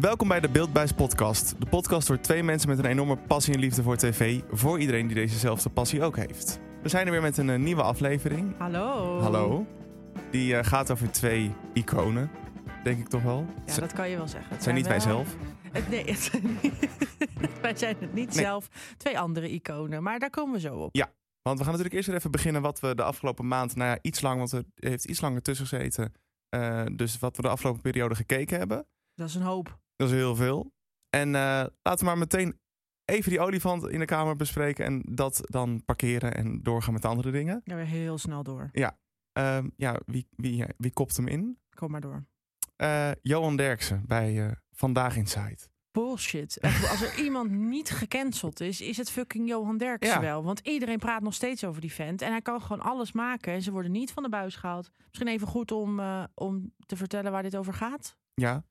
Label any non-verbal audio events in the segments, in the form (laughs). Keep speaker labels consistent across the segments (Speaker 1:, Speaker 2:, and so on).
Speaker 1: Welkom bij de Beeldbuis Podcast. De podcast door twee mensen met een enorme passie en liefde voor tv. Voor iedereen die dezezelfde passie ook heeft. We zijn er weer met een eh, nieuwe aflevering.
Speaker 2: Hallo.
Speaker 1: Hallo. Die eh, gaat over twee iconen, denk ik toch wel.
Speaker 2: Ja,
Speaker 1: Ze-
Speaker 2: dat kan je wel zeggen.
Speaker 1: het zijn niet wij
Speaker 2: wel-
Speaker 1: zelf.
Speaker 2: (laughs) Het- nee, het zijn niet- (laughs) wij zijn het niet
Speaker 1: Nee.
Speaker 2: zelf. Twee andere iconen, maar daar komen we zo op.
Speaker 1: Want we gaan natuurlijk eerst weer even beginnen wat we de afgelopen maand, nou ja, iets lang, want er heeft iets langer tussen gezeten. eh, dus wat we de afgelopen periode gekeken hebben.
Speaker 2: Dat is een hoop.
Speaker 1: Dat is heel veel. En eh, laten we maar meteen even die olifant in de kamer bespreken en dat dan parkeren en doorgaan met de andere dingen.
Speaker 2: Ja, weer heel snel door.
Speaker 1: Ehm, ja, wie, wie, eh, wie kopt hem in?
Speaker 2: Kom maar door.
Speaker 1: Eh, Johan Derksen bij eh, Vandaag Inside. (laughs)
Speaker 2: Bullshit. Echt, Als er iemand niet gecanceld is, is het fucking Johan Derksen
Speaker 1: Ja.
Speaker 2: wel. Want iedereen praat nog steeds over die vent. En hij kan gewoon alles maken. En ze worden niet van de buis gehaald. Misschien even goed om, eh, om te vertellen waar dit over gaat.
Speaker 1: Ja,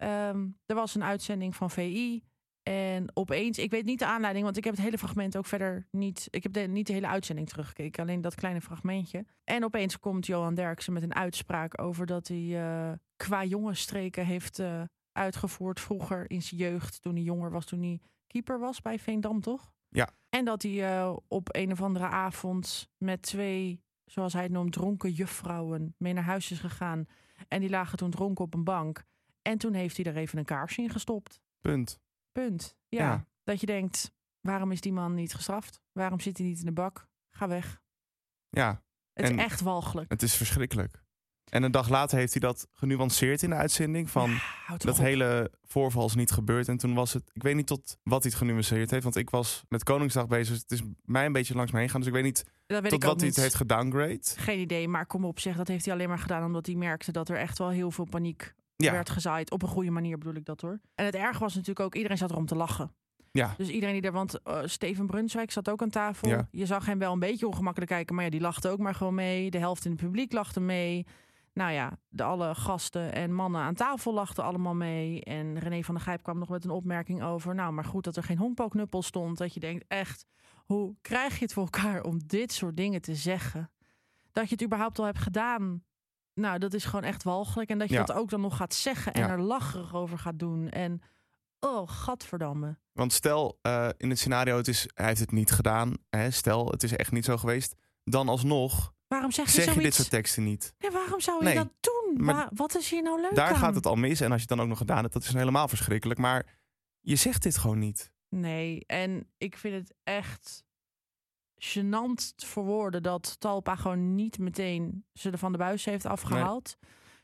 Speaker 2: Ehm, er was een uitzending van VI. En opeens, ik weet niet de aanleiding, want ik heb het hele fragment ook verder niet. Ik heb de, niet de hele uitzending teruggekeken, alleen dat kleine fragmentje. En opeens komt Johan Derksen met een uitspraak over dat hij eh, qua jongensstreken heeft eh, uitgevoerd vroeger in zijn jeugd. Toen hij jonger was, toen hij keeper was bij Veendam, toch?
Speaker 1: Ja.
Speaker 2: En dat hij eh, op een of andere avond met twee, zoals hij het noemt, dronken juffrouwen mee naar huis is gegaan. En die lagen toen dronken op een bank. En toen heeft hij er even een kaarsje in gestopt.
Speaker 1: punt.
Speaker 2: Punt. Ja.
Speaker 1: Ja.
Speaker 2: Dat je denkt, waarom is die man niet gestraft? Waarom zit hij niet in de bak? Ga weg.
Speaker 1: Ja,
Speaker 2: Het
Speaker 1: En-
Speaker 2: is echt walgelijk.
Speaker 1: het is verschrikkelijk. En een dag later heeft hij dat genuanceerd in de uitzending. Van
Speaker 2: Ja, houd
Speaker 1: dat
Speaker 2: toch op.
Speaker 1: hele voorval is niet gebeurd. En toen was het, ik weet niet tot wat hij het genuanceerd heeft. Want ik was met Koningsdag bezig. Dus het is mij een beetje langs me heen gegaan. Dus ik weet niet
Speaker 2: dat weet
Speaker 1: tot
Speaker 2: ik ook
Speaker 1: wat hij
Speaker 2: niet.
Speaker 1: het heeft gedowngrade.
Speaker 2: Geen idee, maar kom op zeg, dat heeft hij alleen maar gedaan omdat hij merkte dat er echt wel heel veel paniek
Speaker 1: Ja,
Speaker 2: werd gezaaid. Op een goede manier bedoel ik dat hoor. En het erg was natuurlijk ook, iedereen zat erom te lachen.
Speaker 1: ja,
Speaker 2: Dus iedereen die er, want eh, Steven Brunswijk zat ook aan tafel.
Speaker 1: Ja.
Speaker 2: Je zag hem wel een beetje ongemakkelijk kijken, maar ja, die lachte ook maar gewoon mee. De helft in het publiek lachte mee. Nou ja, de alle gasten en mannen aan tafel lachten allemaal mee. En René van der Gijp kwam nog met een opmerking over. Nou, maar goed dat er geen honkbalknuppel stond. Dat je denkt, echt, hoe krijg je het voor elkaar om dit soort dingen te zeggen? Dat je het überhaupt al hebt gedaan. Nou, dat is gewoon echt walgelijk. En dat je
Speaker 1: Ja.
Speaker 2: dat ook dan nog gaat zeggen en
Speaker 1: Ja.
Speaker 2: er lacherig over gaat doen. En, oh, gadverdamme.
Speaker 1: Want stel eh, in het scenario, het is, hij heeft het niet gedaan. Hè, stel, het is echt niet zo geweest. Dan
Speaker 2: (laughs)
Speaker 1: alsnog
Speaker 2: Waarom zeg je
Speaker 1: zeg je
Speaker 2: zoiets?
Speaker 1: dit soort teksten niet.
Speaker 2: Ja, waarom zou je
Speaker 1: Nee,
Speaker 2: dat doen?
Speaker 1: maar
Speaker 2: Wa- wat is hier nou leuk
Speaker 1: Daar
Speaker 2: aan?
Speaker 1: gaat het al mis. En als je het dan ook nog gedaan hebt, dat is dan helemaal verschrikkelijk. Maar je zegt dit gewoon niet.
Speaker 2: Nee, en ik vind het echt gênant voor woorden dat Talpa gewoon niet meteen ze er van de buis heeft afgehaald.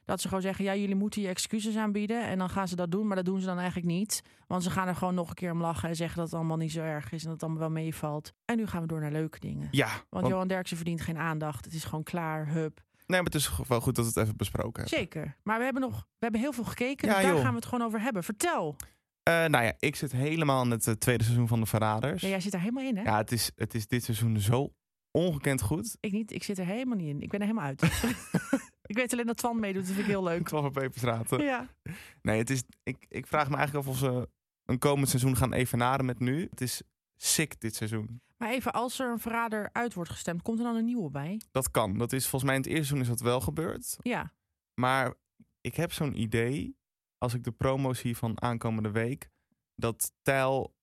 Speaker 2: Dat ze gewoon zeggen, ja, jullie moeten je excuses aanbieden. En dan gaan ze dat doen, maar dat doen ze dan eigenlijk niet. Want ze gaan er gewoon nog een keer om lachen en zeggen dat het allemaal niet zo erg is en dat het allemaal wel meevalt. En nu gaan we door naar leuke dingen.
Speaker 1: Ja,
Speaker 2: Want,
Speaker 1: want,
Speaker 2: Johan Derksen verdient geen aandacht. Het is gewoon klaar, hup.
Speaker 1: nee, maar het is wel goed dat we het even besproken hebben.
Speaker 2: Zeker. Maar we hebben nog, we hebben heel veel gekeken.
Speaker 1: Ja,
Speaker 2: dus daar
Speaker 1: joh.
Speaker 2: gaan we het gewoon over hebben. Vertel.
Speaker 1: Eh, nou ja, ik zit helemaal in het eh, tweede seizoen van De Verraders.
Speaker 2: Ja, jij zit daar helemaal in, hè?
Speaker 1: Ja, het is, het is dit seizoen zo ongekend goed. (laughs)
Speaker 2: Ik niet, ik zit er helemaal niet in. Ik ben er helemaal uit. ik weet alleen dat Twan meedoet, dat vind ik heel
Speaker 1: (laughs)
Speaker 2: leuk.
Speaker 1: Ik kwam op Peperstraten.
Speaker 2: Ja.
Speaker 1: Nee, het is, ik, ik vraag me eigenlijk af of ze een komend seizoen gaan evenaren met nu. Het is sick dit seizoen.
Speaker 2: Maar even, als er een verrader uit wordt gestemd, komt er dan een nieuwe bij?
Speaker 1: Dat kan. Dat is volgens mij in het eerste seizoen is dat wel gebeurd.
Speaker 2: Ja.
Speaker 1: Maar ik heb zo'n idee, als ik de promo's zie van aankomende week, dat Tijl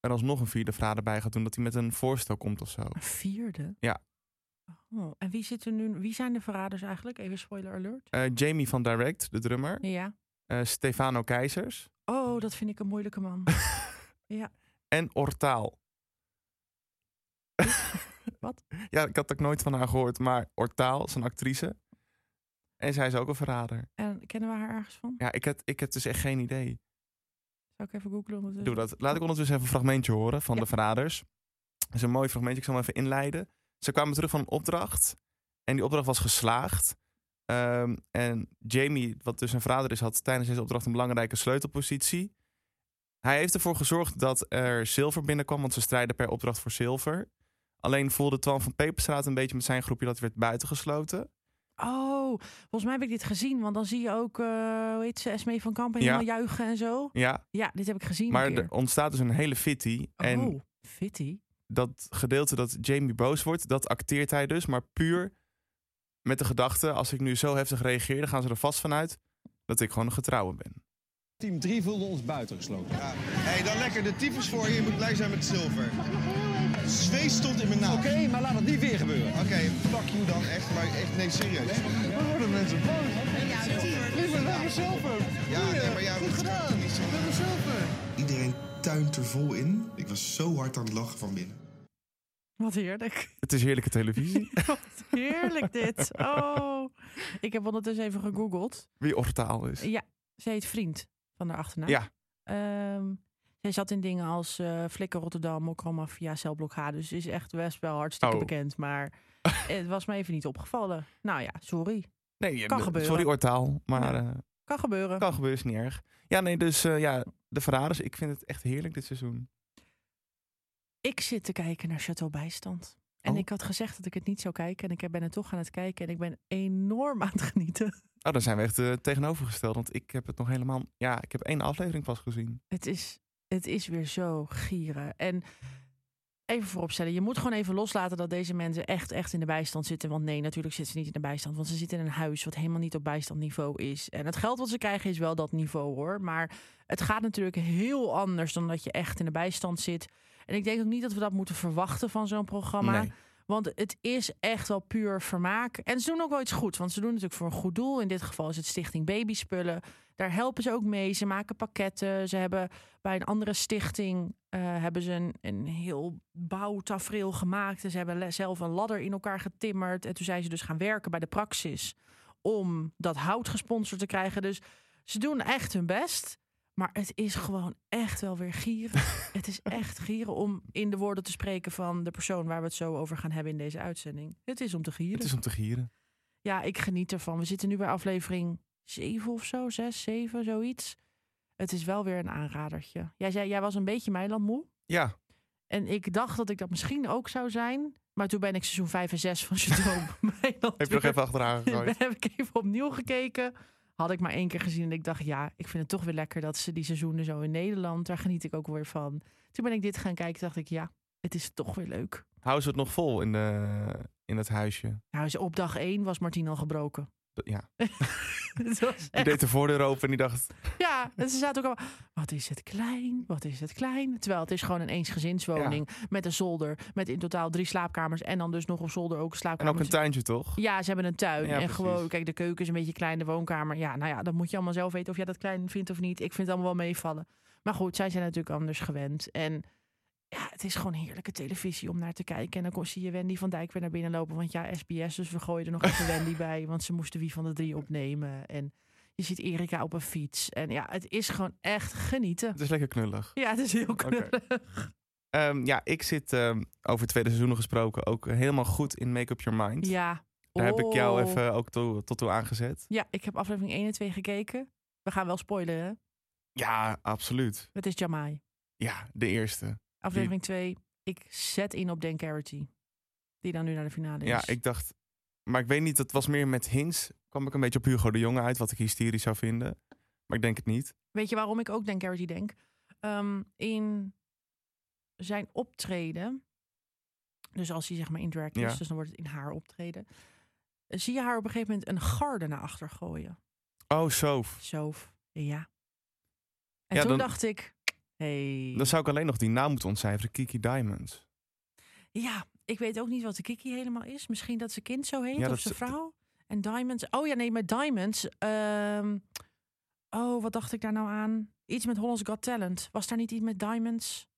Speaker 1: er alsnog een vierde vrader bij gaat doen. Dat hij met een voorstel komt of zo.
Speaker 2: Een vierde?
Speaker 1: Ja.
Speaker 2: Oh, en wie, zitten nu, wie zijn de verraders eigenlijk? Even spoiler alert.
Speaker 1: Eh, Jamie van Direct, de drummer.
Speaker 2: Ja.
Speaker 1: Eh, Stefano Keizers.
Speaker 2: Oh, dat vind ik een
Speaker 1: (laughs)
Speaker 2: moeilijke man.
Speaker 1: En Ortaal. (laughs)
Speaker 2: Wat?
Speaker 1: Ja, ik had ook nooit van haar gehoord, maar Ortaal is een actrice. En zij is ook een verrader.
Speaker 2: En kennen we haar ergens van?
Speaker 1: Ja, ik heb, ik heb dus echt geen idee.
Speaker 2: Zou ik even googlen? ondertussen?
Speaker 1: Doe dat. Laat ik ondertussen even een fragmentje horen van
Speaker 2: Ja.
Speaker 1: de verraders. Dat is een mooi fragmentje. Ik zal hem even inleiden. Ze kwamen terug van een opdracht. En die opdracht was geslaagd. Ehm, en Jamie, wat dus een verrader is, had tijdens deze opdracht een belangrijke sleutelpositie. Hij heeft ervoor gezorgd dat er zilver binnenkwam, want ze strijden per opdracht voor zilver. Alleen voelde Twan van Peperstraat een beetje met zijn groepje dat werd buitengesloten.
Speaker 2: Oh, volgens mij heb ik dit gezien, want dan zie je ook, eh hoe heet ze, Esmee van Kamp en
Speaker 1: Ja.
Speaker 2: helemaal juichen en zo.
Speaker 1: Ja,
Speaker 2: Ja, dit heb ik gezien. een
Speaker 1: maar
Speaker 2: keer.
Speaker 1: er ontstaat dus een hele fitty. En
Speaker 2: Oh, fitty.
Speaker 1: dat gedeelte dat Jamie boos wordt, dat acteert hij dus, maar puur met de gedachte: als ik nu zo heftig reageer, dan gaan ze er vast vanuit dat ik gewoon een getrouwe ben.
Speaker 3: Team 3 voelde ons buitengesloten.
Speaker 4: Ja. Hey, dan lekker de tyfus voor je. Je moet blij zijn met zilver. Zweet stond in mijn naam.
Speaker 3: Oké, maar laat het niet weer gebeuren.
Speaker 4: Oké, fuck you dan. Echt, maar echt, nee, serieus.
Speaker 3: We worden mensen boos. Ik ben wel zilver.
Speaker 4: Ja, nee, maar ja, goed gedaan. Iedereen tuint er vol in. Ik was zo hard aan het lachen van binnen.
Speaker 2: Wat heerlijk.
Speaker 1: Het is heerlijke
Speaker 2: (laughs)
Speaker 1: televisie.
Speaker 2: Wat heerlijk dit. Oh. Ik heb ondertussen even gegoogeld.
Speaker 1: Wie ortaal is.
Speaker 2: Ja, ze heet Vriend van haar achternaam.
Speaker 1: Ja.
Speaker 2: Ehm, zij zat in dingen als eh Flikker Rotterdam, Mokromafia, Celblokkade. Dus ze is echt best wel hartstikke
Speaker 1: Oh. (laughs)
Speaker 2: bekend. Maar het was me even niet opgevallen. Nou ja, sorry.
Speaker 1: Nee, je-
Speaker 2: Kan
Speaker 1: de-
Speaker 2: gebeuren.
Speaker 1: Sorry ortaal, maar
Speaker 2: Ja.
Speaker 1: eh,
Speaker 2: Kan gebeuren.
Speaker 1: kan gebeuren is niet erg. Ja, nee, dus eh, ja, de Verraders. Ik vind het echt heerlijk dit seizoen.
Speaker 2: Ik zit te kijken naar Chateau Bijstand. En
Speaker 1: Oh.
Speaker 2: ik had gezegd dat ik het niet zou kijken. En ik ben er toch aan het kijken. En ik ben enorm (laughs) aan het genieten.
Speaker 1: Oh, dan zijn we echt eh, tegenovergesteld. Want ik heb het nog helemaal... Ja, ik heb één aflevering pas gezien.
Speaker 2: Het is, het is weer zo gieren. En even vooropstellen, je moet gewoon even loslaten dat deze mensen echt, echt in de bijstand zitten. Want nee, natuurlijk zitten ze niet in de bijstand. Want ze zitten in een huis wat helemaal niet op bijstandniveau is. En het geld wat ze krijgen is wel dat niveau hoor. Maar het gaat natuurlijk heel anders dan dat je echt in de bijstand zit. En ik denk ook niet dat we dat moeten verwachten van zo'n programma.
Speaker 1: Nee.
Speaker 2: Want het is echt wel puur vermaak. En ze doen ook wel iets goeds. Want ze doen natuurlijk voor een goed doel. In dit geval is het Stichting Babyspullen. Daar helpen ze ook mee. Ze maken pakketten. Ze hebben bij een andere stichting eh, hebben ze een, een heel bouwtafereel gemaakt. En ze hebben le- zelf een ladder in elkaar getimmerd. En toen zijn ze dus gaan werken bij de praxis. Om dat hout gesponsord te krijgen. Dus ze doen echt hun best. Maar het is gewoon echt wel weer gieren. het is echt gieren om in de woorden te spreken van de persoon waar we het zo over gaan hebben in deze uitzending. Het is om te gieren.
Speaker 1: Het is om te gieren.
Speaker 2: Ja, ik geniet ervan. We zitten nu bij aflevering 7 of zo, 6, 7, zoiets. Het is wel weer een aanradertje. Jij zei, jij was een beetje Meiland moe.
Speaker 1: Ja,
Speaker 2: En ik dacht dat ik dat misschien ook zou zijn. Maar toen ben ik seizoen 5 en 6 van Chateau
Speaker 1: (laughs)
Speaker 2: (laughs) Meiland.
Speaker 1: heb je nog
Speaker 2: weer-
Speaker 1: even achteraan
Speaker 2: (laughs)
Speaker 1: gegooid.
Speaker 2: heb ik even opnieuw gekeken. Had ik maar één keer gezien en ik dacht, ja, ik vind het toch weer lekker dat ze die seizoenen zo in Nederland, daar geniet ik ook weer van. Toen ben ik dit gaan kijken, dacht ik, ja, het is toch weer leuk.
Speaker 1: Houden ze het nog vol in, de, in het huisje?
Speaker 2: Nou, dus op dag één was Martien al gebroken. (laughs)
Speaker 1: Dat- Ja.
Speaker 2: Het was
Speaker 1: Die
Speaker 2: echt-
Speaker 1: deed de voordeur open en die dacht...
Speaker 2: (laughs) Ja, en ze zaten ook allemaal, wat is het klein, wat is het klein. Terwijl het is gewoon een eensgezinswoning met een zolder, met in totaal drie slaapkamers en dan dus nog op zolder ook
Speaker 1: En ook
Speaker 2: slaapkamers.
Speaker 1: een tuintje, toch?
Speaker 2: Ja, ze hebben een tuin.
Speaker 1: Ja,
Speaker 2: en
Speaker 1: precies.
Speaker 2: gewoon, kijk, de keuken is een beetje klein, de woonkamer. Ja, nou ja, dat moet je allemaal zelf weten of jij dat klein vindt of niet. Ik vind het allemaal wel meevallen. Maar goed, zij zijn natuurlijk anders gewend. En ja, het is gewoon heerlijke televisie om naar te kijken. En dan kon- zie je Wendy van Dijk weer naar binnen lopen. Want ja, SBS, dus we gooien er nog
Speaker 1: (laughs)
Speaker 2: even Wendy bij. Want ze moesten wie van de drie opnemen. En je ziet Erika op een fiets. En ja, het is gewoon echt genieten.
Speaker 1: Het is lekker knullig.
Speaker 2: Ja, het is heel knullig.
Speaker 1: Ehm, ja, ik zit ehm, over het tweede seizoenen gesproken ook helemaal goed in Make Up Your Mind.
Speaker 2: Ja.
Speaker 1: Daar heb ik jou
Speaker 2: Oh.
Speaker 1: even ook to- tot toe aangezet.
Speaker 2: Ja, ik heb aflevering 1 en 2 gekeken. We gaan wel spoileren. hè?
Speaker 1: Ja, absoluut.
Speaker 2: Het is Jamai.
Speaker 1: Ja, de eerste.
Speaker 2: Aflevering 2. Ik zet in op Dan Carity. Die dan nu naar de finale is.
Speaker 1: Ja, ik dacht... Maar ik weet niet, dat was meer met hints. Kwam ik een beetje op Hugo de Jonge uit, wat ik hysterisch zou vinden. Maar ik denk het niet.
Speaker 2: Weet je waarom ik ook Dan Carity denk? Ehm, in zijn optreden. Dus als hij zeg maar in drag is,
Speaker 1: Ja.
Speaker 2: dus dan wordt het in haar optreden. eh, Zie je haar op een gegeven moment een garde naar achter gooien.
Speaker 1: Oh, zo.
Speaker 2: Zo. Ja. En
Speaker 1: Ja,
Speaker 2: toen
Speaker 1: dan-
Speaker 2: dacht ik. Hey.
Speaker 1: Dan zou ik alleen nog die naam moeten ontcijferen. Kiki Diamonds.
Speaker 2: Ja, ik weet ook niet wat de Kiki helemaal is. Misschien dat ze kind zo heet
Speaker 1: Ja,
Speaker 2: of
Speaker 1: dat
Speaker 2: zijn
Speaker 1: ze-
Speaker 2: vrouw. En Diamonds. Oh ja, nee, maar Diamonds. ehm, oh, wat dacht ik daar nou aan? Iets met Hollands Got Talent. Was daar niet iets met Diamonds?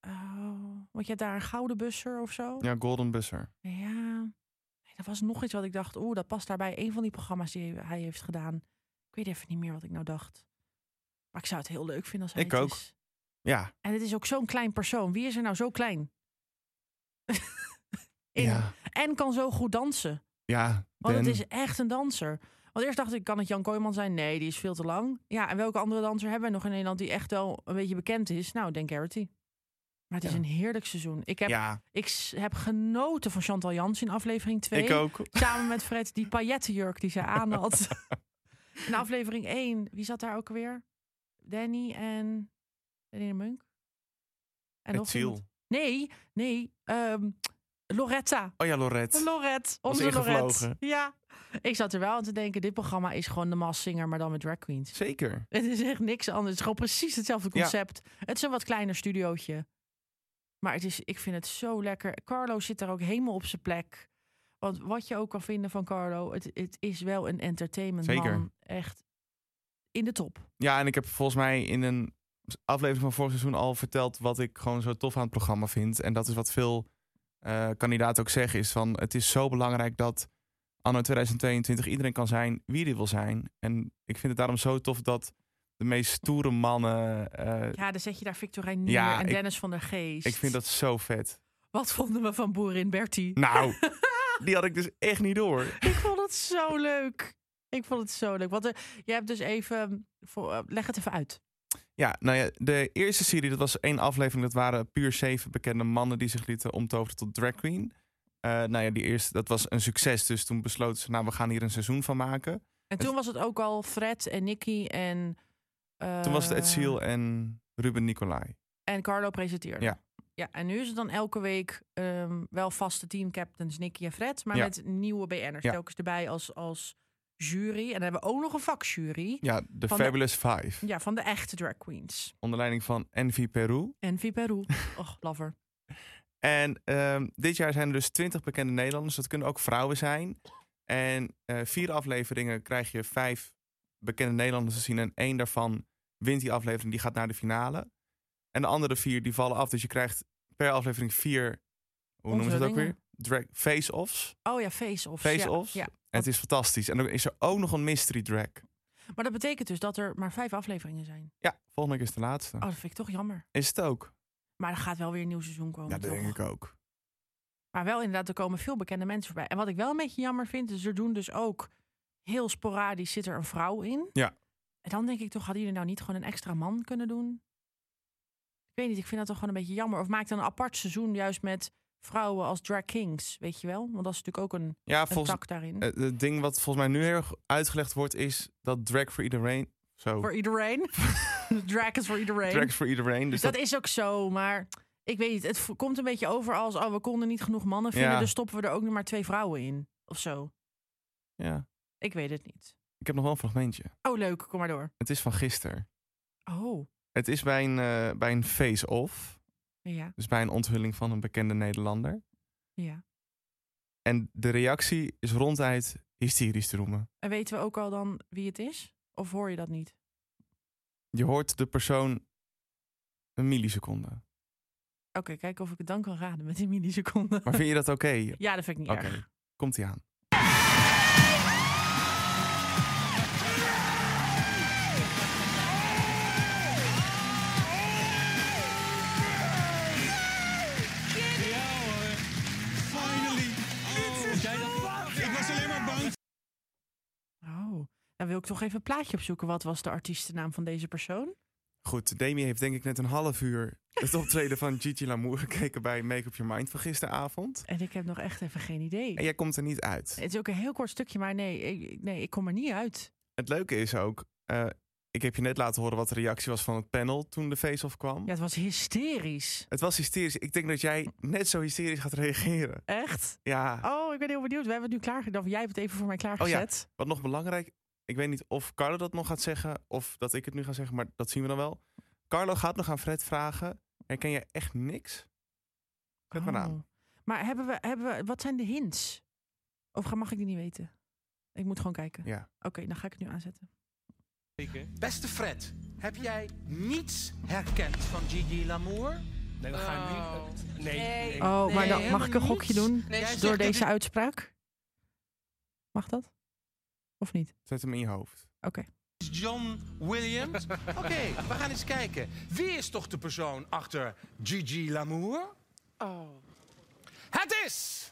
Speaker 2: Oh, want je hebt daar een gouden busser of zo?
Speaker 1: Ja, Golden Busser.
Speaker 2: Ja. Nee, dat was nog iets wat ik dacht. Oeh, dat past daarbij. Een van die programma's die hij heeft gedaan. Ik weet even niet meer wat ik nou dacht. Maar ik zou het heel leuk vinden als hij
Speaker 1: Ik
Speaker 2: het
Speaker 1: ook.
Speaker 2: is.
Speaker 1: Ja.
Speaker 2: En het is ook zo'n klein persoon. Wie is er nou zo klein? (laughs) In-
Speaker 1: Ja.
Speaker 2: En kan zo goed dansen.
Speaker 1: Ja.
Speaker 2: Want
Speaker 1: Dan-
Speaker 2: het Oh, is echt een danser. Want eerst dacht ik, kan het Jan Kooijman zijn? Nee, die is veel te lang. Ja, en welke andere danser hebben we nog in Nederland die echt wel een beetje bekend is? Nou, Dan Carity. Maar het is
Speaker 1: Ja.
Speaker 2: een heerlijk seizoen. Ik heb,
Speaker 1: Ja,
Speaker 2: ik s- heb genoten van Chantal Jans in aflevering 2.
Speaker 1: ik ook.
Speaker 2: Samen met Fred, die paillettenjurk die zij aan had. (laughs) In aflevering 1, wie zat daar ook weer? Danny en... Danny de Munk? En
Speaker 1: En
Speaker 2: nog
Speaker 1: Thiel.
Speaker 2: iemand? Nee, nee. ehm, Loretta.
Speaker 1: Oh ja, Lorette.
Speaker 2: Lorette. Onze
Speaker 1: ingevlogen.
Speaker 2: Lorette. Ja. Ik zat er wel aan te denken, dit programma is gewoon de massinger, maar dan met drag queens.
Speaker 1: Zeker.
Speaker 2: Het is echt niks anders. Het is gewoon precies hetzelfde
Speaker 1: Ja.
Speaker 2: concept. Het is een wat kleiner studiootje. Maar het is, ik vind het zo lekker. Carlo zit daar ook helemaal op zijn plek. Want wat je ook kan vinden van Carlo, het, het is wel een entertainment
Speaker 1: Zeker.
Speaker 2: man. Echt in de top.
Speaker 1: Ja, en ik heb volgens mij in een aflevering van vorig seizoen al verteld wat ik gewoon zo tof aan het programma vind. En dat is wat veel eh, kandidaten ook zeggen, is van het is zo belangrijk dat anno 2022 iedereen kan zijn wie die wil zijn. En ik vind het daarom zo tof dat de meest stoere mannen... eh,
Speaker 2: Ja, dan zet je daar Victorijn Nieuw
Speaker 1: Ja,
Speaker 2: en
Speaker 1: ik-
Speaker 2: Dennis van der Geest.
Speaker 1: ik vind dat zo vet.
Speaker 2: Wat vonden we van Boerin Bertie?
Speaker 1: Nou, die had ik dus echt niet door.
Speaker 2: Ik vond het zo leuk. Ik vond het zo leuk. Want er, jij hebt dus even... Voor, eh, leg het even uit.
Speaker 1: Ja, nou ja, de eerste serie, dat was één aflevering. Dat waren puur zeven bekende mannen die zich lieten omtoveren tot drag queen. Eh, nou ja, die eerste, dat was een succes. Dus toen besloten ze, nou, we gaan hier een seizoen van maken.
Speaker 2: En toen was het ook al Fred en Nicky en... eh,
Speaker 1: Toen was het Ed Sheeran en Ruben Nicolai.
Speaker 2: En Carlo presenteerde.
Speaker 1: Ja.
Speaker 2: Ja, en nu is het dan elke week ehm, wel vaste teamcaptains Nicky en Fred, maar
Speaker 1: Ja.
Speaker 2: met nieuwe BN'ers
Speaker 1: Ja.
Speaker 2: telkens erbij als, als jury. En dan hebben we ook nog een vakjury.
Speaker 1: Ja, de
Speaker 2: Van de-
Speaker 1: Fabulous Five.
Speaker 2: Ja, van de echte drag queens.
Speaker 1: Onder leiding van Envy Peru.
Speaker 2: En Viperu. (laughs) Och, lover.
Speaker 1: En ehm, dit jaar zijn er dus 20 bekende Nederlanders. Dat kunnen ook vrouwen zijn. En eh, vier afleveringen krijg je vijf bekende Nederlanders te zien. En één daarvan wint die aflevering. Die gaat naar de finale. En de andere vier die vallen af. Dus je krijgt per aflevering vier. Hoe noemen ze dat ook weer?
Speaker 2: Onthullingen.
Speaker 1: Drag face-offs.
Speaker 2: Oh ja, face-offs.
Speaker 1: Face-offs?
Speaker 2: Ja,
Speaker 1: En het is fantastisch. En dan is er ook nog een mystery drag.
Speaker 2: ja. Maar dat betekent dus dat er maar vijf afleveringen zijn.
Speaker 1: Ja, volgende keer is de laatste.
Speaker 2: Oh, dat vind ik toch jammer.
Speaker 1: Is het ook?
Speaker 2: Maar er gaat wel weer een nieuw seizoen komen.
Speaker 1: ja, dat
Speaker 2: Oh, toch?
Speaker 1: denk ik ook.
Speaker 2: Maar wel inderdaad, er komen veel bekende mensen voorbij. En wat ik wel een beetje jammer vind, is er doen dus ook heel sporadisch zit er een vrouw in.
Speaker 1: Ja.
Speaker 2: En dan denk ik toch, hadden jullie nou niet gewoon een extra man kunnen doen? Ik weet niet, ik vind dat toch gewoon een beetje jammer. Of maak dan een apart seizoen juist met vrouwen als drag kings, weet je wel? Want dat is natuurlijk ook een,
Speaker 1: Ja,
Speaker 2: een
Speaker 1: volgens,
Speaker 2: tak daarin.
Speaker 1: eh, het ding wat volgens mij nu heel erg uitgelegd wordt... is dat drag voor iedereen... Zo.
Speaker 2: voor
Speaker 1: (laughs)
Speaker 2: iedereen. drag is voor iedereen.
Speaker 1: Tracks for Iedereen. Dus
Speaker 2: dat,
Speaker 1: dat,
Speaker 2: is ook zo, maar ik weet niet. Het v- komt een beetje over als, oh, we konden niet genoeg mannen vinden,
Speaker 1: Ja.
Speaker 2: dus stoppen we er ook nog maar twee vrouwen in. Of zo.
Speaker 1: ja.
Speaker 2: Ik weet het niet.
Speaker 1: Ik heb nog wel een fragmentje.
Speaker 2: Oh, leuk, kom maar door.
Speaker 1: Het is van gisteren.
Speaker 2: Oh,
Speaker 1: Het is bij een, eh, bij een face-off.
Speaker 2: ja,
Speaker 1: Dus bij een onthulling van een bekende Nederlander.
Speaker 2: ja.
Speaker 1: En de reactie is ronduit hysterisch te roemen.
Speaker 2: En weten we ook al dan wie het is? Of hoor je dat niet?
Speaker 1: Je hoort de persoon een milliseconde.
Speaker 2: Oké, kijken of ik het dan kan raden met die milliseconden.
Speaker 1: Maar vind je dat oké?
Speaker 2: (laughs) Ja, dat vind ik niet
Speaker 1: Oké,
Speaker 2: erg.
Speaker 1: komt ie aan.
Speaker 5: Ja hoor. Finally. Oh, was jij dat? Ik was alleen maar bang.
Speaker 2: Oh, dan wil ik toch even een plaatje opzoeken. Wat was de artiestennaam van deze persoon?
Speaker 1: Goed, Demi heeft denk ik net een half uur het optreden van Gigi Lamour (laughs) gekeken bij Make Up Your Mind van gisteravond.
Speaker 2: En ik heb nog echt even geen idee.
Speaker 1: En jij komt er niet uit.
Speaker 2: Het is ook een heel kort stukje, maar nee, ik, nee, ik kom er niet uit.
Speaker 1: Het leuke is ook, eh, ik heb je net laten horen wat de reactie was van het panel toen de face-off kwam.
Speaker 2: Ja, het was hysterisch.
Speaker 1: Het was hysterisch. Ik denk dat jij net zo hysterisch gaat reageren.
Speaker 2: Echt?
Speaker 1: Ja. Oh
Speaker 2: Oh, ik ben heel benieuwd. We hebben het nu klaargedaan. Jij hebt het even voor mij klaargezet.
Speaker 1: Wat nog belangrijk, ik weet niet of Carlo dat nog gaat zeggen of dat ik het nu ga zeggen, maar dat zien we dan wel. Carlo gaat nog aan Fred vragen: herken jij echt niks? Zet maar aan.
Speaker 2: Oh. Maar hebben we, hebben we, wat zijn de hints? Of ga- mag ik die niet weten? Ik moet gewoon kijken.
Speaker 1: Ja.
Speaker 2: Oké, dan ga ik het nu aanzetten.
Speaker 6: Beste Fred, heb jij niets herkend van Gigi Lamour?
Speaker 5: Nee, we gaan niet. Nee. nee.
Speaker 2: Oh, maar dan, mag ik een
Speaker 6: helemaal
Speaker 2: gokje
Speaker 6: niets.
Speaker 2: doen
Speaker 6: Nee, jij zegt
Speaker 2: door
Speaker 6: dat
Speaker 2: deze
Speaker 6: dit-
Speaker 2: uitspraak? Mag dat? Of niet?
Speaker 1: Zet hem in je hoofd.
Speaker 2: Oké.
Speaker 6: John
Speaker 3: (laughs)
Speaker 6: Williams? Oké, we gaan eens kijken. Wie is toch de persoon achter Gigi Lamour? Oh. Het is...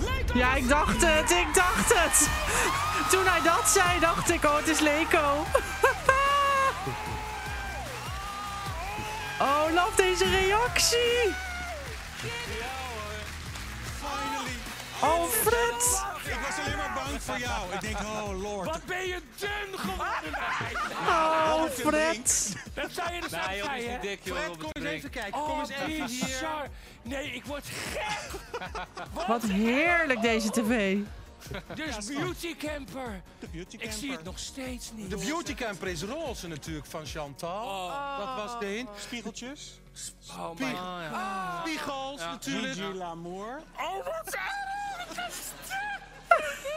Speaker 6: Leco!
Speaker 2: Ja, ik dacht het, ik dacht het. Toen hij dat zei, dacht ik, oh, het is Leko. (laughs) Oh, laf deze reactie.
Speaker 5: Ja hoor.
Speaker 2: Oh, Fred.
Speaker 6: Ik
Speaker 5: was alleen maar bang voor jou. Ik denk, oh lord.
Speaker 7: Wat ben je dun geworden? Nee,
Speaker 2: Oh, Fred.
Speaker 7: dat zei je er zelf
Speaker 8: Nee, joh,
Speaker 7: bij,
Speaker 8: die is
Speaker 7: hè?
Speaker 8: niet dik, joh.
Speaker 6: Fred,
Speaker 8: op
Speaker 6: kom
Speaker 8: het
Speaker 6: eens
Speaker 8: drink.
Speaker 6: even kijken. Kom
Speaker 7: Oh,
Speaker 6: eens even hier.
Speaker 7: bizar. Nee, ik
Speaker 6: (laughs)
Speaker 7: word gek.
Speaker 2: Wat heerlijk deze tv.
Speaker 7: Dus beauty camper.
Speaker 5: De beauty
Speaker 7: Ik zie het nog steeds niet.
Speaker 6: De beauty camper is roze natuurlijk van Chantal.
Speaker 7: Oh,
Speaker 6: Dat was de hint.
Speaker 5: Spiegeltjes.
Speaker 8: Oh, my God.
Speaker 6: Spiegels natuurlijk.
Speaker 5: Gigi Lamour.
Speaker 7: oh wat erg. Dat is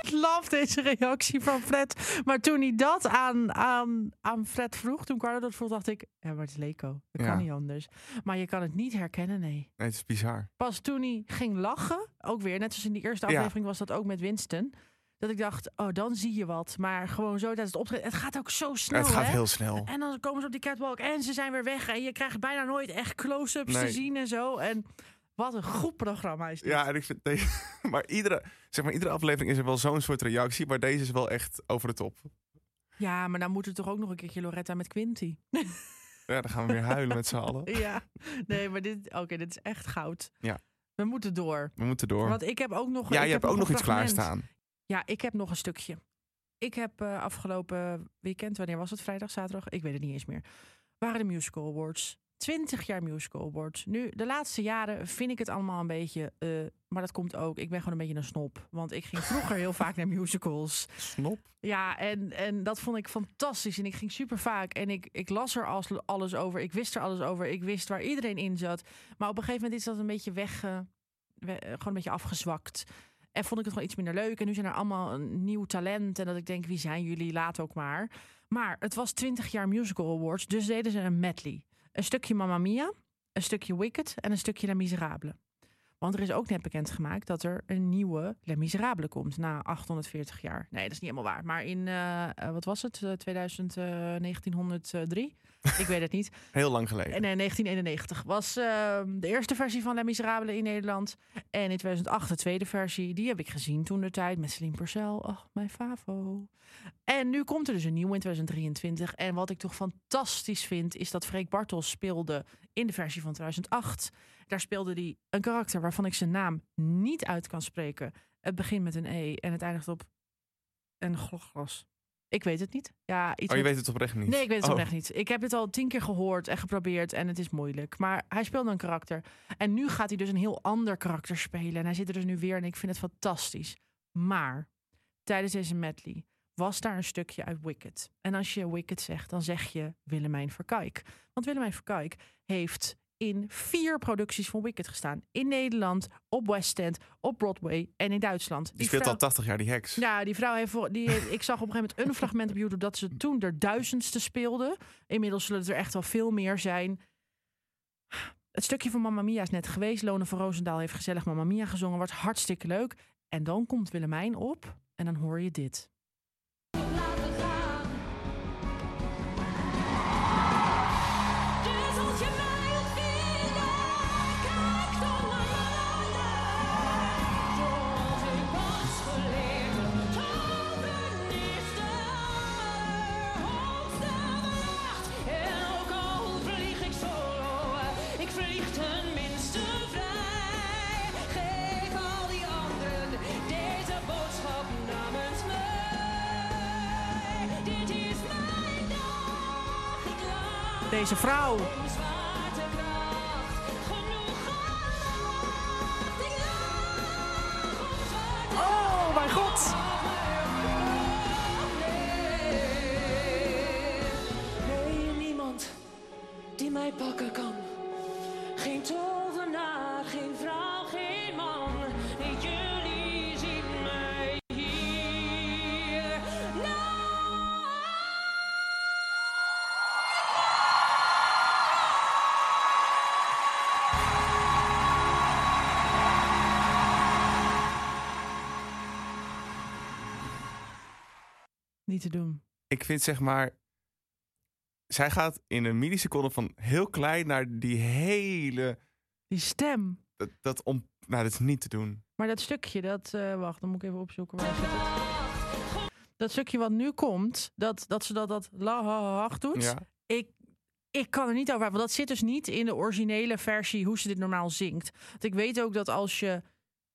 Speaker 2: Ik love deze reactie van Fred. Maar toen hij dat aan, aan, aan Fred vroeg, toen Carlo dat vroeg, dacht ik... Ja, maar het is Leko. Dat
Speaker 1: Ja.
Speaker 2: kan niet anders. Maar je kan het niet herkennen, nee.
Speaker 1: Nee, het is bizar.
Speaker 2: Pas toen hij ging lachen, ook weer, net zoals in die eerste
Speaker 1: Ja.
Speaker 2: aflevering was dat ook met Winston... Dat ik dacht, oh, dan zie je wat. Maar gewoon zo tijdens het optreden. Het gaat ook zo snel,
Speaker 1: het gaat
Speaker 2: hè? Eh,
Speaker 1: heel snel.
Speaker 2: En dan komen ze op die catwalk en ze zijn weer weg. En je krijgt bijna nooit echt close-ups te
Speaker 1: Nee.
Speaker 2: zien en zo. En wat een goed programma is dit.
Speaker 1: Ja, en ik vind deze, (laughs) maar, iedere, zeg maar iedere aflevering is er wel zo'n soort reactie. Maar deze is wel echt over de top.
Speaker 2: Ja, maar dan moeten we toch ook nog een keertje Loretta met
Speaker 1: (laughs)
Speaker 2: Quinty.
Speaker 1: Ja, dan gaan we weer huilen met z'n allen.
Speaker 2: Ja, nee, maar dit, oké, dit is echt goud.
Speaker 1: Ja.
Speaker 2: We moeten door.
Speaker 1: We moeten door.
Speaker 2: Want ik heb ook nog.
Speaker 1: ja,
Speaker 2: ik
Speaker 1: je
Speaker 2: heb
Speaker 1: hebt ook nog
Speaker 2: een
Speaker 1: iets
Speaker 2: fragment.
Speaker 1: klaarstaan.
Speaker 2: Ja, ik heb nog een stukje. Ik heb eh, afgelopen weekend, wanneer was het? Vrijdag, zaterdag? Ik weet het niet eens meer. Waren de Musical Awards. 20 jaar Musical Awards. Nu, de laatste jaren vind ik het allemaal een beetje. eh, maar dat komt ook. Ik ben gewoon een beetje een snop. Want ik ging vroeger heel vaak naar musicals.
Speaker 1: Snop.
Speaker 2: Ja, en, en dat vond ik fantastisch. En ik ging super vaak. En ik, ik las er als, alles over. Ik wist er alles over. Ik wist waar iedereen in zat. Maar op een gegeven moment is dat een beetje weg. eh, we- eh, gewoon een beetje afgezwakt. En vond ik het gewoon iets minder leuk. En nu zijn er allemaal een nieuw talent. En dat ik denk, wie zijn jullie? Laat ook maar. Maar het was 20 jaar Musical Awards. Dus deden ze een medley. Een stukje Mamma Mia. Een stukje Wicked. En een stukje La Miserable. Want er is ook net bekendgemaakt dat er een nieuwe Les Misérables komt na 840 jaar. Nee, dat is niet helemaal waar. Maar in, eh, eh, wat was het, Eh, 2000, eh, 1903? Ik weet het niet.
Speaker 1: Heel lang geleden.
Speaker 2: En, eh, 1991 was eh, de eerste versie van Les Misérables in Nederland. En in 2008 de tweede versie. Die heb ik gezien toen de tijd met Celine Purcell. Ach, mijn favo. En nu komt er dus een nieuwe in 2023. En wat ik toch fantastisch vind, is dat Freek Bartels speelde in de versie van 2008. Daar speelde hij een karakter waarvan ik zijn naam niet uit kan spreken. Het begint met een E en het eindigt op een glogglas. Ik weet het niet. Ja, iets
Speaker 1: oh, je
Speaker 2: met-
Speaker 1: weet het oprecht niet?
Speaker 2: Nee, ik weet het
Speaker 1: Oh,
Speaker 2: oprecht niet. Ik heb het al tien keer gehoord en geprobeerd en het is moeilijk. Maar hij speelde een karakter. En nu gaat hij dus een heel ander karakter spelen. En hij zit er dus nu weer en ik vind het fantastisch. Maar tijdens deze medley was daar een stukje uit Wicked. En als je Wicked zegt, dan zeg je Willemijn Verkijk. Want Willemijn Verkijk heeft in vier producties van Wicked gestaan. In Nederland, op West End, op Broadway en in Duitsland.
Speaker 1: Die speelt
Speaker 2: vrouw-
Speaker 1: al 80 jaar, die heks.
Speaker 2: ja, die vrouw heeft. voor- Die, heeft- ik zag op een gegeven moment een fragment op YouTube dat ze toen er duizendste speelde. Inmiddels zullen het er echt wel veel meer zijn. Het stukje van Mamma Mia is net geweest. Lone van Roosendaal heeft gezellig Mamma Mia gezongen. Wordt hartstikke leuk. En dan komt Willemijn op en dan hoor je dit.
Speaker 9: Laten gaan. Dus als je mij wilt vinden, kijk dan naar mijn lijn. Tot ik was geleden, toven is de allerhoogste macht. En ook al vlieg ik solo, ik vlieg tenminste vrij. Geef al die anderen deze boodschap namens mij. Dit is mijn dag, ik laat
Speaker 2: Deze vrouw.
Speaker 9: om zwaartekracht. Genoeg gelacht. Ik lach om zwaartekracht.
Speaker 2: Oh, mijn god.
Speaker 9: Nee, niemand die mij pakken kan. Geen tovenaar, geen vrouw, geen man. Nee, jullie zien mij hier.
Speaker 2: Niet te doen.
Speaker 1: Ik vind zeg maar... Zij gaat in een milliseconde van heel klein naar die hele...
Speaker 2: Die stem.
Speaker 1: Dat, dat om... Nou, dat is niet te doen.
Speaker 2: Maar dat stukje, dat. eh, wacht, dan moet ik even opzoeken waar zit het. Dat stukje wat nu komt, dat, dat ze dat, dat la ha, ha, ha doet.
Speaker 1: Ja.
Speaker 2: ik, ik kan er niet over. Want dat zit dus niet in de originele versie hoe ze dit normaal zingt. Want ik weet ook dat als je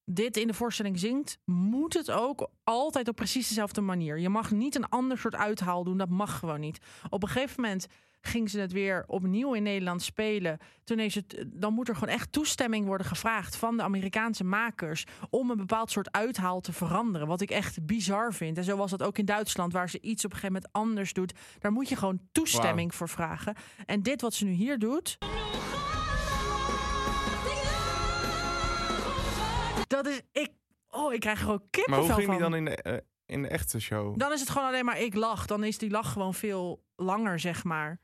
Speaker 2: dit in de voorstelling zingt, moet het ook altijd op precies dezelfde manier. Je mag niet een ander soort uithaal doen, dat mag gewoon niet. Op een gegeven moment ging ze het weer opnieuw in Nederland spelen. Toen is het, dan moet er gewoon echt toestemming worden gevraagd van de Amerikaanse makers om een bepaald soort uithaal te veranderen. Wat ik echt bizar vind. En zo was dat ook in Duitsland, waar ze iets op een gegeven moment anders doet. Daar moet je gewoon toestemming voor vragen. En dit wat ze nu hier doet, dat is ik. Oh, ik krijg er gewoon
Speaker 1: Maar
Speaker 2: kippenvel
Speaker 1: hoe ging
Speaker 2: van.
Speaker 1: die dan in de, eh, in de echte show?
Speaker 2: Dan is het gewoon alleen maar ik lach. Dan is die lach gewoon veel langer, zeg maar.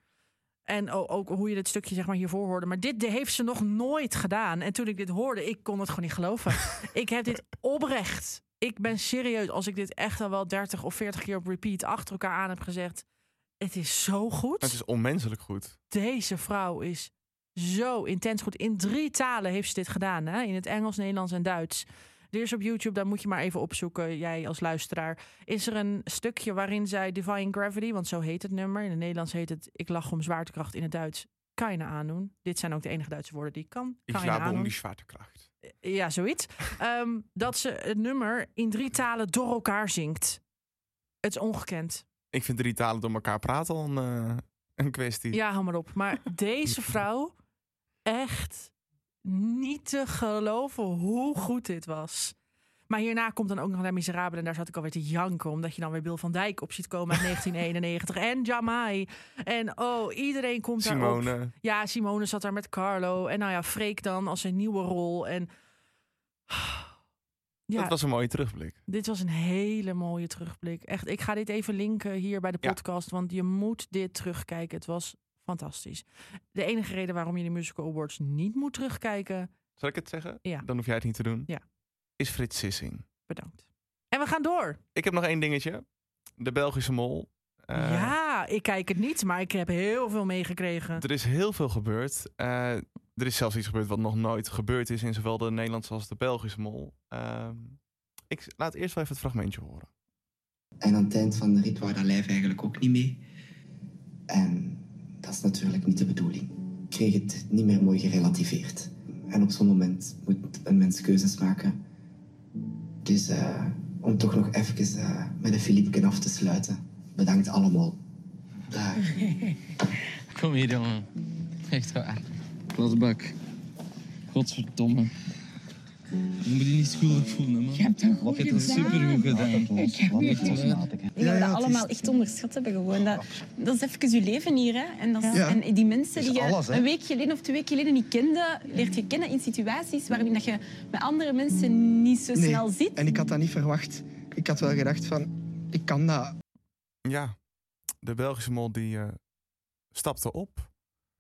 Speaker 2: En o- ook hoe je dit stukje zeg maar, hiervoor hoorde. Maar dit de- heeft ze nog nooit gedaan. En toen ik dit hoorde, ik kon het gewoon niet
Speaker 1: (laughs)
Speaker 2: geloven. ik heb dit oprecht. Ik ben serieus, als ik dit echt al wel 30 of 40 keer op repeat achter elkaar aan heb gezegd. Het is zo goed.
Speaker 1: Het is onmenselijk goed.
Speaker 2: Deze vrouw is zo intens goed. In drie talen heeft ze dit gedaan. Hè? In het Engels, Nederlands en Duits. Er is op YouTube, daar moet je maar even opzoeken, jij als luisteraar. Is er een stukje waarin zij Defying Gravity, want zo heet het nummer. In het Nederlands heet het Ik lach om zwaartekracht. In het Duits, Keine aandoen. Dit zijn ook de enige Duitse woorden die ik kan.
Speaker 1: Ik
Speaker 2: Keine
Speaker 1: slaap om
Speaker 2: Ahnung.
Speaker 1: die zwaartekracht.
Speaker 2: Ja, zoiets. (laughs) Ehm, dat ze het nummer in drie talen door elkaar zingt. Het is ongekend.
Speaker 1: Ik vind drie talen door elkaar praten al een, eh, een kwestie.
Speaker 2: Ja, hou maar op. Maar deze vrouw, echt niet te geloven hoe goed dit was. Maar hierna komt dan ook nog La Miserabele. En daar zat ik alweer te janken. Omdat je dan weer Bill van Dijk op ziet komen uit 1991. En Jamai. En oh, iedereen komt daar daarop.
Speaker 1: Simone.
Speaker 2: Ja, Simone zat daar met Carlo. En nou ja, Freek dan als zijn nieuwe rol. En (sighs) ja,
Speaker 1: Dat was een mooie terugblik.
Speaker 2: dit was een hele mooie terugblik. Echt, ik ga dit even linken hier bij de
Speaker 1: Ja.
Speaker 2: podcast, want je moet dit terugkijken. Het was fantastisch. De enige reden waarom je de Musical Awards niet moet terugkijken,
Speaker 1: Zal ik het zeggen?
Speaker 2: Ja.
Speaker 1: Dan hoef jij het niet te doen.
Speaker 2: Ja.
Speaker 1: Is Frits Sissing.
Speaker 2: bedankt. En we gaan door.
Speaker 1: Ik heb nog één dingetje. De Belgische mol. Eh,
Speaker 2: ja, ik kijk het niet, maar ik heb heel veel meegekregen.
Speaker 1: Er is heel veel gebeurd. Eh, er is zelfs iets gebeurd wat nog nooit gebeurd is in zowel de Nederlandse als de Belgische mol. Ehm, ik s- laat eerst wel even het fragmentje horen.
Speaker 10: En aan het eind van de rit wou dat lijf eigenlijk ook niet mee. En dat is natuurlijk niet de bedoeling. Ik kreeg het niet meer mooi gerelativeerd. En op zo'n moment moet een mens keuzes maken. Dus eh, om toch nog even eh, met een Filipken af te sluiten. Bedankt allemaal. Dag.
Speaker 11: Kom hier, jongen. Echt waar. Glasbak. Godverdomme. Je moet je niet schuldig voelen, man. Je hebt dat goed gedaan. supergoed gedaan.
Speaker 12: Ik heb het
Speaker 11: Echt
Speaker 12: gedaan.
Speaker 11: waar.
Speaker 12: Ik denk dat we dat allemaal echt onderschat hebben. Gewoon. Dat, dat is even je leven hier. Hè. En, dat is-
Speaker 11: Ja.
Speaker 12: en die mensen
Speaker 11: Dat
Speaker 12: die
Speaker 11: is
Speaker 12: je
Speaker 11: alles, hè.
Speaker 12: een week geleden of twee weken geleden niet kende, leert je kennen in situaties waarin dat je met andere mensen niet zo
Speaker 13: Nee,
Speaker 12: snel zit.
Speaker 13: En ik had dat niet verwacht. Ik had wel gedacht van, ik kan dat.
Speaker 1: Ja, de Belgische mol die eh, stapte op.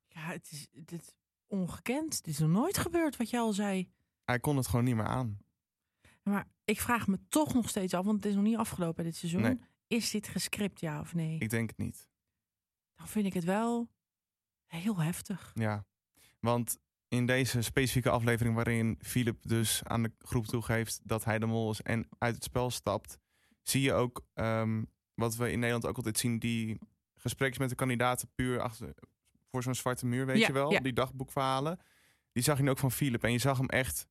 Speaker 2: Ja, het is, dit is ongekend. Dit is nog nooit gebeurd, wat jij al zei.
Speaker 1: Hij kon het gewoon niet meer aan.
Speaker 2: Maar ik vraag me toch nog steeds af, want het is nog niet afgelopen dit seizoen.
Speaker 1: Nee.
Speaker 2: Is dit gescript, ja of nee?
Speaker 1: Ik denk het niet.
Speaker 2: Dan vind ik het wel heel heftig.
Speaker 1: Ja, want in deze specifieke aflevering waarin Philip dus aan de groep toegeeft dat hij de mol is en uit het spel stapt, zie je ook ehm, wat we in Nederland ook altijd zien, die gesprekken met de kandidaten puur achter, voor zo'n zwarte muur, weet
Speaker 14: Ja,
Speaker 1: je wel,
Speaker 14: ja.
Speaker 1: die dagboekverhalen. Die zag je nu ook van Philip en je zag hem echt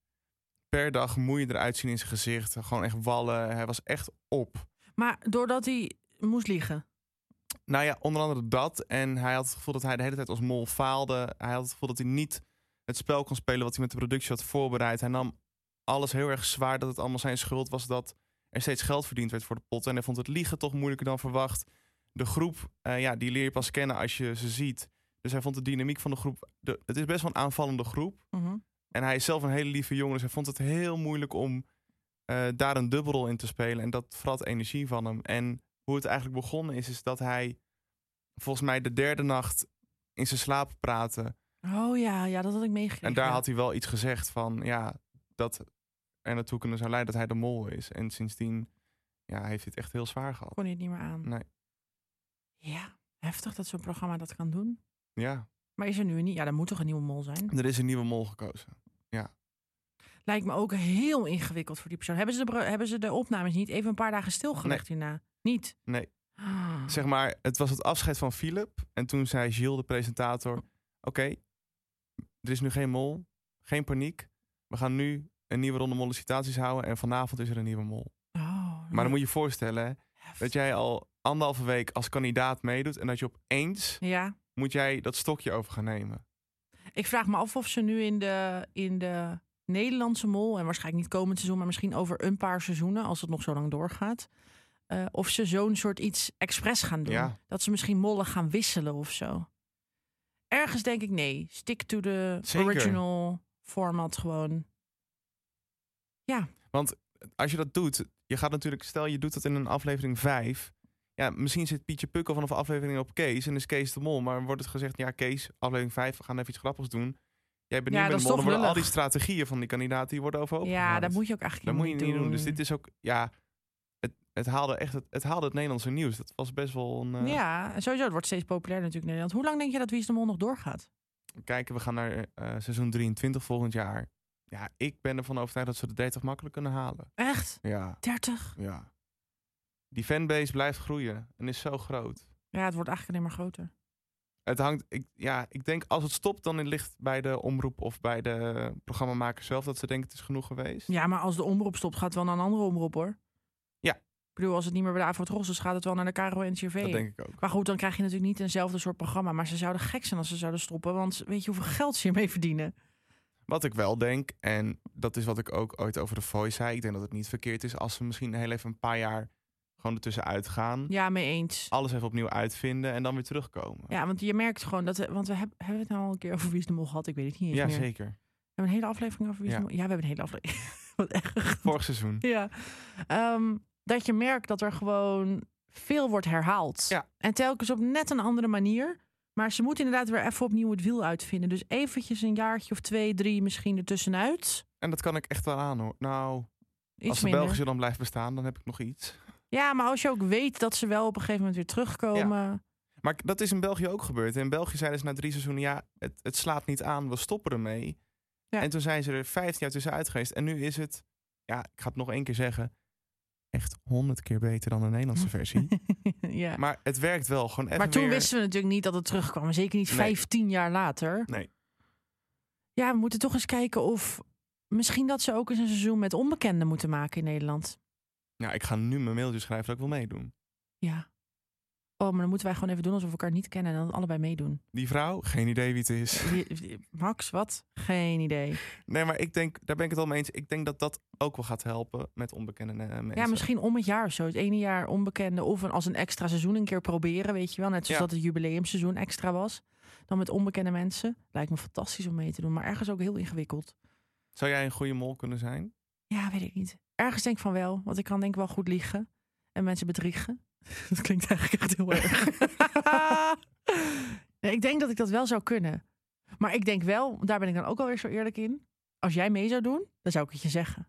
Speaker 1: per dag moeier eruit zien in zijn gezicht. Gewoon echt wallen, hij was echt op.
Speaker 2: Maar doordat hij moest liegen.
Speaker 1: Nou ja, onder andere dat. En hij had het gevoel dat hij de hele tijd als mol faalde. Hij had het gevoel dat hij niet het spel kon spelen wat hij met de productie had voorbereid. Hij nam alles heel erg zwaar dat het allemaal zijn schuld was dat er steeds geld verdiend werd voor de pot. En hij vond het liegen toch moeilijker dan verwacht. De groep, eh, ja, die leer je pas kennen als je ze ziet. Dus hij vond de dynamiek van de groep. De, het is best wel een aanvallende groep. En hij is zelf een hele lieve jongen. Dus hij vond het heel moeilijk om eh, daar een dubbelrol in te spelen. En dat vrat energie van hem. En hoe het eigenlijk begonnen is, is dat hij volgens mij de derde nacht in zijn slaap praatte.
Speaker 2: Oh ja, ja dat had ik meegekregen.
Speaker 1: En daar had hij wel iets gezegd van, ja, dat er naartoe kunnen zou leiden dat hij de mol is. En sindsdien ja, heeft hij het echt heel zwaar gehad.
Speaker 2: Kon hij het niet meer aan.
Speaker 1: Nee.
Speaker 2: Ja, heftig dat zo'n programma dat kan doen.
Speaker 1: Ja,
Speaker 2: Maar is er nu een... nie- Ja, er moet toch een nieuwe mol zijn?
Speaker 1: er is een nieuwe mol gekozen. Ja.
Speaker 2: Lijkt me ook heel ingewikkeld voor die persoon. Hebben ze de, bro- hebben ze de opnames niet even een paar dagen stilgelegd hierna? Niet?
Speaker 1: Nee.
Speaker 2: Ah.
Speaker 1: Zeg maar, het was het afscheid van Philip. En toen zei Gilles, de presentator: Oké, er is nu geen mol, geen paniek. We gaan nu een nieuwe ronde mollen citaties houden. En vanavond is er een nieuwe mol.
Speaker 2: Oh,
Speaker 1: maar dan moet je je voorstellen hè, dat jij al anderhalve week als kandidaat meedoet. En dat je opeens
Speaker 2: Ja.
Speaker 1: moet jij dat stokje over gaan nemen.
Speaker 2: Ik vraag me af of ze nu in de, in de Nederlandse mol, en waarschijnlijk niet komend seizoen, maar misschien over een paar seizoenen, als het nog zo lang doorgaat, eh, of ze zo'n soort iets expres gaan doen.
Speaker 1: Ja.
Speaker 2: Dat ze misschien mollen gaan wisselen of zo. Ergens denk ik nee, stick to the
Speaker 1: Zeker.
Speaker 2: original format gewoon. Ja,
Speaker 1: Want als je dat doet, je gaat natuurlijk, stel je doet dat in een aflevering 5. Ja, misschien zit Pietje Pukkel vanaf aflevering op Kees en is Kees de Mol. Maar wordt het gezegd, ja Kees, aflevering 5, we gaan even iets grappigs doen. Jij bent
Speaker 2: Ja,
Speaker 1: niet met
Speaker 2: dat is
Speaker 1: de Mol,
Speaker 2: toch
Speaker 1: dan worden al
Speaker 2: lullig.
Speaker 1: die strategieën van die kandidaten, die worden overhoop
Speaker 2: ja
Speaker 1: gehaald.
Speaker 2: dat moet je ook eigenlijk
Speaker 1: Dat moet je
Speaker 2: niet doen.
Speaker 1: Dus dit is ook, ja, het, het, haalde echt het, het haalde het Nederlandse nieuws. Dat was best wel een... eh,
Speaker 2: Ja, en sowieso, het wordt steeds populair natuurlijk in Nederland. Hoe lang denk je dat Wie is de Mol nog doorgaat?
Speaker 1: Kijken, we gaan naar eh, seizoen 23 volgend jaar. Ja, ik ben ervan overtuigd dat ze de 30 makkelijk kunnen halen.
Speaker 2: Echt?
Speaker 1: Ja.
Speaker 2: 30?
Speaker 1: Ja. Die fanbase blijft groeien en is zo groot.
Speaker 2: Ja, het wordt eigenlijk alleen maar groter.
Speaker 1: Het hangt, ik, ja, ik denk als het stopt, dan ligt bij de omroep of bij de programmamaker zelf dat ze denken het is genoeg geweest.
Speaker 2: Ja, maar als de omroep stopt, gaat het wel naar een andere omroep hoor.
Speaker 1: Ja.
Speaker 2: Ik bedoel, als het niet meer bij de Avro is, gaat het wel naar de KRO en NCRV.
Speaker 1: Dat denk ik ook.
Speaker 2: Maar goed, dan krijg je natuurlijk niet eenzelfde soort programma. Maar ze zouden gek zijn als ze zouden stoppen. Want weet je hoeveel geld ze hiermee verdienen?
Speaker 1: Wat ik wel denk, en dat is wat ik ook ooit over de Voice zei, ik denk dat het niet verkeerd is als ze misschien heel even een paar jaar gewoon ertussenuit gaan.
Speaker 2: Ja, mee eens.
Speaker 1: Alles even opnieuw uitvinden en dan weer terugkomen.
Speaker 2: Ja, want je merkt gewoon dat... we- Want we hebben, hebben we het nou al een keer over Wie is de Mol gehad? Ik weet het niet eens
Speaker 1: Ja,
Speaker 2: meer.
Speaker 1: zeker.
Speaker 2: We hebben een hele aflevering over Wie is
Speaker 1: Ja.
Speaker 2: de Mol. Ja, we hebben een hele aflevering. Wat erg.
Speaker 1: Vorig seizoen.
Speaker 2: (laughs) Ja. Ehm, dat je merkt dat er gewoon veel wordt herhaald. En telkens op net een andere manier. Maar ze moeten inderdaad weer even opnieuw het wiel uitvinden. Dus eventjes een jaartje of twee, drie misschien ertussenuit.
Speaker 1: En dat kan ik echt wel aan hoor. Nou,
Speaker 2: Iets
Speaker 1: als de
Speaker 2: minder.
Speaker 1: Belgische dan blijft bestaan, dan heb ik nog iets.
Speaker 2: Ja, maar als je ook weet dat ze wel op een gegeven moment weer terugkomen.
Speaker 1: Maar k- dat is in België ook gebeurd. In België zeiden ze na drie seizoenen, ja, het, het slaat niet aan, we stoppen ermee. En toen zijn ze er 15 jaar tussenuit geweest. En nu is het, ja, ik ga het nog één keer zeggen, echt honderd keer beter dan de
Speaker 2: (laughs)
Speaker 1: Nederlandse versie.
Speaker 2: Ja.
Speaker 1: Maar het werkt wel, gewoon even
Speaker 2: Maar toen
Speaker 1: weer-
Speaker 2: wisten we natuurlijk niet dat het terugkwam. Zeker niet
Speaker 1: Nee.
Speaker 2: 15 jaar later.
Speaker 1: Nee.
Speaker 2: Ja, we moeten toch eens kijken of... Misschien dat ze ook eens een seizoen met onbekenden moeten maken in Nederland.
Speaker 1: Nou, ik ga nu mijn mailtje schrijven dat ik wil meedoen.
Speaker 2: Ja. Oh, maar dan moeten wij gewoon even doen alsof we elkaar niet kennen en dan allebei meedoen.
Speaker 1: Die vrouw, geen idee wie het is.
Speaker 2: Max, wat? Geen idee.
Speaker 1: Nee, maar ik denk, daar ben ik het al mee eens. Ik denk dat dat ook wel gaat helpen met onbekende eh, mensen.
Speaker 2: Ja, misschien om het jaar of zo. Het ene jaar onbekende of een, als een extra seizoen een keer proberen, weet je wel. Net zoals
Speaker 1: Ja.
Speaker 2: dat het jubileumseizoen extra was. Dan met onbekende mensen. Lijkt me fantastisch om mee te doen, maar ergens ook heel ingewikkeld.
Speaker 1: Zou jij een goede mol kunnen zijn?
Speaker 2: Ja, weet ik niet. Ergens denk ik van wel, want ik kan denk ik wel goed liegen en mensen bedriegen. (laughs) Dat klinkt eigenlijk echt heel erg. (laughs) nee, ik denk dat ik dat wel zou kunnen. Maar ik denk wel, daar ben ik dan ook alweer zo eerlijk in. Als jij mee zou doen, dan zou ik het je zeggen.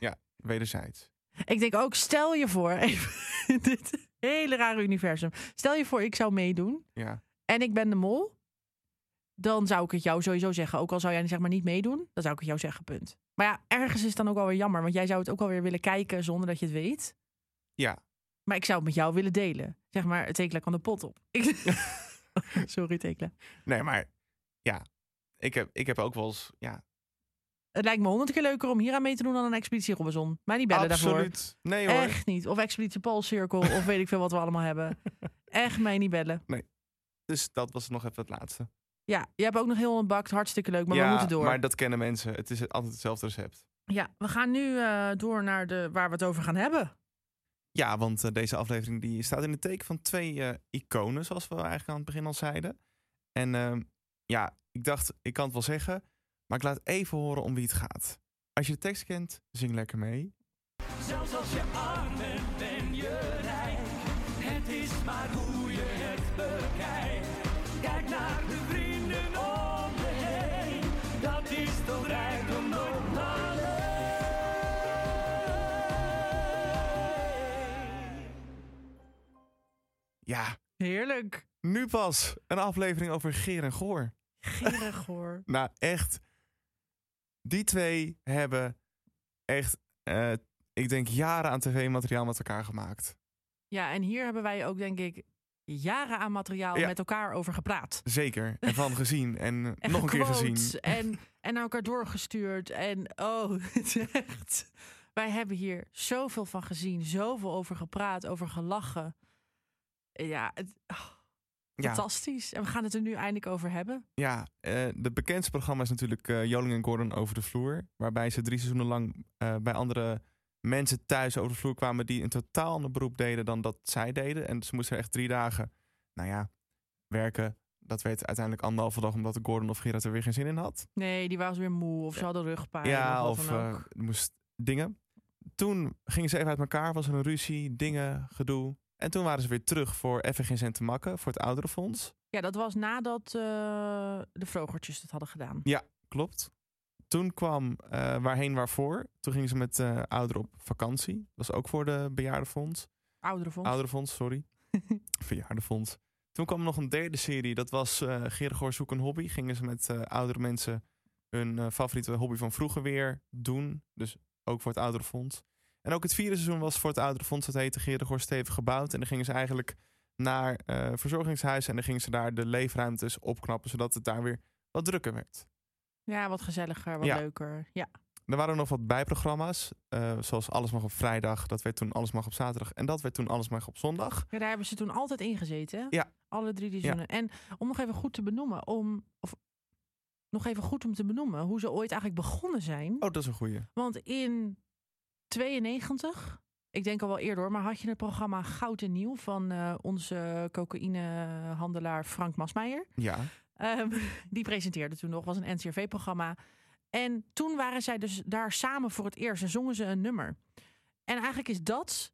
Speaker 1: Ja, wederzijds.
Speaker 2: Ik denk ook, stel je voor, (laughs) even in dit hele rare universum. Stel je voor, ik zou meedoen
Speaker 1: Ja.
Speaker 2: en ik ben de mol. Dan zou ik het jou sowieso zeggen. Ook al zou jij zeg maar niet meedoen, dan zou ik het jou zeggen, punt. Maar ja, ergens is het dan ook alweer jammer. Want jij zou het ook alweer willen kijken zonder dat je het weet.
Speaker 1: Ja.
Speaker 2: Maar ik zou het met jou willen delen. Zeg maar, Tekla kan de pot op.
Speaker 1: (laughs)
Speaker 2: Ik- Sorry, Tekla.
Speaker 1: Nee, maar ja, ik heb, ik heb ook wel eens, ja,
Speaker 2: Het lijkt me honderd keer leuker om hier aan mee te doen dan een Expeditie Robinson. Mij niet bellen
Speaker 1: Absoluut.
Speaker 2: daarvoor.
Speaker 1: Nee, hoor.
Speaker 2: Echt niet. Of Expeditie Poolcirkel of weet ik veel wat we allemaal
Speaker 1: (laughs)
Speaker 2: hebben. Echt mij niet bellen.
Speaker 1: Dus dat was nog even het laatste.
Speaker 2: Ja, je hebt ook nog heel een bakt. Hartstikke leuk, maar
Speaker 1: ja,
Speaker 2: we moeten door.
Speaker 1: maar dat kennen mensen. Het is altijd hetzelfde recept.
Speaker 2: Ja, we gaan nu eh, door naar de, waar we het over gaan hebben.
Speaker 1: Ja, want eh, deze aflevering die staat in het teken van twee eh, iconen, zoals we eigenlijk aan het begin al zeiden. En ehm, ja, ik dacht, ik kan het wel zeggen, maar ik laat even horen om wie het gaat. Als je de tekst kent, zing lekker mee.
Speaker 9: Zelfs als je arm bent, ben je rijk. Het is maar hoe je het bekijkt. Kijk naar de vrienden om je heen. Dat is toch rijkdom nooit
Speaker 1: Ja.
Speaker 2: Heerlijk.
Speaker 1: Nu pas een aflevering over Geer en Goor.
Speaker 2: Gerig (laughs) hoor.
Speaker 1: Nou, echt. Die twee hebben echt, eh, ik denk, jaren aan tv-materiaal met elkaar gemaakt.
Speaker 2: Ja, en hier hebben wij ook denk ik jaren aan materiaal
Speaker 1: Ja.
Speaker 2: met elkaar over gepraat.
Speaker 1: Zeker. En van gezien. En,
Speaker 2: En
Speaker 1: nog een keer
Speaker 2: gequotes
Speaker 1: gezien. (laughs)
Speaker 2: En, en naar elkaar doorgestuurd. En oh, (laughs) het is echt. Wij hebben hier zoveel van gezien, zoveel over gepraat, over gelachen. Ja, het- oh,
Speaker 1: Ja.
Speaker 2: fantastisch. En we gaan het er nu eindelijk over hebben.
Speaker 1: Ja, eh het bekendste programma is natuurlijk eh, Joling en Gordon over de vloer. Waarbij ze drie seizoenen lang eh, bij andere mensen thuis over de vloer kwamen... die een totaal ander beroep deden dan dat zij deden. En ze moesten er echt drie dagen, nou ja, werken. Dat werd uiteindelijk anderhalve dag omdat Gordon of Gerard er weer geen zin in had.
Speaker 2: Nee, die was weer moe of ze hadden rugpijn.
Speaker 1: ja,
Speaker 2: of,
Speaker 1: of
Speaker 2: wat dan
Speaker 1: eh,
Speaker 2: ook.
Speaker 1: er moest dingen. Toen gingen ze even uit elkaar, was er een ruzie, dingen, gedoe. En toen waren ze weer terug voor even geen cent te makken, voor het ouderenfonds.
Speaker 2: Ja, dat was nadat eh, de vrogertjes dat hadden gedaan.
Speaker 1: Ja, klopt. Toen kwam eh, Waarheen Waarvoor. Toen gingen ze met eh ouderen op vakantie. Dat was ook voor de bejaardenfonds.
Speaker 2: Ouderenfonds.
Speaker 1: Ouderenfonds, sorry. Verjaardenfonds. Toen kwam nog een derde serie. Dat was eh Gerigor zoek een hobby. Gingen ze met eh, oudere mensen hun eh, favoriete hobby van vroeger weer doen. Dus ook voor het ouderenfonds. En ook het vierde seizoen was voor het ouderenfonds. Dat heette Gerigor stevig gebouwd. En dan gingen ze eigenlijk naar eh, verzorgingshuizen. En dan gingen ze daar de leefruimtes opknappen. Zodat het daar weer wat drukker werd.
Speaker 2: Ja, wat gezelliger, wat
Speaker 1: Ja.
Speaker 2: leuker. Ja.
Speaker 1: Er waren nog wat bijprogramma's, eh, zoals Alles mag op vrijdag. Dat werd toen Alles mag op zaterdag. En dat werd toen Alles mag op zondag.
Speaker 2: Ja, daar hebben ze toen altijd in gezeten. hè?
Speaker 1: Ja.
Speaker 2: Alle drie die zoenen. En om nog even goed te benoemen, om, of nog even goed om te benoemen hoe ze ooit eigenlijk begonnen zijn.
Speaker 1: Oh, dat is een goeie.
Speaker 2: Want in 92, ik denk al wel eerder hoor, maar had je het programma Goud en Nieuw van eh, onze cocaïnehandelaar Frank Masmeijer.
Speaker 1: Ja.
Speaker 2: Ehm, (laughs) die presenteerde toen nog, was een NCRV-programma. En toen waren zij dus daar samen voor het eerst en zongen ze een nummer. En eigenlijk is dat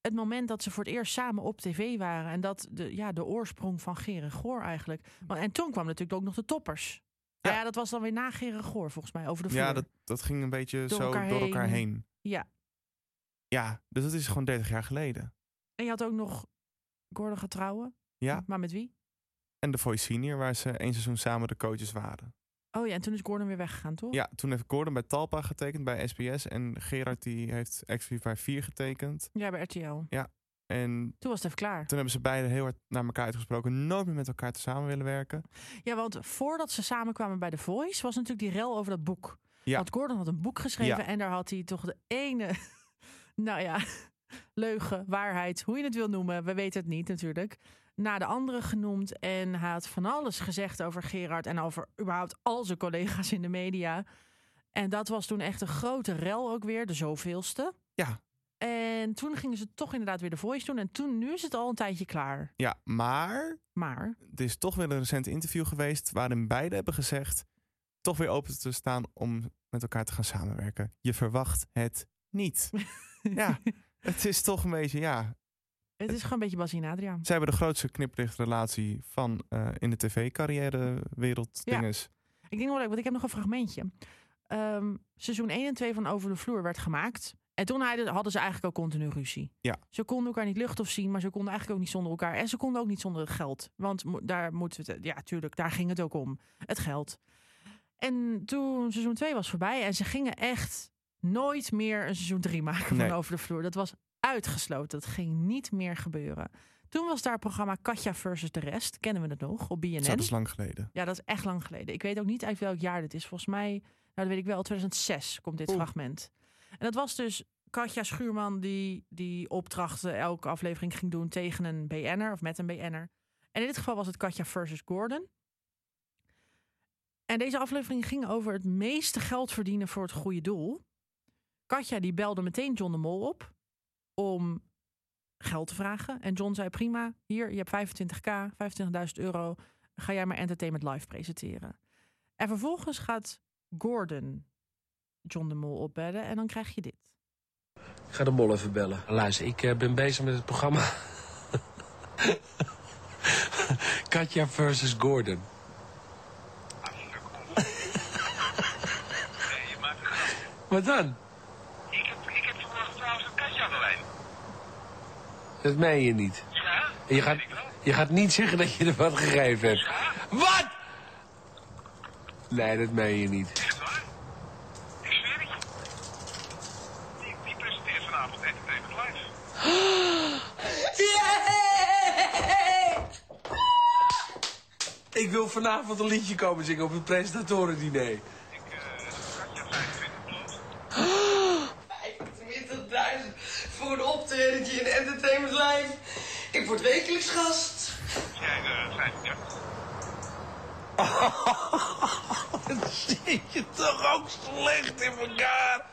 Speaker 2: het moment dat ze voor het eerst samen op tv waren. En dat de, ja, de oorsprong van Geren Goor eigenlijk. Want, en toen kwam natuurlijk ook nog de toppers. Ja, ja dat was dan weer na Geren Goor volgens mij, over de vloer.
Speaker 1: Ja, dat, dat ging een beetje
Speaker 2: Door
Speaker 1: zo
Speaker 2: elkaar
Speaker 1: door elkaar
Speaker 2: heen.
Speaker 1: heen.
Speaker 2: Ja,
Speaker 1: Ja, dus dat is gewoon 30 jaar geleden.
Speaker 2: en je had ook nog Gordon gaat trouwen.
Speaker 1: Ja.
Speaker 2: Maar met wie?
Speaker 1: En The Voice Senior, waar ze één seizoen samen de coaches waren.
Speaker 2: Oh ja, en toen is Gordon weer weggegaan, toch?
Speaker 1: Ja, toen heeft Gordon bij Talpa getekend, bij SBS. En Gerard die heeft X354 getekend.
Speaker 2: Ja, bij RTL.
Speaker 1: Ja. En
Speaker 2: Toen was het even klaar.
Speaker 1: toen hebben ze beiden heel hard naar elkaar uitgesproken. Nooit meer met elkaar te samen willen werken.
Speaker 2: Ja, want voordat ze samenkwamen bij The Voice, was natuurlijk die rel over dat boek.
Speaker 1: Ja.
Speaker 2: Want Gordon had een boek geschreven
Speaker 1: Ja.
Speaker 2: en daar had hij toch de ene, (laughs) nou ja, (laughs) leugen, waarheid, hoe je het wil noemen, we weten het niet natuurlijk, na de andere genoemd. En hij had van alles gezegd over Gerard en over überhaupt al zijn collega's in de media. En dat was toen echt een grote rel ook weer, de zoveelste.
Speaker 1: Ja.
Speaker 2: En toen gingen ze toch inderdaad weer The Voice doen. En toen, nu is het al een tijdje klaar.
Speaker 1: Ja, maar
Speaker 2: Maar,
Speaker 1: er is toch weer een recent interview geweest waarin beide hebben gezegd toch weer open te staan om met elkaar te gaan samenwerken. Je verwacht het
Speaker 2: (laughs)
Speaker 1: niet. ja, het is toch een beetje, ja.
Speaker 2: het is gewoon een beetje Basie en Adriaan.
Speaker 1: Zij hebben de grootste kniplichtrelatie van eh, in de tv-carrière-wereld.
Speaker 2: Ja.
Speaker 1: Dinges.
Speaker 2: Ik denk wel leuk, want ik heb nog een fragmentje. Ehm, seizoen 1 en 2 van Over de Vloer werd gemaakt. En toen hadden hadden ze eigenlijk al continu ruzie.
Speaker 1: Ja.
Speaker 2: Ze konden elkaar niet lucht of zien, maar ze konden eigenlijk ook niet zonder elkaar. En ze konden ook niet zonder het geld. Want mo- daar moeten we het, ja, tuurlijk, daar ging het ook om. Het geld. En toen seizoen 2 was voorbij en ze gingen echt nooit meer een seizoen 3 maken
Speaker 1: Nee.
Speaker 2: van Over de Vloer. Dat was uitgesloten. Dat ging niet meer gebeuren. Toen was daar het programma Katja versus de rest. Kennen we het nog? Op BNN.
Speaker 1: Zo, dat is lang geleden.
Speaker 2: Ja, dat is echt lang geleden. Ik weet ook niet uit welk jaar dit is. Volgens mij, nou dat weet ik wel, 2006 komt dit fragment. En dat was dus Katja Schuurman die die opdrachten elke aflevering ging doen tegen een BN'er of met een BN'er. En in dit geval was het Katja versus Gordon. En deze aflevering ging over het meeste geld verdienen voor het goede doel. Katja die belde meteen John de Mol op om geld te vragen. En John zei prima, hier, je hebt 25k, 25.000 euro. Ga jij maar Entertainment Live presenteren. En vervolgens gaat Gordon John de Mol opbellen en dan krijg je dit.
Speaker 8: Ik ga de mol even bellen. Luister, ik eh, ben bezig met het programma. (laughs) Katja versus Gordon. Wat dan? Dat meen je niet. Ja? Je gaat, je gaat niet zeggen dat je er wat gegeven hebt. Wat? Nee, dat meen je niet.
Speaker 9: Yeah!
Speaker 8: Ik wil vanavond een liedje komen zingen op het presentatorendiner. Ik eh,
Speaker 14: voor een optredentje in Entertainment Live. Ik word wekelijks gast.
Speaker 9: Jij
Speaker 8: eh,
Speaker 9: de
Speaker 8: Dat zit je toch ook slecht in elkaar.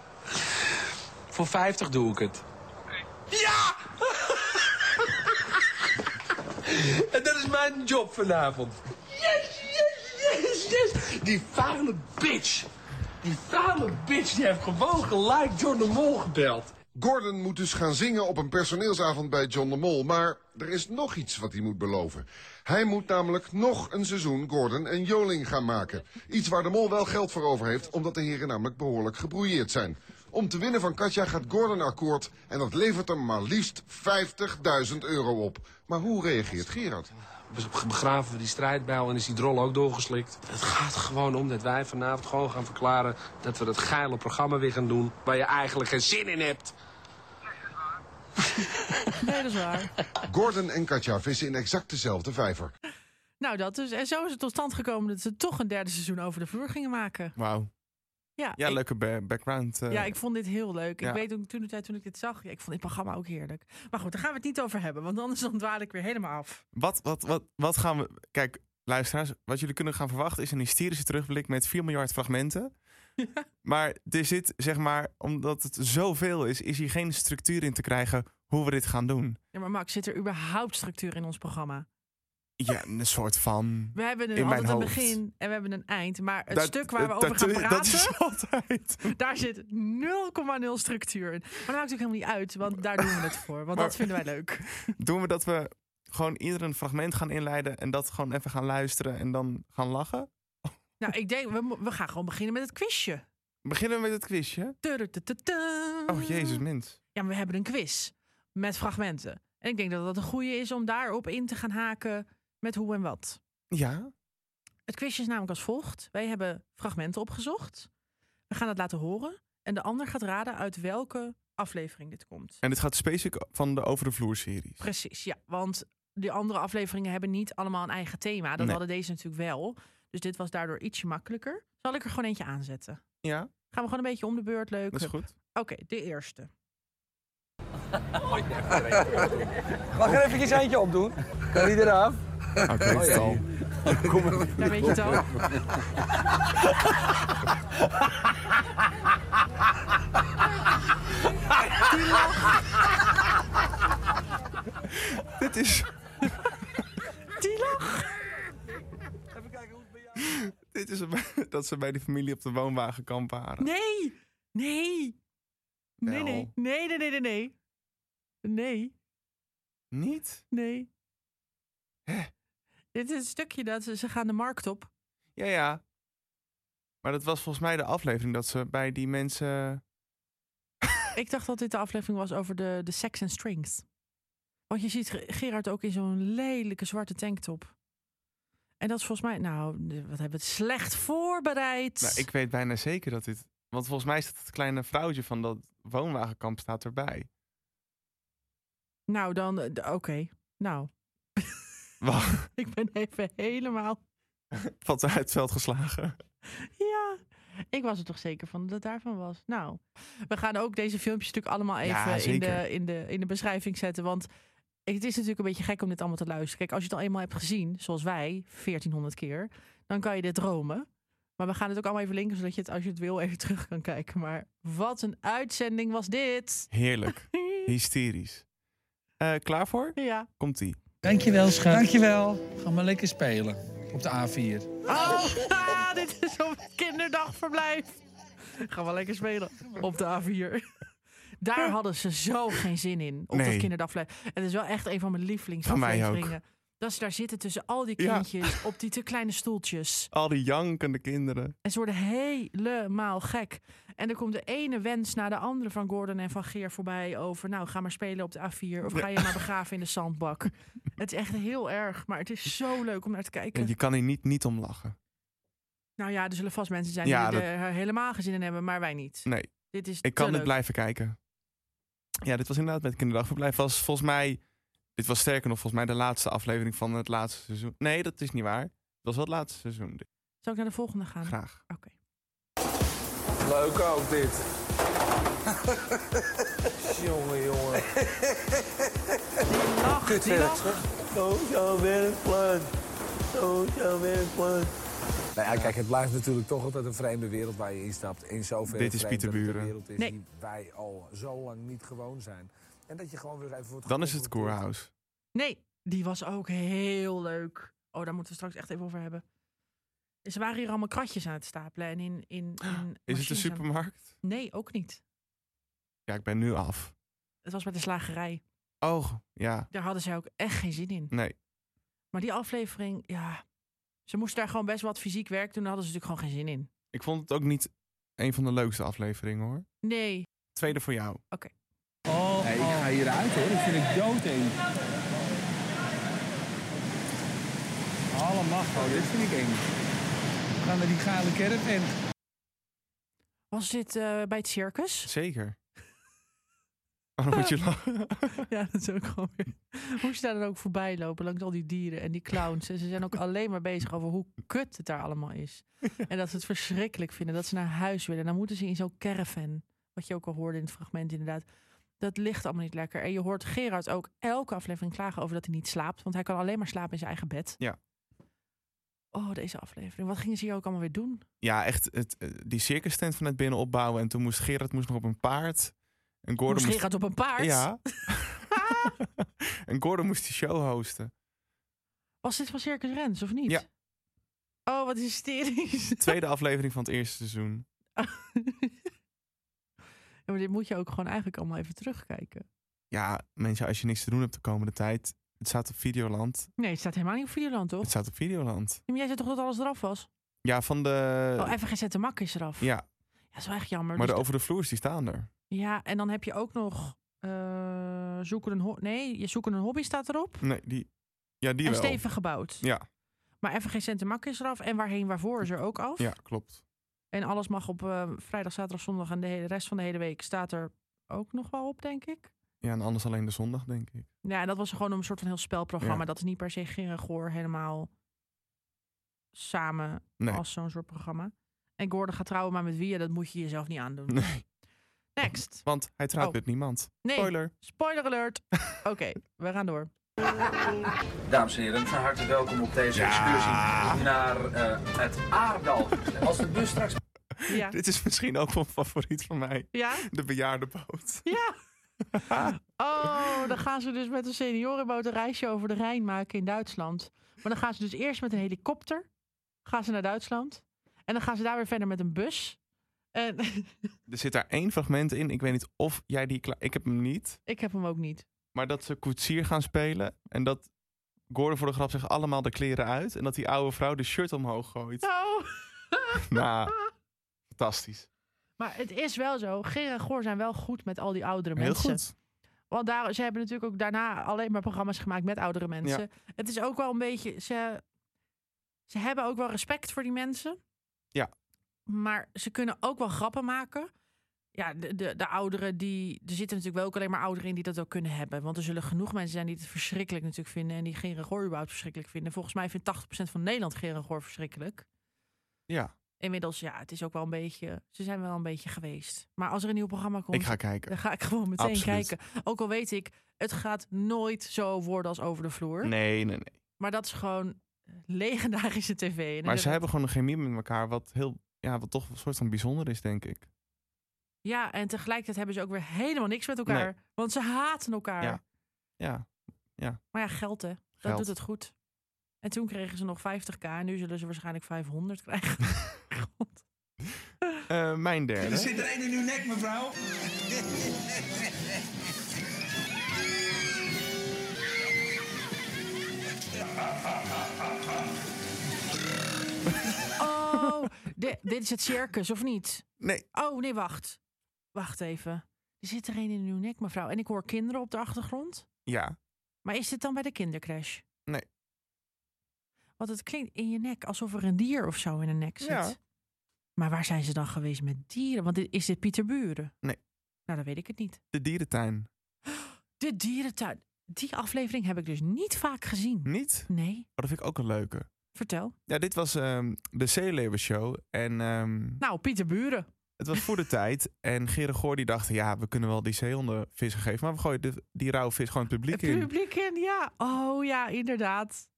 Speaker 8: Voor 50 doe ik het. Ja! (laughs) en dat is mijn job vanavond. Yes, yes, yes, yes. Die vuile bitch. Die vuile bitch die heeft gewoon gelijk John de Mol gebeld.
Speaker 15: Gordon moet dus gaan zingen op een personeelsavond bij John de Mol. Maar er is nog iets wat hij moet beloven. Hij moet namelijk nog een seizoen Gordon en Joling gaan maken. Iets waar de Mol wel geld voor over heeft, omdat de heren namelijk behoorlijk gebrouilleerd zijn. Om te winnen van Katja gaat Gordon akkoord en dat levert hem maar liefst 50.000 euro op. Maar hoe reageert Gerard?
Speaker 8: Be- Begraven we die strijdbijl en is die drol ook doorgeslikt. Het gaat gewoon om dat wij vanavond gewoon gaan verklaren... dat we dat geile programma weer gaan doen... waar je eigenlijk geen zin in hebt.
Speaker 2: Nee, dat is waar.
Speaker 15: Gordon en Katja vissen in exact dezelfde vijver.
Speaker 2: Nou, dat dus. En zo is het tot stand gekomen dat ze toch een derde seizoen over de vloer gingen maken.
Speaker 1: Wauw.
Speaker 2: Ja,
Speaker 1: Ja,
Speaker 2: ik-
Speaker 1: leuke ba- background. eh.
Speaker 2: ja, ik vond dit heel leuk.
Speaker 1: ja.
Speaker 2: Ik weet ook toen de tijd toen ik dit zag, ja, ik vond dit programma ook heerlijk. Maar goed, daar gaan we het niet over hebben, want anders dan dwaal ik weer helemaal af.
Speaker 1: Wat, wat, wat, wat gaan we... Kijk, luisteraars, wat jullie kunnen gaan verwachten... is een hysterische terugblik met 4 miljard
Speaker 2: (laughs)
Speaker 1: fragmenten. maar er zit, zeg maar, omdat het zoveel is... is hier geen structuur in te krijgen hoe we dit gaan doen.
Speaker 2: Ja, maar Max, zit er überhaupt structuur in ons programma?
Speaker 1: Ja, een soort van...
Speaker 2: We hebben een,
Speaker 1: In mijn
Speaker 2: altijd een
Speaker 1: hoofd.
Speaker 2: begin en we hebben een eind. Maar het
Speaker 1: Dat-
Speaker 2: stuk waar we
Speaker 1: dat-
Speaker 2: over gaan
Speaker 1: dat-
Speaker 2: praten,
Speaker 1: dat is
Speaker 2: (laughs)
Speaker 1: (laughs)
Speaker 2: daar zit 0,0 structuur in. Maar dat maakt ook helemaal niet uit, want daar doen we het voor. Want
Speaker 1: Maar-
Speaker 2: dat vinden wij leuk.
Speaker 1: Doen we dat we gewoon ieder een fragment gaan inleiden... en dat gewoon even gaan luisteren en dan gaan lachen?
Speaker 2: Nou, ik denk, we, mo- we gaan gewoon beginnen met het quizje.
Speaker 1: Beginnen we met het quizje?
Speaker 2: Tudutututu.
Speaker 1: Oh, jezus, mens.
Speaker 2: Ja, maar we hebben een quiz met fragmenten. En ik denk dat dat een goede is om daarop in te gaan haken met hoe en wat.
Speaker 1: Ja?
Speaker 2: Het quizje is namelijk als volgt. Wij hebben fragmenten opgezocht. We gaan het laten horen. En de ander gaat raden uit welke aflevering dit komt.
Speaker 1: En dit gaat specifiek van de Over de Vloer-series.
Speaker 2: Precies, ja. Want die andere afleveringen hebben niet allemaal een eigen thema. Dat
Speaker 1: Nee.
Speaker 2: hadden deze natuurlijk wel. Dus dit was daardoor ietsje makkelijker. Zal ik er gewoon eentje aanzetten?
Speaker 1: Ja?
Speaker 2: Gaan we gewoon een beetje om de beurt leuk.
Speaker 1: Dat is goed. (laughs)
Speaker 2: Oké, de eerste.
Speaker 16: Mag er even eentje opdoen? Kan die eraf?
Speaker 1: Ah, ik weet het al.
Speaker 16: Kom maar.
Speaker 2: Daar weet je het al.
Speaker 1: Dit is...
Speaker 2: (laughs) Die lach.
Speaker 1: (laughs) Dit is dat ze bij die familie op de woonwagen kamparen.
Speaker 2: Nee! Nee! Nee, nee,
Speaker 1: Wel.
Speaker 2: nee, nee, nee, nee, nee. Nee,
Speaker 1: Niet?
Speaker 2: nee. Dit is een stukje dat ze, ze gaan de markt op.
Speaker 1: Ja, ja. Maar dat was volgens mij de aflevering dat ze bij die mensen...
Speaker 2: Ik dacht dat dit de aflevering was over de, de Sex and Strings. Want je ziet Ge- Gerard ook in zo'n lelijke zwarte tanktop. En dat is volgens mij... Nou, de- wat hebben we het slecht voorbereid.
Speaker 1: Nou, ik weet bijna zeker dat dit... Want volgens mij staat het kleine vrouwtje van dat woonwagenkamp staat erbij.
Speaker 2: Nou, dan... eh, d- Oké. Nou, (laughs)
Speaker 1: (laughs) Wacht,
Speaker 2: ik ben even helemaal...
Speaker 1: Valt uit het veld geslagen.
Speaker 2: Ja, ik was er toch zeker van dat het daarvan was. Nou, we gaan ook deze filmpjes natuurlijk allemaal
Speaker 1: Ja,
Speaker 2: even in, de,
Speaker 1: zeker.
Speaker 2: in, de, in de beschrijving zetten. Want het is natuurlijk een beetje gek om dit allemaal te luisteren. Kijk, als je het al eenmaal hebt gezien, zoals wij, 1400 keer, dan kan je dit dromen. Maar we gaan het ook allemaal even linken, zodat je het als je het wil even (laughs) terug kan kijken. Maar wat een uitzending was dit!
Speaker 1: Heerlijk. (laughs) Hysterisch. Eh, klaar voor?
Speaker 2: Ja.
Speaker 1: Komt-ie.
Speaker 11: Dankjewel, schat. Dankjewel. Ga maar lekker spelen. Op de A4.
Speaker 2: Oh, (laughs) ah, dit is op het kinderdagverblijf. Ga wel lekker spelen op de A4. Daar hadden ze zo geen zin in, op dat
Speaker 1: Nee.
Speaker 2: kinderdagverblijf. Het is wel echt een van
Speaker 1: Van
Speaker 2: mijn
Speaker 1: mij
Speaker 2: lievelingsafleveringen. Dat ze daar zitten tussen al die
Speaker 1: Ja.
Speaker 2: kindjes op die te kleine stoeltjes.
Speaker 1: Al die jankende kinderen.
Speaker 2: En ze worden helemaal gek. En er komt de ene wens na de andere van Gordon en van Geer voorbij over... nou, ga maar spelen op de A4 of ga je maar begraven in de zandbak. Het is echt heel erg, maar het is zo leuk om naar te kijken.
Speaker 1: En je kan hier niet, niet om lachen.
Speaker 2: Nou ja, er zullen vast mensen zijn
Speaker 1: Ja,
Speaker 2: die
Speaker 1: dat-
Speaker 2: er eh, helemaal geen zin in hebben, maar wij niet.
Speaker 1: Nee.
Speaker 2: Dit is
Speaker 1: Ik kan
Speaker 2: te
Speaker 1: het
Speaker 2: leuk.
Speaker 1: blijven kijken. Ja, dit was inderdaad met kinderdagverblijf. Was volgens mij, dit was sterker nog volgens mij de laatste aflevering van het laatste seizoen. Nee, dat is niet waar. was wel het laatste seizoen.
Speaker 2: Zal ik naar de volgende gaan?
Speaker 1: Graag.
Speaker 2: Oké.
Speaker 16: Leuk ook dit. (laughs) jongen, jongen. Kut
Speaker 17: die
Speaker 16: werk,
Speaker 17: lach.
Speaker 16: zeg.
Speaker 17: Social werkplaats. Social werkplaats.
Speaker 18: Nou ja, kijk, het blijft natuurlijk toch altijd een vreemde wereld waar je instapt. In zoverre
Speaker 1: Dit is
Speaker 18: vreemd
Speaker 1: Pieter
Speaker 18: dat het een
Speaker 1: Buren.
Speaker 18: wereld is
Speaker 2: Nee.
Speaker 18: die wij al zo lang niet gewoon zijn. En dat je gewoon weer even wordt
Speaker 1: Dan is het
Speaker 18: geconfronteerd.
Speaker 1: Courthouse.
Speaker 2: Nee, die was ook heel leuk. Oh, daar moeten we straks echt even over hebben. Ze waren hier allemaal kratjes aan het stapelen. En in, in,
Speaker 1: (gasps)
Speaker 2: in
Speaker 1: Is het een
Speaker 2: machines aan-
Speaker 1: supermarkt?
Speaker 2: Nee, ook niet.
Speaker 1: Ja, ik ben nu af.
Speaker 2: Het was bij de slagerij.
Speaker 1: Oh, ja.
Speaker 2: Daar hadden ze ook echt geen zin in.
Speaker 1: Nee.
Speaker 2: Maar die aflevering, ja. Ze moesten daar gewoon best wat fysiek werk doen. Daar hadden ze natuurlijk gewoon geen zin in.
Speaker 1: Ik vond het ook niet een van de leukste afleveringen hoor.
Speaker 2: Nee.
Speaker 1: Tweede voor jou.
Speaker 2: Oké.
Speaker 1: Oh,
Speaker 11: Nee, ik ga hieruit hoor. Dat vind ik doodeng. Allemachtig, oh, dit vind ik eng. We gaan naar die gale kerk en...
Speaker 2: Was dit eh, bij het
Speaker 1: (laughs)
Speaker 2: circus?
Speaker 1: Zeker. Waarom moet je lachen?
Speaker 2: (laughs) ja, dat is ook gewoon (laughs) weer. Moest je daar dan ook voorbij lopen langs al die dieren en die clowns. En ze zijn ook alleen maar bezig over hoe kut het daar allemaal is. En dat ze het verschrikkelijk vinden, dat ze naar huis willen. En dan moeten ze in zo'n caravan, wat je ook al hoorde in het fragment inderdaad. Dat ligt allemaal niet lekker. En je hoort Gerard ook elke aflevering klagen over dat hij niet slaapt. Want hij kan alleen maar slapen in zijn eigen bed.
Speaker 1: Ja.
Speaker 2: Oh, deze aflevering. Wat gingen ze hier ook allemaal weer doen?
Speaker 1: Ja, echt het, eh, die circus tent vanuit binnen opbouwen. En toen moest Gerard moest nog op een paard. En Gordon
Speaker 2: Moest Gerard op een paard? (laughs)
Speaker 1: Ja. (laughs) en Gordon moest die show hosten.
Speaker 2: Was dit van Circus Rens of niet?
Speaker 1: Ja.
Speaker 2: Oh, wat hysterisch.
Speaker 1: Tweede aflevering van het eerste seizoen.
Speaker 2: Ja, maar dit moet je ook gewoon eigenlijk allemaal even terugkijken.
Speaker 1: Ja, mensen, als je niks te doen hebt de komende tijd. Het staat op Videoland.
Speaker 2: Nee, het staat helemaal niet op Videoland, toch?
Speaker 1: Het staat op Videoland.
Speaker 2: Ja, Maar jij zei toch dat alles eraf was?
Speaker 1: Ja, van de...
Speaker 2: oh, even gezette mak is eraf. Ja,
Speaker 1: Ja,
Speaker 2: dat is wel echt jammer.
Speaker 1: maar de
Speaker 2: Dus
Speaker 1: over de vloers die staan er.
Speaker 2: de- Ja, en dan heb je ook nog eh, zoeken een ho- Nee, je zoeken een hobby staat erop.
Speaker 1: Nee, die... Ja, die
Speaker 2: en
Speaker 1: wel.
Speaker 2: stevig gebouwd.
Speaker 1: Ja,
Speaker 2: Maar even geen centen mak is eraf. En waarheen waarvoor is er ook af.
Speaker 1: ja, klopt.
Speaker 2: En alles mag op eh, vrijdag, zaterdag, zondag en de hele rest van de hele week staat er ook nog wel op, denk ik.
Speaker 1: Ja, en anders alleen de zondag, denk ik.
Speaker 2: Ja, en dat was gewoon een soort van heel spelprogramma.
Speaker 1: Ja.
Speaker 2: Dat is niet per se Ger en Goor helemaal samen
Speaker 1: Nee.
Speaker 2: als zo'n soort programma. En Gordon gaat trouwen, maar met wie? Ja, dat moet je jezelf niet aandoen.
Speaker 1: Nee.
Speaker 2: Next.
Speaker 1: Want hij trouwt
Speaker 2: Oh.
Speaker 1: met niemand. (laughs)
Speaker 2: Nee.
Speaker 1: Spoiler.
Speaker 2: Spoiler
Speaker 1: (laughs)
Speaker 2: alert. Oké, we gaan door.
Speaker 19: Dames en heren, van harte welkom op deze excursie naar eh, het Aardal. Als de bus straks...
Speaker 2: Ja.
Speaker 1: (laughs) Dit is misschien ook wel een favoriet van mij.
Speaker 2: Ja?
Speaker 1: De bejaardenboot.
Speaker 2: Ja. Oh, dan gaan ze dus met een seniorenboot een reisje over de Rijn maken in Duitsland. Maar dan gaan ze dus eerst met een helikopter gaan ze naar Duitsland. En dan gaan ze daar weer verder met een bus. En
Speaker 1: (laughs)
Speaker 2: (laughs)
Speaker 1: Er zit daar één fragment in. Ik weet niet of jij die... kla- Ik heb hem niet.
Speaker 2: ik heb hem ook niet.
Speaker 1: Maar dat ze koetsier gaan spelen. En dat Gordon voor de grap zegt allemaal de kleren uit. En dat die oude vrouw de shirt omhoog gooit.
Speaker 2: (laughs) Oh.
Speaker 1: Nou, fantastisch.
Speaker 2: Maar het is wel zo. Ger en Goor zijn wel goed met al die oudere
Speaker 1: Heel
Speaker 2: mensen.
Speaker 1: goed.
Speaker 2: Want daar, ze hebben natuurlijk ook daarna alleen maar programma's gemaakt met oudere mensen.
Speaker 1: Ja.
Speaker 2: Het is ook wel een beetje. Ze, ze hebben ook wel respect voor die mensen.
Speaker 1: Ja.
Speaker 2: Maar ze kunnen ook wel grappen maken. Ja, de, de, de ouderen die. Er zitten natuurlijk wel ook alleen maar ouderen in die dat ook kunnen hebben. Want er zullen genoeg mensen zijn die het verschrikkelijk natuurlijk vinden. En die Ger en Goor überhaupt verschrikkelijk vinden. Volgens mij vindt 80% van Nederland Ger en Goor verschrikkelijk.
Speaker 1: Ja,
Speaker 2: Inmiddels, ja, het is ook wel een beetje. Ze zijn wel een beetje geweest. Maar als er een nieuw programma komt.
Speaker 1: ik ga kijken.
Speaker 2: Dan ga ik gewoon meteen
Speaker 1: Absoluut.
Speaker 2: kijken. Ook al weet ik, het gaat nooit zo worden als over de vloer.
Speaker 1: Nee, nee, nee.
Speaker 2: Maar dat is gewoon legendarische tv. En
Speaker 1: Maar
Speaker 2: ik-
Speaker 1: ze hebben gewoon een chemie met elkaar. Wat, heel, ja, wat toch een soort van bijzonder is, denk ik.
Speaker 2: Ja, en tegelijkertijd hebben ze ook weer helemaal niks met elkaar.
Speaker 1: Nee.
Speaker 2: Want ze haten elkaar.
Speaker 1: Ja. Ja. ja.
Speaker 2: Maar ja, geld hè. Dat
Speaker 1: Geld.
Speaker 2: doet het goed. En toen kregen ze nog 50k en nu zullen ze waarschijnlijk 500 krijgen.
Speaker 1: (laughs) Eh, mijn derde.
Speaker 16: Er zit er één in uw nek, mevrouw.
Speaker 2: Oh, di- dit is het circus, of niet?
Speaker 1: Nee.
Speaker 2: Oh, nee, wacht. Wacht even. Er zit er een in uw nek, mevrouw. En ik hoor kinderen op de achtergrond.
Speaker 1: Ja.
Speaker 2: Maar is dit dan bij de kindercrash?
Speaker 1: Nee.
Speaker 2: Want het klinkt in je nek alsof er een dier of zo in de nek zit.
Speaker 1: Ja.
Speaker 2: Maar waar zijn ze dan geweest met dieren? Want dit- is dit Pieter Buren?
Speaker 1: Nee.
Speaker 2: Nou, dan weet ik het niet.
Speaker 1: De dierentuin.
Speaker 2: De dierentuin. Die aflevering heb ik dus niet vaak gezien.
Speaker 1: Niet?
Speaker 2: Nee.
Speaker 1: Oh, dat vind ik ook een leuke.
Speaker 2: Vertel.
Speaker 1: Ja, dit was ehm, de Zeeleeuwen Show. En ehm,
Speaker 2: Nou, Pieter Buren.
Speaker 1: het was voor de tijd. En Gerard Goor die dacht, ja, we kunnen wel die zeehonden vissen geven. Maar we gooien de, die rauwe vis gewoon het publiek in.
Speaker 2: Publiek in, ja. Oh ja,
Speaker 1: (laughs)
Speaker 2: inderdaad.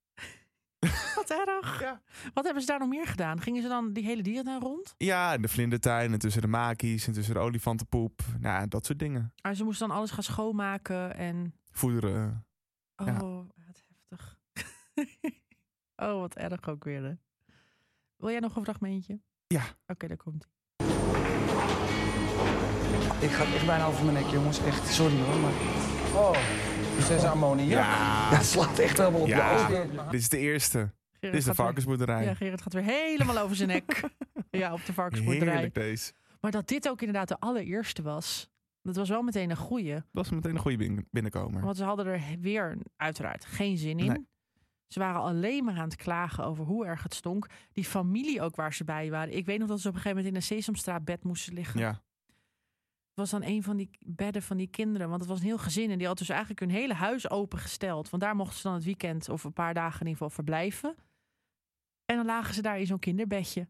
Speaker 2: Wat erg. Wat hebben ze daar nog meer gedaan? Gingen ze dan die hele dierentuin rond?
Speaker 1: Ja, in de vlindertuin en tussen de makies en tussen de olifantenpoep. Nou, dat soort dingen.
Speaker 2: Maar ze moesten dan alles gaan schoonmaken en...
Speaker 1: Voederen.
Speaker 2: Oh, wat heftig. (laughs) oh, wat erg ook weer. hè. Wil jij nog een fragmentje?
Speaker 1: Ja.
Speaker 2: Oké, daar komt ie.
Speaker 16: Ik ga echt bijna over mijn nek, jongens. Echt, sorry hoor, maar... Oh, zes ammoniak.
Speaker 1: Ja.
Speaker 16: Dat slaat echt helemaal op
Speaker 1: Ja.
Speaker 16: de ogen.
Speaker 1: Dit is de eerste. Dit is de
Speaker 2: gaat weer-
Speaker 1: varkensboerderij.
Speaker 2: Ja, Gerrit gaat weer helemaal over zijn
Speaker 1: (laughs)
Speaker 2: nek. ja, op de varkensboerderij.
Speaker 1: Heerlijk deze.
Speaker 2: Maar dat dit ook inderdaad de allereerste was, dat was wel meteen een goeie.
Speaker 1: Dat was meteen een goede bin- binnenkomer.
Speaker 2: Want ze hadden er weer uiteraard geen zin in.
Speaker 1: Nee.
Speaker 2: Ze waren alleen maar aan het klagen over hoe erg het stonk. Die familie ook waar ze bij waren. Ik weet nog dat ze op een gegeven moment in een Sesamstraatbed moesten liggen.
Speaker 1: Ja.
Speaker 2: Het was dan een van die bedden van die kinderen. Want het was een heel gezin. En die had dus eigenlijk hun hele huis opengesteld. Want daar mochten ze dan het weekend of een paar dagen in ieder geval verblijven. En dan lagen ze daar in zo'n kinderbedje.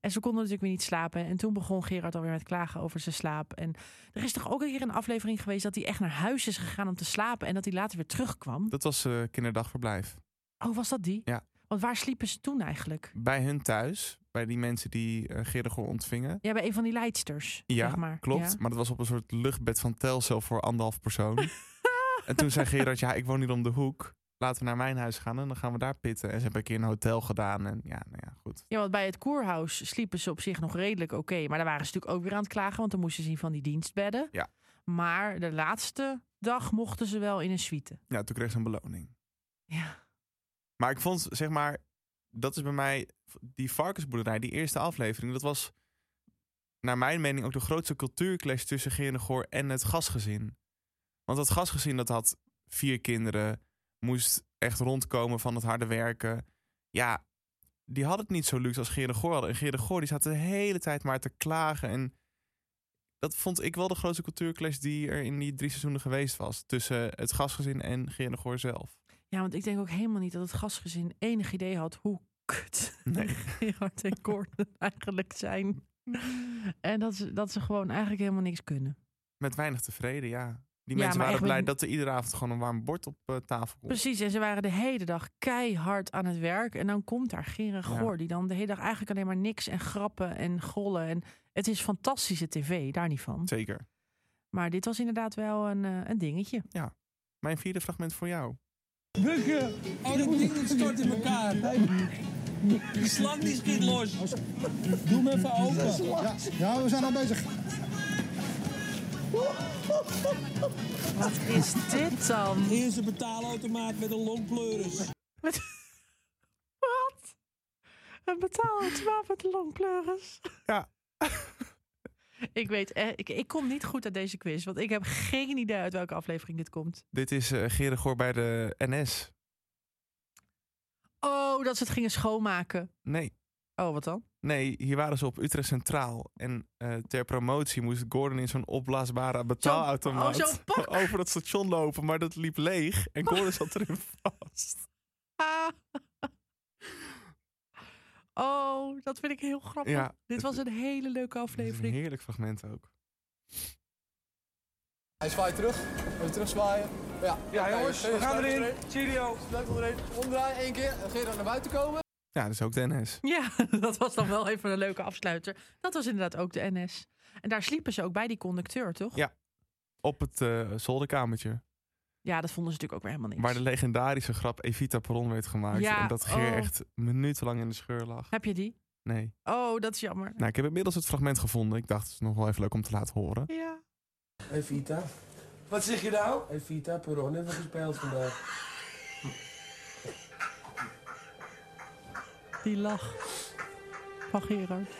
Speaker 2: En ze konden natuurlijk weer niet slapen. En toen begon Gerard alweer met klagen over zijn slaap. En er is toch ook een keer een aflevering geweest dat hij echt naar huis is gegaan om te slapen. En dat hij later weer terugkwam.
Speaker 1: Dat was eh, kinderdagverblijf.
Speaker 2: Oh, was dat die?
Speaker 1: Ja.
Speaker 2: Want waar sliepen ze toen eigenlijk?
Speaker 1: Bij hun thuis, bij die mensen die eh Gerigor ontvingen.
Speaker 2: Ja, bij een van die leidsters.
Speaker 1: Ja,
Speaker 2: zeg maar.
Speaker 1: klopt.
Speaker 2: Ja.
Speaker 1: Maar dat was op een soort luchtbed van Telcel voor anderhalf
Speaker 2: (laughs)
Speaker 1: persoon. en toen zei Gerard, ja, ik woon hier om de hoek. Laten we naar mijn huis gaan en dan gaan we daar pitten. En ze hebben een keer een hotel gedaan. En ja, nou ja, goed.
Speaker 2: Ja, want bij het koerhuis sliepen ze op zich nog redelijk oké. Maar daar waren ze natuurlijk ook weer aan het klagen, want dan moesten ze zien van die dienstbedden.
Speaker 1: Ja.
Speaker 2: Maar de laatste dag mochten ze wel in een suite.
Speaker 1: Ja, toen kreeg ze een beloning.
Speaker 2: Ja.
Speaker 1: Maar ik vond, zeg maar, dat is bij mij, die varkensboerderij, die eerste aflevering, dat was naar mijn mening ook de grootste cultuurclash tussen Gerendegoor en het gastgezin. Want dat gastgezin dat had vier kinderen, moest echt rondkomen van het harde werken. Ja, die had het niet zo luxe als Gerendegoor hadden. En Gerendegoor die zat de hele tijd maar te klagen. En dat vond ik wel de grootste cultuurclash die er in die drie seizoenen geweest was. Tussen het gastgezin en Gerendegoor zelf.
Speaker 2: Ja, want ik denk ook helemaal niet dat het gastgezin enig idee had hoe kut (laughs) Gerard en Gordon (laughs) eigenlijk zijn. En dat ze, dat ze gewoon eigenlijk helemaal niks kunnen.
Speaker 1: Met weinig tevreden, ja. Die
Speaker 2: Ja, maar
Speaker 1: mensen
Speaker 2: echt
Speaker 1: waren blij
Speaker 2: met-
Speaker 1: dat er iedere avond gewoon een warm bord op eh, tafel komt.
Speaker 2: Precies, en ze waren de hele dag keihard aan het werk. En dan komt daar Gerard
Speaker 1: Ja.
Speaker 2: Goor, die dan de hele dag eigenlijk alleen maar niks en grappen en gollen. En het is fantastische tv, daar niet van.
Speaker 1: Zeker.
Speaker 2: Maar dit was inderdaad wel een, eh, een dingetje.
Speaker 1: Ja. Mijn vierde fragment voor jou.
Speaker 5: Bukken! Oh, dat ding dat stort in elkaar. Die slang die schiet los. Doe hem even open.
Speaker 3: Ja, ja, we zijn al bezig.
Speaker 2: Wat is dit dan?
Speaker 5: Eerste betaalautomaat met een longpleuris.
Speaker 2: (laughs) Wat? Een betaald wapent longpleuris.
Speaker 1: Ja.
Speaker 2: ik weet, eh, ik, ik kom niet goed uit deze quiz, want ik heb geen idee uit welke aflevering dit komt.
Speaker 1: Dit is eh Gerendegoor bij de NS.
Speaker 2: Oh, dat ze het gingen schoonmaken.
Speaker 1: Nee,
Speaker 2: Oh, wat dan?
Speaker 1: nee, hier waren ze op Utrecht Centraal. En eh, ter promotie moest Gordon in zo'n opblaasbare betaalautomaat
Speaker 2: oh, zo'n pak.
Speaker 1: (laughs) over dat station lopen. Maar dat liep leeg en Gordon zat erin vast.
Speaker 2: Ah. (laughs) Oh, dat vind ik heel grappig.
Speaker 1: Ja,
Speaker 2: dit
Speaker 1: het-
Speaker 2: was een hele leuke
Speaker 1: Dit is
Speaker 2: aflevering.
Speaker 1: een heerlijk fragment ook.
Speaker 16: Hij zwaait terug. Even terugzwaaien. Ja,
Speaker 17: Ja, jongens, we gaan erin.
Speaker 16: Cheerio. Sleutel erin. Omdraaien één keer. Gerard naar buiten komen.
Speaker 1: Ja, dat is ook de NS.
Speaker 2: Ja, (laughs) dat was dan wel even een leuke afsluiter. Dat was inderdaad ook de NS. En daar sliepen ze ook bij die conducteur, toch?
Speaker 1: Ja. Op het eh, zolderkamertje.
Speaker 2: Ja, dat vonden ze natuurlijk ook weer helemaal niks.
Speaker 1: Waar de legendarische grap Evita Peron werd gemaakt.
Speaker 2: Ja,
Speaker 1: en dat Geer
Speaker 2: oh.
Speaker 1: echt minutenlang in de scheur lag.
Speaker 2: Heb je die?
Speaker 1: Nee.
Speaker 2: Oh, dat is jammer.
Speaker 1: Nou, ik heb inmiddels het fragment gevonden. Ik dacht, het is nog wel even leuk om te laten horen.
Speaker 2: Ja.
Speaker 17: Evita. Wat zeg je nou? Evita Peron heeft gespeeld vandaag.
Speaker 2: Die lach van Gerard.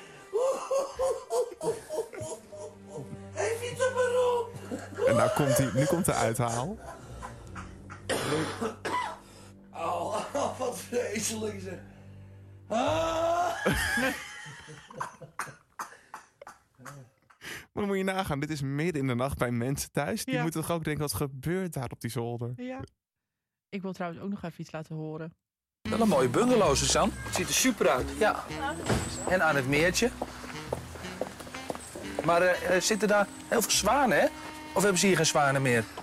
Speaker 17: Hey, Vita Peron!
Speaker 1: En nou komt die, nu komt de uithaal.
Speaker 17: Oh, wat vreselijk zeg. Ah!
Speaker 1: (laughs) Maar dan moet je nagaan, dit is midden in de nacht bij mensen thuis. Die
Speaker 2: Ja.
Speaker 1: moeten toch ook denken, wat gebeurt daar op die zolder?
Speaker 2: Ja. Ik wil trouwens ook nog even iets laten horen.
Speaker 17: Wel een mooie bungalow, Suzanne. Het ziet er super uit. Ja. En aan het meertje. Maar eh, eh, zitten daar heel veel zwanen, hè? Of hebben ze hier geen zwanen meer? (laughs)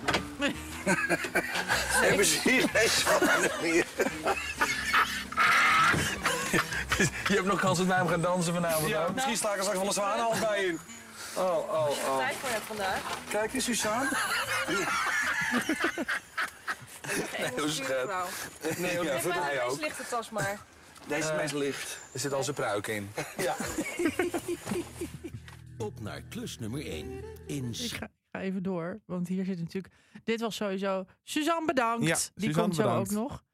Speaker 17: hebben ze hier geen zwanen meer? (laughs) Je hebt nog kans dat wij hem gaan dansen vanavond.
Speaker 9: Ja,
Speaker 17: hoor.
Speaker 9: misschien sla ik er straks wel een zwanenhals bij in.
Speaker 17: Oh, oh, oh.
Speaker 9: voor hebt vandaag.
Speaker 17: Kijk eens, Suzanne. Nee, hoe schat. Nee,
Speaker 9: eh,
Speaker 17: hoor, dat doet hij ook.
Speaker 20: lichte tas maar.
Speaker 17: Deze mens licht. Eh, Er zit al zijn pruik in. Ja.
Speaker 21: Op naar klus nummer 1. In
Speaker 2: Ik Dus ga, ik ga even door, want hier zit natuurlijk... Dit was sowieso... Suzanne bedankt.
Speaker 1: Ja,
Speaker 2: Die
Speaker 1: Suzanne
Speaker 2: komt zo
Speaker 1: bedankt.
Speaker 2: ook nog.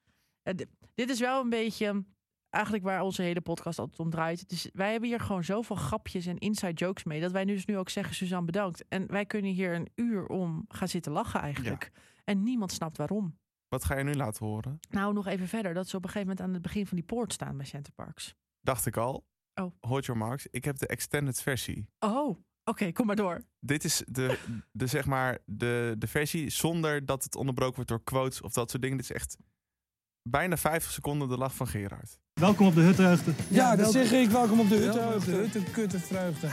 Speaker 2: Eh, di- dit is wel een beetje um, eigenlijk waar onze hele podcast altijd om draait. Het is- wij hebben hier gewoon zoveel grapjes en inside jokes mee... dat wij nu dus nu ook zeggen Suzanne bedankt. En wij kunnen hier een uur om gaan zitten lachen eigenlijk. En niemand snapt waarom.
Speaker 1: Wat ga je nu laten horen?
Speaker 2: Nou, nog even verder. Dat ze op een gegeven moment aan het begin van die poort staan bij Center Parks.
Speaker 1: Dacht ik al.
Speaker 2: Oh.
Speaker 1: Hoort your marks. Ik heb de extended versie.
Speaker 2: Oh, oké, kom maar
Speaker 1: (laughs)
Speaker 2: door.
Speaker 1: Dit is de, de, zeg maar, de, de versie zonder dat het onderbroken wordt door quotes of dat soort dingen. Dit is echt bijna 50 seconden de lach van Gerard.
Speaker 22: Welkom op de Huttenheugde.
Speaker 23: Ja, dat zeg ik. Welkom op de
Speaker 22: Welkom op
Speaker 23: huttenheugde.
Speaker 22: de
Speaker 9: (laughs)
Speaker 23: Huttenkuttevreugde.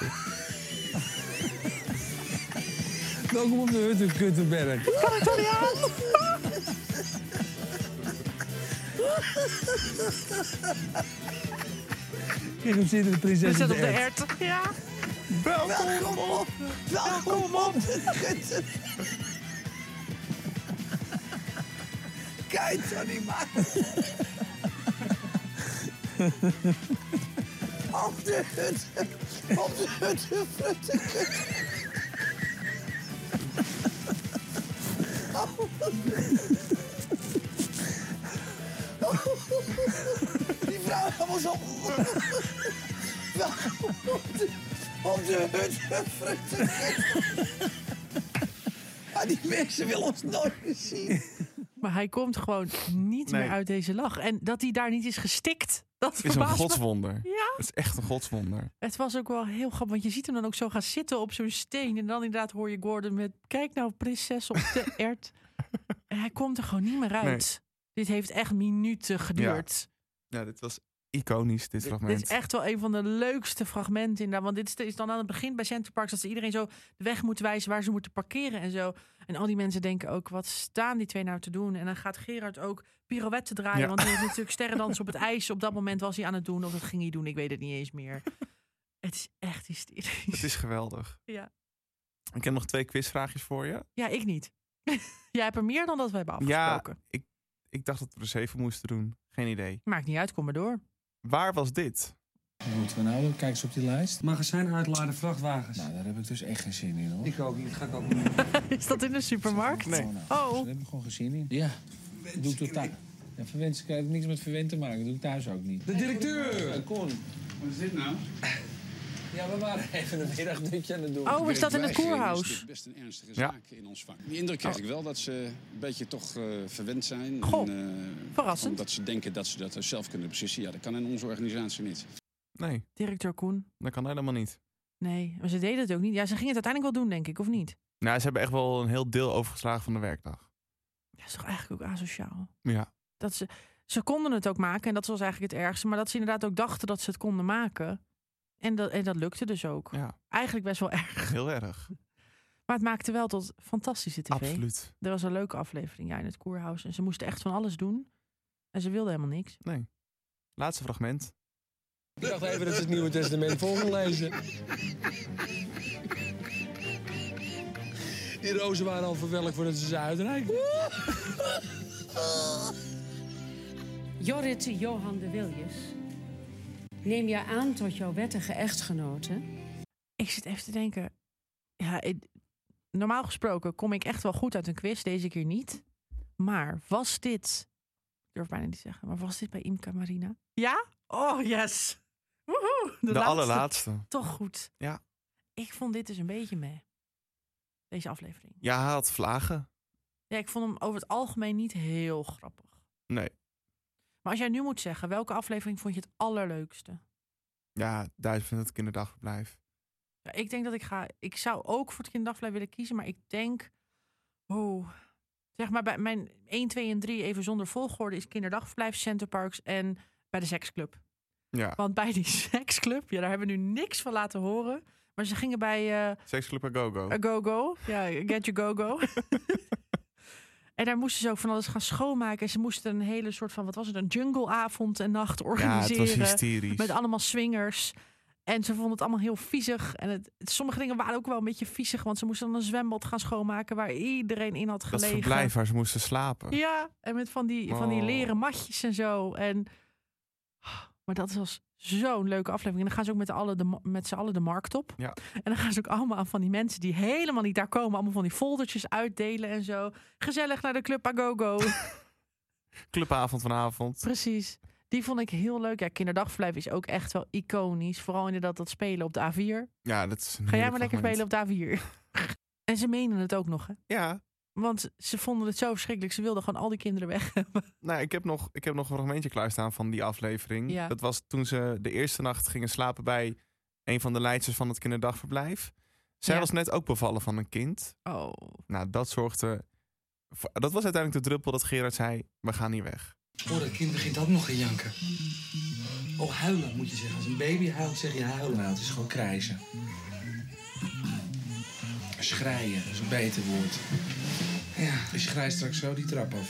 Speaker 23: welkom op de Huttenkuttenberg.
Speaker 9: Kan ik toch niet aan?
Speaker 23: Kijk hem zitten, de prinses
Speaker 9: We
Speaker 23: op
Speaker 9: zitten
Speaker 23: de
Speaker 9: op de
Speaker 23: ert.
Speaker 9: ert.
Speaker 2: Ja.
Speaker 9: Welkom op. Welkom op. Kijk, Johnny, man. Op de hut. Op de hut. Die vrouw was op. Welkom op de, op de hut. Maar die mensen willen ons nooit meer zien.
Speaker 2: Maar hij komt gewoon niet
Speaker 1: Nee.
Speaker 2: meer uit deze lach. En dat hij daar niet is gestikt, dat
Speaker 1: Het is een
Speaker 2: verbaast me.
Speaker 1: godswonder.
Speaker 2: Ja.
Speaker 1: Het is echt een godswonder.
Speaker 2: Het was ook wel heel grappig, want je ziet hem dan ook zo gaan zitten op zo'n steen. En dan inderdaad hoor je Gordon met, kijk nou prinses op
Speaker 1: (laughs)
Speaker 2: de ert. En hij komt er gewoon niet meer uit. Dit heeft echt minuten geduurd.
Speaker 1: Ja, dit was iconisch, dit fragment.
Speaker 2: Dit is echt wel een van de leukste fragmenten inderdaad. Want dit is- is dan aan het begin bij Center Parks... dat ze iedereen zo de weg moeten wijzen waar ze moeten parkeren en zo. En al die mensen denken ook, wat staan die twee nou te doen? En dan gaat Gerard ook pirouetten draaien.
Speaker 1: Ja.
Speaker 2: Want hij heeft natuurlijk sterrendans op het ijs. Op dat moment was hij aan het doen. Of dat ging hij doen, ik weet het niet eens meer. Het is echt hysterisch.
Speaker 1: Het is geweldig.
Speaker 2: Ja,
Speaker 1: Ik heb nog twee quizvraagjes voor je.
Speaker 2: ja ik niet. Jij hebt er meer dan dat we hebben
Speaker 1: Ja,
Speaker 2: afgesproken.
Speaker 1: ik, ik dacht dat we er zeven moesten doen. Geen idee.
Speaker 2: Maakt niet uit, kom maar door.
Speaker 1: Waar was dit?
Speaker 22: Wat moeten we nou doen? Kijk eens op die lijst. Magazijn uitladen vrachtwagens. Nou, daar heb ik dus echt geen zin in hoor. Ik ook niet. Ga ik ook niet.
Speaker 2: Is dat in de supermarkt?
Speaker 22: Nee.
Speaker 2: Oh.
Speaker 22: Daar heb ik gewoon geen zin in. Ja. Doe ik tot daar. Ja, verwensen heeft niks met verwend te maken. Dat doe ik thuis ook niet. De directeur! Kon. Wat is dit nou? Ja, we waren even een middagdutje aan het doen.
Speaker 2: Oh, is dat in het
Speaker 15: Werkwijze
Speaker 2: koerhuis?
Speaker 15: is dit best een ernstige
Speaker 1: Ja.
Speaker 15: zaak in ons vak. Die indruk krijg ik wel dat ze een beetje toch eh, verwend zijn.
Speaker 2: Goh,
Speaker 15: eh,
Speaker 2: verrassend.
Speaker 15: Omdat ze denken dat ze dat zelf kunnen beslissen. Ja, dat kan in onze organisatie niet.
Speaker 1: Nee,
Speaker 2: Directeur Koen.
Speaker 1: dat kan helemaal niet.
Speaker 2: Nee, maar ze deden het ook niet. Ja, ze gingen het uiteindelijk wel doen, denk ik, of niet?
Speaker 1: Nou, ze hebben echt wel een heel deel overgeslagen van de werkdag.
Speaker 2: Dat is toch eigenlijk ook asociaal?
Speaker 1: Ja.
Speaker 2: Dat ze, ze konden het ook maken en dat was eigenlijk het ergste. Maar dat ze inderdaad ook dachten dat ze het konden maken. En dat, en dat lukte dus ook.
Speaker 1: Ja.
Speaker 2: Eigenlijk best wel erg.
Speaker 1: Heel erg.
Speaker 2: Maar het maakte wel tot fantastische tv.
Speaker 1: Absoluut.
Speaker 2: Er was een leuke aflevering ja, in het koerhuis. En ze moesten echt van alles doen. En ze wilden helemaal niks.
Speaker 1: Nee. Laatste fragment.
Speaker 23: Ik dacht even dat ze het Nieuwe Testament voor ging lezen. Die rozen waren al verwelkt voordat ze ze uitreikten.
Speaker 6: Jorrit Johan de Wiljes, neem je aan tot jouw wettige echtgenote.
Speaker 2: Ik zit even te denken. Ja, ik- normaal gesproken kom ik echt wel goed uit een quiz. Deze keer niet. Maar was dit... Ik durf bijna niet te zeggen. Maar was dit bij Imca Marina? Ja? Oh, yes. Woehoe,
Speaker 1: De,
Speaker 2: laatste.
Speaker 1: allerlaatste.
Speaker 2: Toch goed.
Speaker 1: Ja.
Speaker 2: Ik vond dit dus een beetje mee. Deze aflevering.
Speaker 1: Ja, hij had vlagen.
Speaker 2: Ja, ik vond hem over het algemeen niet heel grappig.
Speaker 1: Nee.
Speaker 2: Maar als jij nu moet zeggen, welke aflevering vond je het allerleukste?
Speaker 1: Ja, duizend het kinderdagblijf.
Speaker 2: Ja, ik denk dat ik ga... Ik zou ook voor het kinderdagverblijf willen kiezen, maar ik denk... Oh, Zeg maar bij mijn 1, 2 en 3 even zonder volgorde is kinderdagverblijf, Centerparks en bij de seksclub.
Speaker 1: Ja.
Speaker 2: Want bij die (laughs) seksclub, ja, daar hebben we nu niks van laten horen. Maar ze gingen bij eh,
Speaker 1: Seksclub en go-go.
Speaker 2: A Go-Go. Ja, Get Your Go-Go. (laughs) en daar moesten ze ook van alles gaan schoonmaken. En ze moesten een hele soort van, wat was het, een jungleavond en nacht organiseren.
Speaker 1: hysterisch.
Speaker 2: Met allemaal swingers. En ze vonden het allemaal heel viezig. En het, het- sommige dingen waren ook wel een beetje viezig. Want ze moesten dan een zwembad gaan schoonmaken waar iedereen in had
Speaker 1: Dat
Speaker 2: gelegen.
Speaker 1: verblijf waar ze moesten slapen.
Speaker 2: Ja, en met van die, van die
Speaker 1: Oh.
Speaker 2: leren matjes en zo. En, maar dat was zo'n leuke aflevering. En dan gaan ze ook met, alle de, ma- met z'n allen de markt op.
Speaker 1: Ja.
Speaker 2: En dan gaan ze ook allemaal aan van die mensen die helemaal niet daar komen... allemaal van die foldertjes uitdelen en zo. Gezellig naar de Club Agogo.
Speaker 1: Clubavond vanavond.
Speaker 2: Precies. Die vond ik heel leuk. Ja, kinderdagverblijf is ook echt wel iconisch. Vooral inderdaad dat spelen op de A4.
Speaker 1: Ja, dat is een
Speaker 2: Ga jij
Speaker 1: heerlijk
Speaker 2: maar lekker
Speaker 1: fragment.
Speaker 2: spelen op de A4. (laughs) en ze menen het ook nog, hè?
Speaker 1: Ja.
Speaker 2: Want ze vonden het zo verschrikkelijk. Ze wilden gewoon al die kinderen weg (laughs) hebben.
Speaker 1: Nou, ik heb, nog, ik heb nog een fragmentje klaarstaan van die aflevering.
Speaker 2: Ja.
Speaker 1: Dat was toen ze de eerste nacht gingen slapen bij een van de leidsters van het kinderdagverblijf. Zij
Speaker 2: Ja.
Speaker 1: was net ook bevallen van een kind.
Speaker 2: Oh.
Speaker 1: Nou, dat zorgde. voor- Dat was uiteindelijk de druppel dat Gerard zei: We gaan hier weg.
Speaker 4: Oh, dat kind begint ook nog te janken. Oh, huilen moet je zeggen. Als een baby huilt, zeg je huilen. Nou, het is gewoon krijzen.
Speaker 24: Schreien is een beter woord. Ja. Dus je grijst straks zo die trap af.
Speaker 4: (laughs)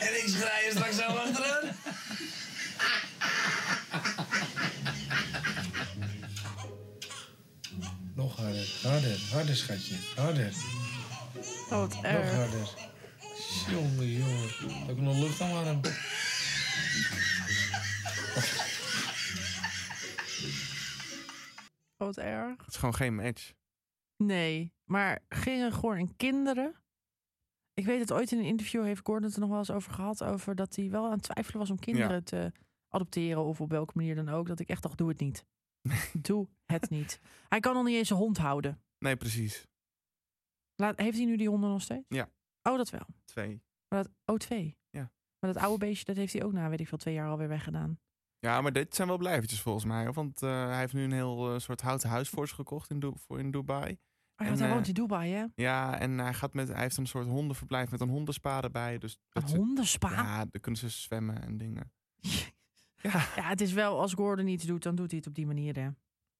Speaker 4: En ik schrij je straks zo achterin.
Speaker 24: Nog harder, harder, harder schatje, harder.
Speaker 2: Oh, wat
Speaker 24: Nog
Speaker 2: erg.
Speaker 1: eh,
Speaker 24: harder. Jongen, jongen. Heb ik nog luchtalarm?
Speaker 2: Oh, wat erg.
Speaker 1: Het is gewoon geen match.
Speaker 2: Nee, maar gingen gewoon en kinderen. Ik weet het ooit in een interview heeft Gordon het er nog wel eens over gehad. Over dat hij wel aan het twijfelen was om kinderen
Speaker 1: Ja.
Speaker 2: te adopteren. Of op welke manier dan ook. Dat ik echt dacht, doe het
Speaker 1: (laughs)
Speaker 2: niet. doe het niet. Hij kan nog niet eens een hond houden.
Speaker 1: Nee, precies.
Speaker 2: Laat, heeft hij nu die honden nog steeds?
Speaker 1: Ja,
Speaker 2: Oh, dat wel.
Speaker 1: twee.
Speaker 2: Maar dat, oh, twee.
Speaker 1: Ja.
Speaker 2: Maar dat oude beestje, dat heeft hij ook na, weet ik veel, twee jaar alweer weggedaan. Oh,
Speaker 1: Ja, maar dit zijn wel blijvertjes volgens mij. hoor. Want eh, hij heeft nu een heel eh, soort houten huis voor ze gekocht in, Du- voor in Dubai.
Speaker 2: Oh, ja, want hij
Speaker 1: eh,
Speaker 2: woont in Dubai, hè?
Speaker 1: Ja, en hij, gaat met, hij heeft een soort hondenverblijf met een hondenspa erbij. Dus dat ze-
Speaker 2: hondenspa?
Speaker 1: Ja, dan kunnen ze zwemmen en dingen.
Speaker 2: Ja. het is wel, als Gordon iets doet, dan doet hij het op die manier, hè?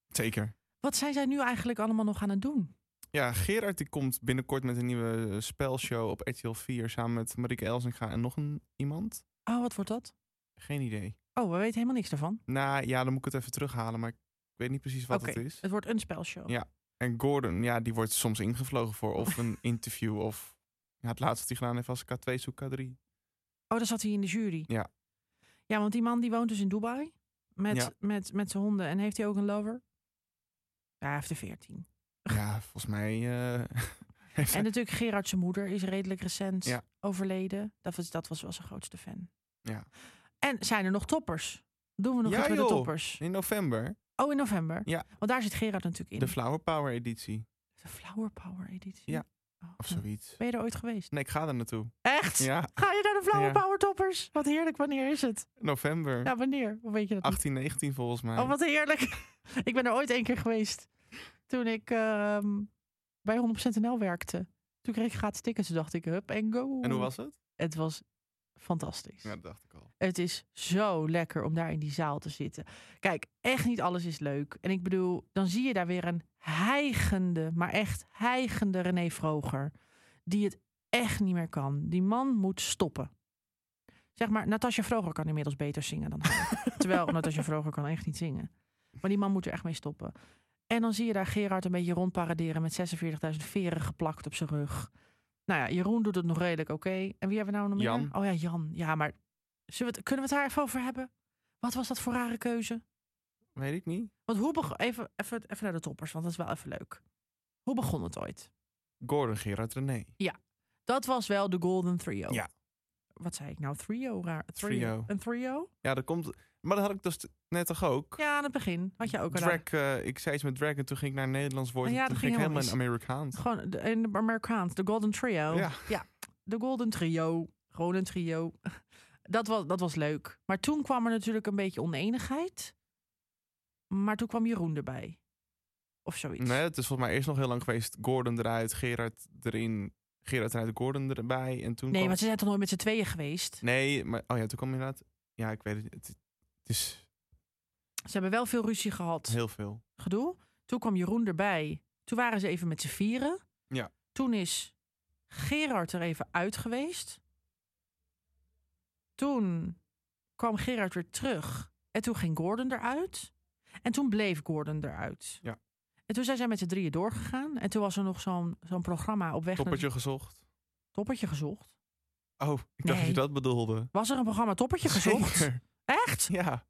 Speaker 1: Zeker.
Speaker 2: Wat zijn zij nu eigenlijk allemaal nog aan het doen?
Speaker 1: Ja, Gerard die komt binnenkort met een nieuwe eh, spelshow op RTL 4... samen met Marieke Elsinga en nog een, iemand.
Speaker 2: Oh, wat wordt dat?
Speaker 1: Geen idee.
Speaker 2: Oh, we weten helemaal niks daarvan.
Speaker 1: Nou ja, dan moet ik het even terughalen, maar ik weet niet precies wat
Speaker 2: Oké,
Speaker 1: het is.
Speaker 2: Het wordt een spelshow.
Speaker 1: Ja, en Gordon, ja, die wordt soms ingevlogen voor of een interview... of ja, het laatste wat hij gedaan heeft was K2 zoek K3.
Speaker 2: Oh, daar zat hij in de jury.
Speaker 1: Ja,
Speaker 2: Ja, want die man die woont dus in Dubai. Met,
Speaker 1: Ja.
Speaker 2: met, met zijn honden. En heeft hij ook een lover? Ja, hij heeft er veertien.
Speaker 1: ja volgens mij... eh, (laughs) heeft
Speaker 2: En
Speaker 1: hij-
Speaker 2: natuurlijk Gerard zijn moeder is redelijk recent
Speaker 1: Ja.
Speaker 2: overleden. Dat was, dat was wel zijn grootste fan.
Speaker 1: Ja.
Speaker 2: En zijn er nog toppers? Doen we nog
Speaker 1: ja,
Speaker 2: iets met de
Speaker 1: joh,
Speaker 2: toppers?
Speaker 1: in november.
Speaker 2: Oh, in november?
Speaker 1: Ja.
Speaker 2: Want daar zit Gerard natuurlijk in.
Speaker 1: De Flower Power editie.
Speaker 2: De Flower Power editie. Oh,
Speaker 1: Ja. Of
Speaker 2: Hm.
Speaker 1: zoiets.
Speaker 2: Ben je er ooit geweest?
Speaker 1: Nee, ik ga daar naartoe.
Speaker 2: Echt?
Speaker 1: Ja.
Speaker 2: Ga je naar de Flower
Speaker 1: Ja.
Speaker 2: Power toppers? Wat heerlijk, wanneer is het?
Speaker 1: November.
Speaker 2: Ja, wanneer? Hoe weet je dat niet?
Speaker 1: 18, 19 volgens mij.
Speaker 2: Oh, wat heerlijk. (laughs) ik ben er ooit één keer geweest. Toen ik ehm, bij 100% NL werkte. Toen kreeg ik gratis tickets. Toen dacht ik, hup en go.
Speaker 1: En hoe was het?
Speaker 2: Het was fantastisch.
Speaker 1: Ja, dat dacht ik al.
Speaker 2: Het is zo lekker om daar in die zaal te zitten. Kijk, echt niet alles is leuk. En ik bedoel, dan zie je daar weer een hijgende, maar echt hijgende René Vroger. Die het echt niet meer kan. Die man moet stoppen. Zeg maar, Natasja Vroger kan inmiddels beter zingen dan hij. Terwijl Natasja Vroger kan echt niet zingen. Maar die man moet er echt mee stoppen. En dan zie je daar Gerard een beetje rondparaderen met 46.000 veren geplakt op zijn rug. Nou ja, Jeroen doet het nog redelijk oké. En wie hebben we nou nog
Speaker 1: Jan.
Speaker 2: meer? Oh ja, Jan. Ja, maar zullen we het- kunnen we het daar even over hebben? Wat was dat voor rare keuze?
Speaker 1: Weet ik niet.
Speaker 2: Want hoe beg- even, even, even naar de toppers, want dat is wel even leuk. Hoe begon het ooit?
Speaker 1: Gordon, Gerard, René.
Speaker 2: Ja, dat was wel de Golden Trio.
Speaker 1: Ja.
Speaker 2: Wat zei ik nou? Trio? Raar.
Speaker 1: Trio.
Speaker 2: Een trio?
Speaker 1: Ja, dat komt... Maar dat had ik dus t- net toch ook.
Speaker 2: Ja, aan het begin had je ook al.
Speaker 1: Drag, eh, ik zei iets met drag en toen ging ik naar een Nederlands woord.
Speaker 2: Ah, ja,
Speaker 1: en
Speaker 2: dat
Speaker 1: toen
Speaker 2: ging
Speaker 1: ging ik helemaal in
Speaker 2: helemaal
Speaker 1: Amerikaans.
Speaker 2: Gewoon de, in de Amerikaans, de Golden Trio.
Speaker 1: Ja.
Speaker 2: de Golden Trio. Gewoon een trio. (laughs) Dat was, dat was leuk. Maar toen kwam er natuurlijk een beetje oneenigheid. Maar toen kwam Jeroen erbij. of zoiets.
Speaker 1: Nee, het is volgens mij eerst nog heel lang geweest. Gordon eruit, Gerard erin. Gerard eruit, Gordon erbij. En toen
Speaker 2: nee,
Speaker 1: kwam-
Speaker 2: want ze zijn toch nooit met z'n tweeën geweest?
Speaker 1: Nee, maar... Oh ja, toen kwam inderdaad... Ja, ik weet het. Het, het is
Speaker 2: Ze hebben wel veel ruzie gehad.
Speaker 1: heel veel.
Speaker 2: Gedoe. Toen kwam Jeroen erbij. Toen waren ze even met z'n vieren.
Speaker 1: Ja.
Speaker 2: Toen is Gerard er even uit geweest. Toen kwam Gerard weer terug. En toen ging Gordon eruit. En toen bleef Gordon eruit.
Speaker 1: Ja.
Speaker 2: En toen zijn zij met z'n drieën doorgegaan. En toen was er nog zo'n zo'n programma op weg
Speaker 1: Toppertje
Speaker 2: naar...
Speaker 1: gezocht.
Speaker 2: Toppertje gezocht.
Speaker 1: Oh, ik dacht dat
Speaker 2: Nee.
Speaker 1: je dat bedoelde.
Speaker 2: Was er een programma Toppertje
Speaker 1: (laughs)
Speaker 2: gezocht? (laughs)
Speaker 1: Zeker.
Speaker 2: Echt?
Speaker 1: Ja.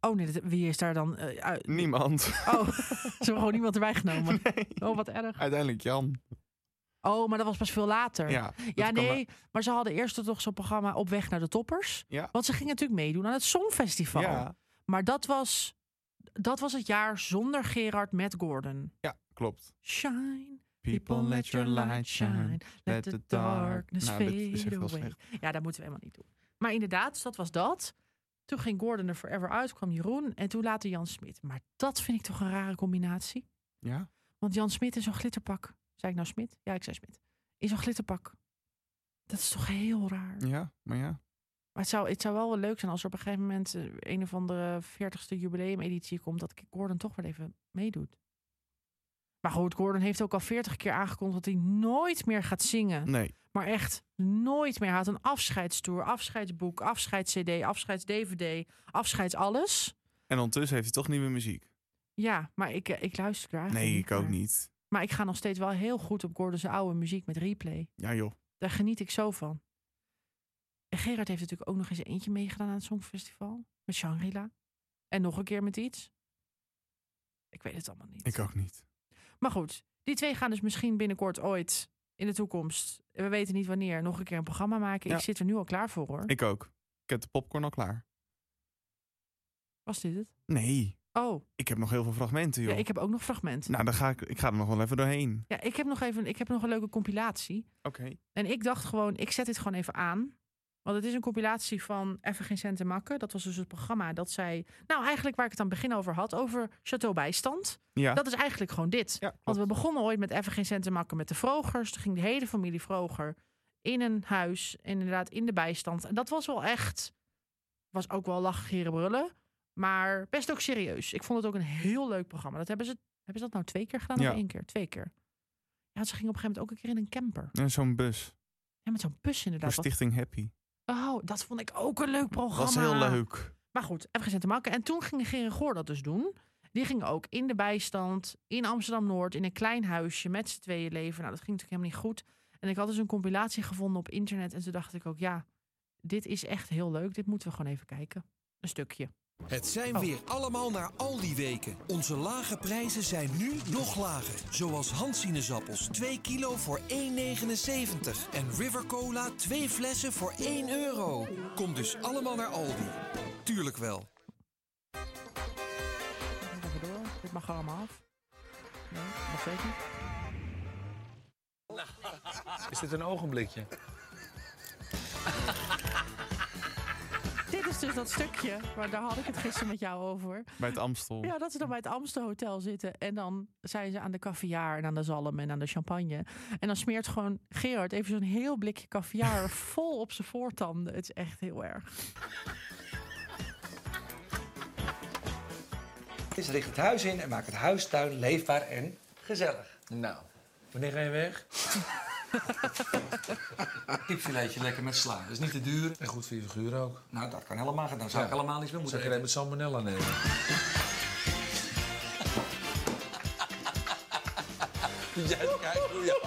Speaker 2: Oh nee, dat- wie is daar dan eh, uit?
Speaker 1: Niemand.
Speaker 2: (laughs) Oh, ze hebben gewoon niemand erbij
Speaker 1: (laughs)
Speaker 2: genomen. Oh, wat erg.
Speaker 1: Uiteindelijk Jan.
Speaker 2: Oh, maar dat was pas veel later.
Speaker 1: Ja, dat kan
Speaker 2: nee,
Speaker 1: maar-
Speaker 2: maar... ze hadden eerst toch zo'n programma Op weg naar de toppers.
Speaker 1: Ja.
Speaker 2: Want ze gingen natuurlijk meedoen aan het Songfestival.
Speaker 1: Ja.
Speaker 2: Maar dat was, dat was het jaar zonder Gerard met Gordon.
Speaker 1: Ja, klopt.
Speaker 2: Shine,
Speaker 1: People let your light shine.
Speaker 2: let the darkness
Speaker 1: Nou, dit is echt
Speaker 2: fade
Speaker 1: heel
Speaker 2: away.
Speaker 1: slecht.
Speaker 2: Ja, dat moeten we helemaal niet doen. Maar inderdaad, dus dat was dat. Toen ging Gordon er forever uit, kwam Jeroen en toen later Jan Smit. Maar dat vind ik toch een rare combinatie.
Speaker 1: Ja?
Speaker 2: Want Jan Smit in zo'n glitterpak. Zei ik nou Smit? Ja, ik zei Smit. In zo'n glitterpak. Dat is toch heel raar.
Speaker 1: Ja, maar ja.
Speaker 2: Maar het zou, het zou wel wel leuk zijn als er op een gegeven moment eh, een of andere 40ste jubileumeditie komt. Dat Gordon toch wel even meedoet. Maar goed, Gordon heeft ook al 40 keer aangekondigd dat hij nooit meer gaat zingen.
Speaker 1: Nee.
Speaker 2: Maar echt nooit meer. Hij had een afscheidstour, afscheidsboek, afscheids-CD, afscheids-DVD, afscheids-alles.
Speaker 1: En ondertussen heeft hij toch nieuwe muziek.
Speaker 2: Ja, maar ik, eh, ik luister daar eigenlijk
Speaker 1: Nee, ik ook
Speaker 2: naar.
Speaker 1: niet.
Speaker 2: Maar ik ga nog steeds wel heel goed op Gordon's oude muziek met replay.
Speaker 1: Ja joh.
Speaker 2: Daar geniet ik zo van. En Gerard heeft natuurlijk ook nog eens eentje meegedaan aan het Songfestival. Met Shangri-La. En nog een keer met iets. Ik weet het allemaal niet.
Speaker 1: Ik ook niet.
Speaker 2: Maar goed, die twee gaan dus misschien binnenkort ooit in de toekomst. We weten niet wanneer. Nog een keer een programma maken.
Speaker 1: Ja.
Speaker 2: Ik zit er nu al klaar voor hoor.
Speaker 1: Ik ook. Ik heb de popcorn al klaar.
Speaker 2: Was dit het?
Speaker 1: Nee.
Speaker 2: Oh,
Speaker 1: Ik heb nog heel veel fragmenten joh.
Speaker 2: ja, ik heb ook nog fragmenten.
Speaker 1: Nou, dan ga ik, ik ga er nog wel even doorheen.
Speaker 2: Ja, ik heb nog even ik heb nog een leuke compilatie.
Speaker 1: Oké.
Speaker 2: En ik dacht gewoon, ik zet dit gewoon even aan. Want het is een compilatie van Even Geen Centen Makken. Dat was dus het programma dat zij... Nou, eigenlijk waar ik het aan het begin over had, over Chateau Bijstand.
Speaker 9: Ja.
Speaker 2: Dat is eigenlijk gewoon dit. Want we begonnen ooit met Even Geen Centen Makken met de Vrogers. Toen ging de hele familie Vroger in een huis, inderdaad in de bijstand. En dat was wel echt... Was ook wel lachen, gieren, brullen. Maar best ook serieus. Ik vond het ook een heel leuk programma. Dat hebben ze, hebben ze dat nou twee keer gedaan
Speaker 1: Ja.
Speaker 2: of één keer? Twee keer. Ja, ze gingen op een gegeven moment ook een keer in een camper.
Speaker 1: En zo'n bus.
Speaker 2: Ja, met zo'n bus
Speaker 1: Voor
Speaker 2: inderdaad. Wat-
Speaker 1: Stichting Happy.
Speaker 2: Oh, dat vond ik ook een leuk programma.
Speaker 1: Was heel leuk.
Speaker 2: Maar goed, even gezet te maken. En toen ging Gerrit Goor dat dus doen. Die ging ook in de bijstand, in Amsterdam-Noord, in een klein huisje met z'n tweeën leven. Nou, dat ging natuurlijk helemaal niet goed. En ik had dus een compilatie gevonden op internet. En toen dacht ik ook, ja, dit is echt heel leuk. Dit moeten we gewoon even kijken. Een stukje.
Speaker 25: Het zijn weer allemaal naar Aldi weken. Onze lage prijzen zijn nu nog lager. Zoals handsienezappels 2 kilo voor 1,79. En River Cola 2 flessen voor 1 euro. Kom dus allemaal naar Aldi. Tuurlijk wel.
Speaker 2: Even door. Dit mag allemaal af. Nee, nog steeds niet.
Speaker 18: Is dit een ogenblikje?
Speaker 2: Dit is dus dat stukje, maar daar had ik het gisteren met jou over.
Speaker 1: Bij het Amstel.
Speaker 2: Ja, dat ze dan bij het Amstel Hotel zitten. En dan zijn ze aan de caviar en aan de zalm en aan de champagne. En dan smeert gewoon Gerard even zo'n heel blikje
Speaker 18: (laughs)
Speaker 2: caviar vol op zijn voortanden. Het is echt heel erg.
Speaker 4: Dus richt het huis in en maak het huistuin leefbaar en gezellig.
Speaker 24: Nou.
Speaker 4: Wanneer ga je (laughs) weg? Kipfiletje lekker met sla. Dat is niet te duur. En goed voor je figuur ook. Nou, dat kan helemaal. Dan zou ik
Speaker 24: Ja.
Speaker 4: helemaal niks meer moeten
Speaker 24: Zou je dat
Speaker 4: eten.
Speaker 24: met salmonella nemen?
Speaker 4: (laughs) Ja, kijk hoe je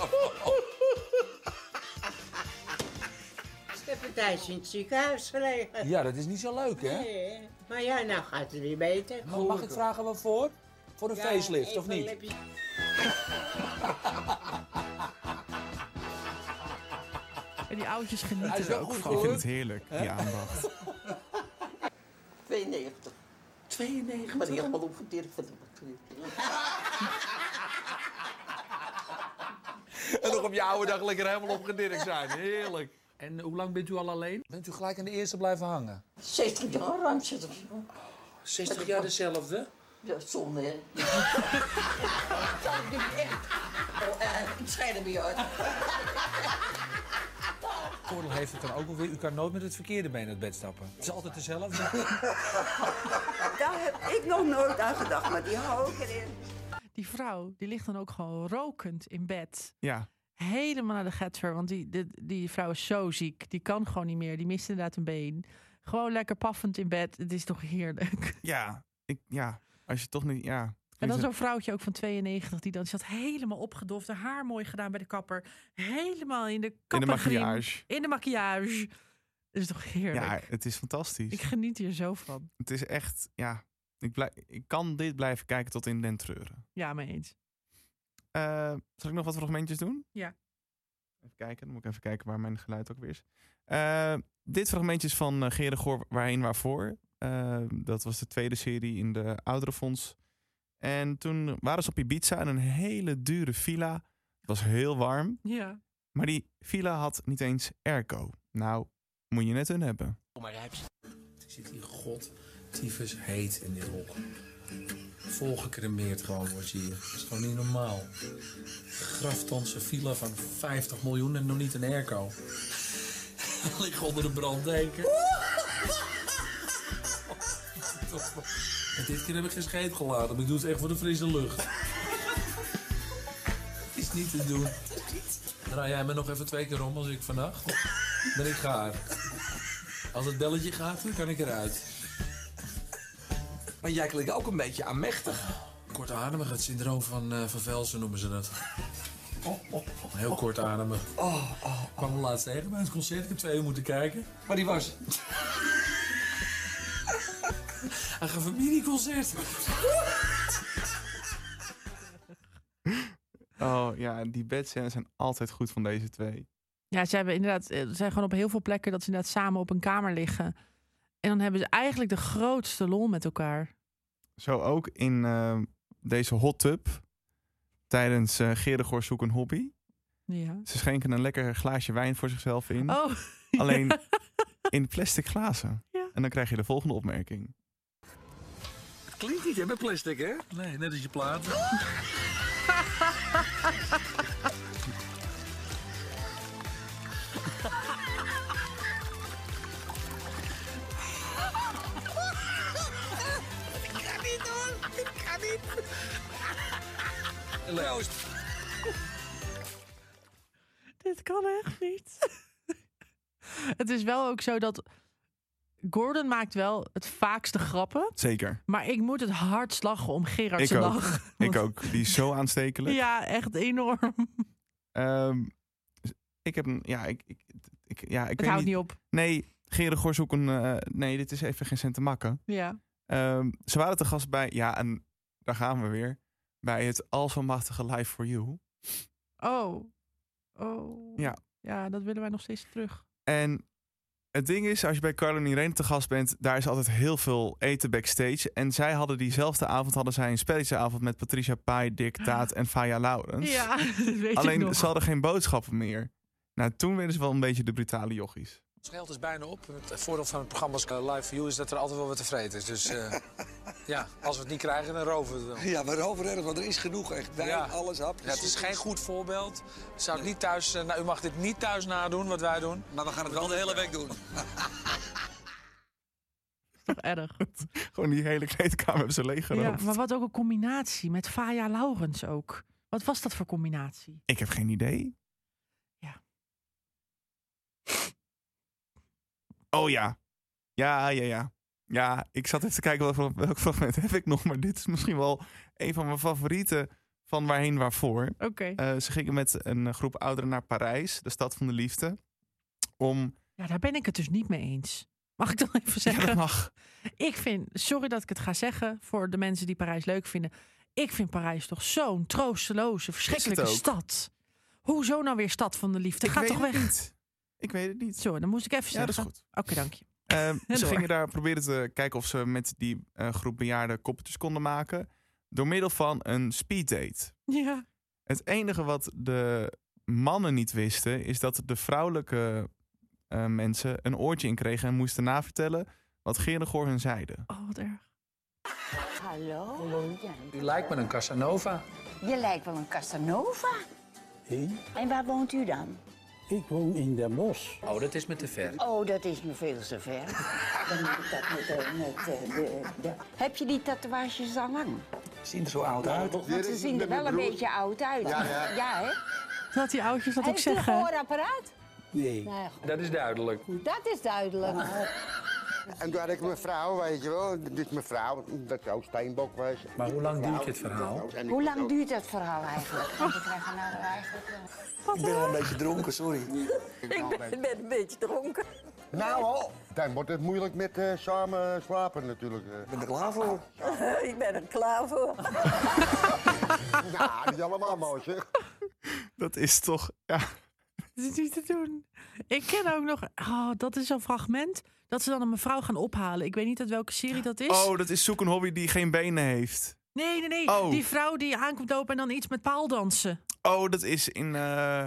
Speaker 6: Ik heb een tijdje in het ziekenhuis gelegen.
Speaker 24: Ja, dat is niet zo leuk, hè?
Speaker 6: Nee, maar ja, nou gaat het weer beter.
Speaker 24: Maar mag ik vragen waarvoor? Voor een
Speaker 6: Ja,
Speaker 24: facelift, of
Speaker 6: even
Speaker 24: niet?
Speaker 6: lipje-
Speaker 2: En die oudjes genieten
Speaker 6: Hij is
Speaker 2: er
Speaker 6: wel
Speaker 2: ook
Speaker 6: goed,
Speaker 2: van.
Speaker 1: Ik vind het heerlijk, die
Speaker 6: Hè? (laughs)
Speaker 1: aandacht.
Speaker 6: 92. 92? Maar helemaal opgedirkt van de natuur.
Speaker 24: En nog op je oude dag lekker helemaal opgedirkt zijn. Heerlijk. En hoe lang bent u al alleen? Bent u gelijk aan de eerste blijven hangen?
Speaker 6: 60 jaar ruim zit of zo.
Speaker 24: 60 jaar dezelfde?
Speaker 6: Dat is zonde, (laughs) hè? dat is nu echt. Oh, eh, ik scheid er weer uit.
Speaker 18: Het voordeel heeft het dan ook alweer. U kan nooit met het verkeerde been uit bed stappen. Het is altijd dezelfde.
Speaker 6: Daar heb ik nog nooit aan gedacht, maar die hou ik erin.
Speaker 2: Die vrouw, die ligt dan ook gewoon rokend in bed.
Speaker 1: Ja.
Speaker 2: Helemaal naar de getver, want die, die, die vrouw is zo ziek. Die kan gewoon niet meer. Die mist inderdaad een been. Gewoon lekker paffend in bed. Het is toch heerlijk.
Speaker 1: Ja, ik, ja. Als je toch niet, ja.
Speaker 2: En dan zo'n vrouwtje ook van 92 die dan zat helemaal opgedoft. Haar haar mooi gedaan bij de kapper. Helemaal in de kappergriem.
Speaker 1: maquillage.
Speaker 2: In de maquillage. Het is toch heerlijk.
Speaker 1: Ja, het is fantastisch.
Speaker 2: Ik geniet hier zo van.
Speaker 1: Het is echt, ja. Ik, blij, ik kan dit blijven kijken tot in den treuren.
Speaker 2: Ja, mee eens.
Speaker 1: Eh, zal ik nog wat fragmentjes doen?
Speaker 2: Ja.
Speaker 1: Even kijken, dan moet ik even kijken waar mijn geluid ook weer is. Eh, dit fragmentje is van eh Gere Goor, Waarheen Waarvoor. Eh, dat was de tweede serie in de Ouderenfonds. En toen waren ze op Ibiza in een hele dure villa. Het was heel warm.
Speaker 2: Ja.
Speaker 1: Maar die villa had niet eens airco. Nou, moet je net hun hebben.
Speaker 17: Kom maar, Rijps. Ik zit hier god tyfus heet in dit hok. Volgecremeerd gewoon wordt je hier. Dat is gewoon niet normaal. Graftonse villa van 50 miljoen en nog niet een airco. (laughs) Lig onder de (laughs) branddeken. en dit keer heb ik geen scheet geladen, maar ik doe het echt voor de frisse lucht. Het (laughs) is niet te doen. Draai jij me nog even twee keer om als ik (laughs) vannacht? Ben ik gaar. Als het belletje gaat, dan kan ik eruit. Maar jij klinkt ook een beetje aanmächtig. Kortademig, het syndroom van, eh van Velsen noemen ze dat. Heel kortademig. Oh, Ik kwam laatst tegen bij het concert, ik heb twee uur moeten kijken. Maar die was... Hij gaf een mini-concert.
Speaker 1: Oh ja, die bedscènes zijn altijd goed van deze twee.
Speaker 2: Ja, ze hebben inderdaad, eh, ze zijn gewoon op heel veel plekken dat ze inderdaad samen op een kamer liggen. En dan hebben ze eigenlijk de grootste lol met elkaar.
Speaker 1: Zo ook in eh, deze hot tub. Tijdens eh Geregor zoek een hobby.
Speaker 2: Ja.
Speaker 1: Ze schenken een lekker glaasje wijn voor zichzelf in.
Speaker 2: Oh.
Speaker 1: Alleen in plastic glazen. En dan krijg je de volgende opmerking.
Speaker 17: Het klinkt niet, hè, met plastic, hè? Nee, net als je (laughs) platen.
Speaker 3: Ik ga niet hoor, ik ga niet.
Speaker 17: Joost.
Speaker 2: Dit kan echt niet. (laughs) het is wel ook zo dat Gordon maakt wel het vaakste grappen.
Speaker 1: (laughs) Zeker.
Speaker 2: Maar ik moet het hard slagen om Gerard
Speaker 1: Ik
Speaker 2: te
Speaker 1: ook.
Speaker 2: lachen.
Speaker 1: (laughs) Ik ook. Die is zo aanstekelijk.
Speaker 2: (laughs) Ja, echt enorm.
Speaker 1: Ehm, ik heb een. Ja, ik. ik, ik- ja, ik weet
Speaker 2: houdt niet op.
Speaker 1: Nee, Geregor zoek een. eh, nee, dit is even geen cent te makken.
Speaker 2: Ja.
Speaker 1: Ehm, ze waren te gast bij. Ja, en daar gaan we weer. Bij het almachtige Live for You.
Speaker 2: Oh. Oh.
Speaker 1: Ja.
Speaker 2: Ja, dat willen wij nog steeds terug.
Speaker 1: En het ding is, als je bij Carlo Irene te gast bent, daar is altijd heel veel eten backstage. En zij hadden diezelfde avond hadden zij een spelletjeavond met Patricia Pai, Dick Taat en Faya Laurens.
Speaker 2: Ah. Ja, (laughs) dat weet ik
Speaker 1: Alleen
Speaker 2: nog.
Speaker 1: ze hadden geen boodschappen meer. Nou, toen werden ze wel een beetje de brutale jochies. (laughs)
Speaker 17: Ons geld is dus bijna op. Het voordeel van het programma als eh, Live for You is dat er altijd wel wat te vreten is. Dus (laughs) eh, ja, als we het niet krijgen, dan roven we het wel.
Speaker 7: Ja, we roven erg, want er is genoeg. Echt wijn,
Speaker 17: Ja.
Speaker 7: alles, hapjes.
Speaker 17: Ja, het is geen goed voorbeeld. Zou ik niet thuis, eh, nou, u mag dit niet thuis nadoen wat wij doen. Maar we gaan het wel de hele week doen.
Speaker 2: Toch (laughs)
Speaker 1: (laughs)
Speaker 2: erg.
Speaker 1: Gewoon die hele kleedkamer hebben ze
Speaker 2: Ja,
Speaker 1: leeggeroofd.
Speaker 2: maar wat ook een combinatie met Faya Laurens ook. Wat was dat voor combinatie?
Speaker 1: Ik heb geen idee. Ja. Oh ja. Ja, ja, ja. Ja, ik zat even te kijken welk, welk fragment heb ik nog. Maar dit is misschien wel een van mijn favorieten van Waarheen Waarvoor.
Speaker 2: Oké.
Speaker 1: Eh, ze gingen met een groep ouderen naar Parijs, de stad van de liefde. Om...
Speaker 2: Ja, daar ben ik het dus niet mee eens. Mag ik dan even zeggen?
Speaker 1: mag.
Speaker 2: Ik vind, sorry dat ik het ga zeggen voor de mensen die Parijs leuk vinden. Ik vind Parijs toch zo'n troosteloze, verschrikkelijke
Speaker 1: ook?
Speaker 2: stad. Hoezo nou weer stad van de liefde? Ga
Speaker 1: weet
Speaker 2: toch
Speaker 1: het
Speaker 2: weg.
Speaker 1: niet. Ik weet het niet.
Speaker 2: Zo, dan moest ik even
Speaker 1: Ja, dat is
Speaker 2: zeggen. Oké, dank je. (laughs)
Speaker 1: Ehm, ze
Speaker 2: Door.
Speaker 1: gingen daar proberen te kijken of ze met die eh, groep bejaarden koppeltjes konden maken. Door middel van een speeddate.
Speaker 2: Ja.
Speaker 1: Het enige wat de mannen niet wisten, is dat de vrouwelijke eh, mensen een oortje in kregen en moesten navertellen wat Gerengoor hun zeiden.
Speaker 2: Oh, wat erg.
Speaker 3: Hij
Speaker 10: Hallo.
Speaker 4: U lijkt me een Casanova.
Speaker 10: Je lijkt wel een Casanova. En waar woont u dan?
Speaker 4: Ik woon in Den Bosch. Oh, dat is me te ver.
Speaker 10: Oh, dat is me veel te
Speaker 4: (laughs)
Speaker 10: ver. Dan moet ik dat met, eh, met eh, de, de- Heb je die tatoeages al lang?
Speaker 4: Zien er zo oud uit.
Speaker 10: Want ze zien er wel een beetje oud uit.
Speaker 4: Ja, ja.
Speaker 10: hè?
Speaker 2: Dat die oudjes dat ook
Speaker 10: Heeft u een
Speaker 2: zeggen.
Speaker 10: gehoorapparaat?
Speaker 4: Nee.
Speaker 10: Nou ja,
Speaker 4: Dat is duidelijk.
Speaker 10: dat is duidelijk.
Speaker 12: En toen had ik mijn vrouw, weet je wel. Dus mijn vrouw, dat ook steenbok was.
Speaker 4: Maar hoe lang duurt dit verhaal?
Speaker 10: Hoe lang duurt dat verhaal eigenlijk? Want ik krijg er nou eigenlijk... eh,
Speaker 4: Ik ben al een beetje dronken, sorry.
Speaker 10: Ik ben, ben een beetje dronken. (laughs)
Speaker 12: Nou al. Dan wordt het moeilijk met eh, samen slapen natuurlijk. eh. Ik ben er klaar voor.
Speaker 10: ik ben er klaar voor.
Speaker 12: (laughs) Ja, die allemaal mooi zeg.
Speaker 1: Dat is toch... Ja.
Speaker 2: Dat is niet te doen. Ik ken ook nog... Oh, dat is zo'n fragment dat ze dan een mevrouw gaan ophalen. Ik weet niet uit welke serie dat is.
Speaker 1: Oh, dat is zoek een hobby die geen benen heeft.
Speaker 2: Nee, nee, nee.
Speaker 1: Oh.
Speaker 2: Die vrouw die aankomt lopen en dan iets met paaldansen.
Speaker 1: Oh, dat is in... eh,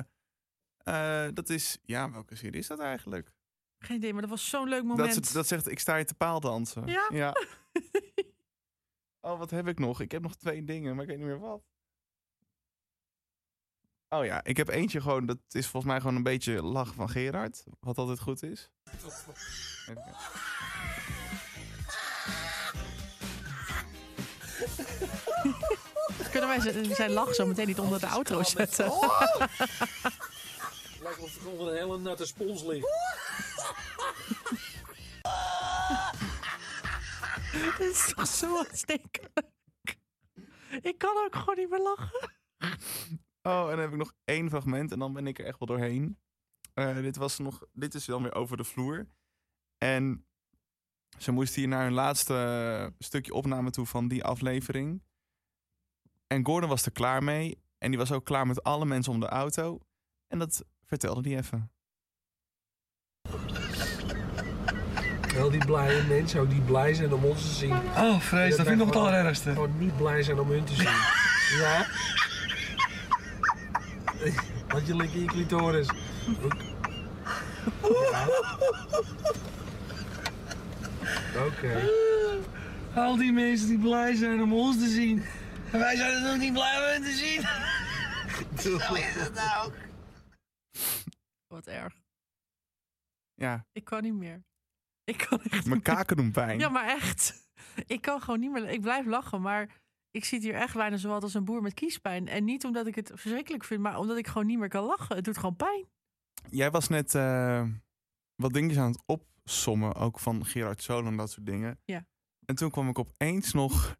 Speaker 1: eh, dat is... Ja, welke serie is dat eigenlijk?
Speaker 2: Geen idee, maar dat was zo'n leuk moment.
Speaker 1: Dat, ze- dat zegt, ik sta je te paaldansen.
Speaker 2: Ja? (laughs)
Speaker 1: Oh, wat heb ik nog? Ik heb nog twee dingen, maar ik weet niet meer wat. Oh ja, ik heb eentje gewoon, dat is volgens mij gewoon een beetje lachen van Gerard. Wat altijd goed is. Even kijken.
Speaker 2: Kunnen wij z- zijn lach zo meteen niet onder de outro zetten?
Speaker 17: Lijkt alsof er onder een hele natte spons ligt.
Speaker 2: Dit (laughs) is toch zo aanstekelijk. Ik kan ook gewoon niet meer lachen.
Speaker 1: Oh, en dan heb ik nog één fragment en dan ben ik er echt wel doorheen. Eh, dit, was nog, dit is dan weer over de vloer. En ze moest hier naar hun laatste eh, stukje opname toe van die aflevering. En Gordon was er klaar mee. En die was ook klaar met alle mensen om de auto. En dat vertelde hij even.
Speaker 17: Wel die blije mensen, ook die blij zijn om ons te zien.
Speaker 4: Oh, vrees, dat vind ik nog het allerergste.
Speaker 17: Gewoon niet blij zijn om hun te
Speaker 4: (laughs)
Speaker 17: zien. ja. Want je ligt in je clitoris. Ook- Ja. Oké.
Speaker 4: Al die mensen die blij zijn om ons te zien. En wij zijn er nog niet blij om hen te zien.
Speaker 17: (laughs)
Speaker 4: Zo is het nou.
Speaker 2: Wat erg.
Speaker 1: Ja,
Speaker 2: Ik kan niet meer. Ik kan echt
Speaker 1: mijn kaken doen pijn.
Speaker 2: (laughs) Ja, maar echt. Ik kan gewoon niet meer. Ik blijf lachen, maar ik zit hier echt bijna zo wat als een boer met kiespijn. En niet omdat ik het verschrikkelijk vind, maar omdat ik gewoon niet meer kan lachen. Het doet gewoon pijn.
Speaker 1: Jij was net eh, wat dingetjes aan het opsommen. Ook van Gerard Sol en dat soort dingen.
Speaker 2: Ja.
Speaker 1: En toen kwam ik opeens
Speaker 2: (laughs)
Speaker 1: nog...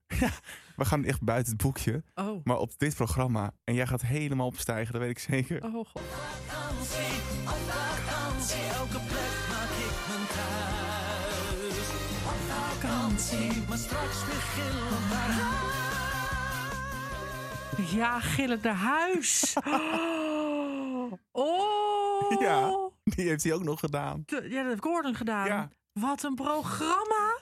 Speaker 1: we gaan echt buiten het boekje.
Speaker 2: Oh.
Speaker 1: Maar op dit programma. En jij gaat helemaal opstijgen, dat weet ik zeker.
Speaker 2: Oh god.
Speaker 9: vakantie, op vakantie, elke plek maak ik mijn thuis. Op vakantie, maar straks weer gillen naar
Speaker 2: Ja, gillend naar
Speaker 1: (laughs)
Speaker 2: huis. Oh. Oh.
Speaker 1: Ja, die heeft hij ook nog gedaan.
Speaker 2: De- ja, dat heeft Gordon gedaan. Wat een
Speaker 1: (laughs)
Speaker 2: programma.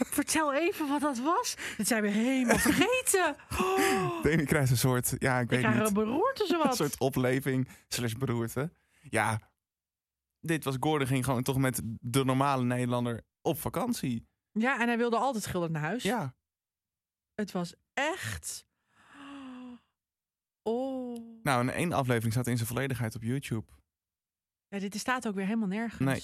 Speaker 2: Vertel even wat dat was. Dat zijn we helemaal vergeten. Oh,
Speaker 1: Demi krijgt een soort, ja, ik
Speaker 2: ik
Speaker 1: weet
Speaker 2: krijg
Speaker 1: niet.
Speaker 2: een beroerte
Speaker 1: Een
Speaker 2: zowat.
Speaker 1: soort opleving slash beroerte. Ja, dit was Gordon ging gewoon toch met de normale Nederlander op vakantie.
Speaker 2: Ja, en hij wilde altijd gillend naar huis.
Speaker 1: Ja.
Speaker 2: Het was echt... (gasps) Oh.
Speaker 1: Nou, en één aflevering staat in zijn volledigheid op YouTube.
Speaker 2: Ja, dit staat ook weer helemaal nergens.
Speaker 1: Nee.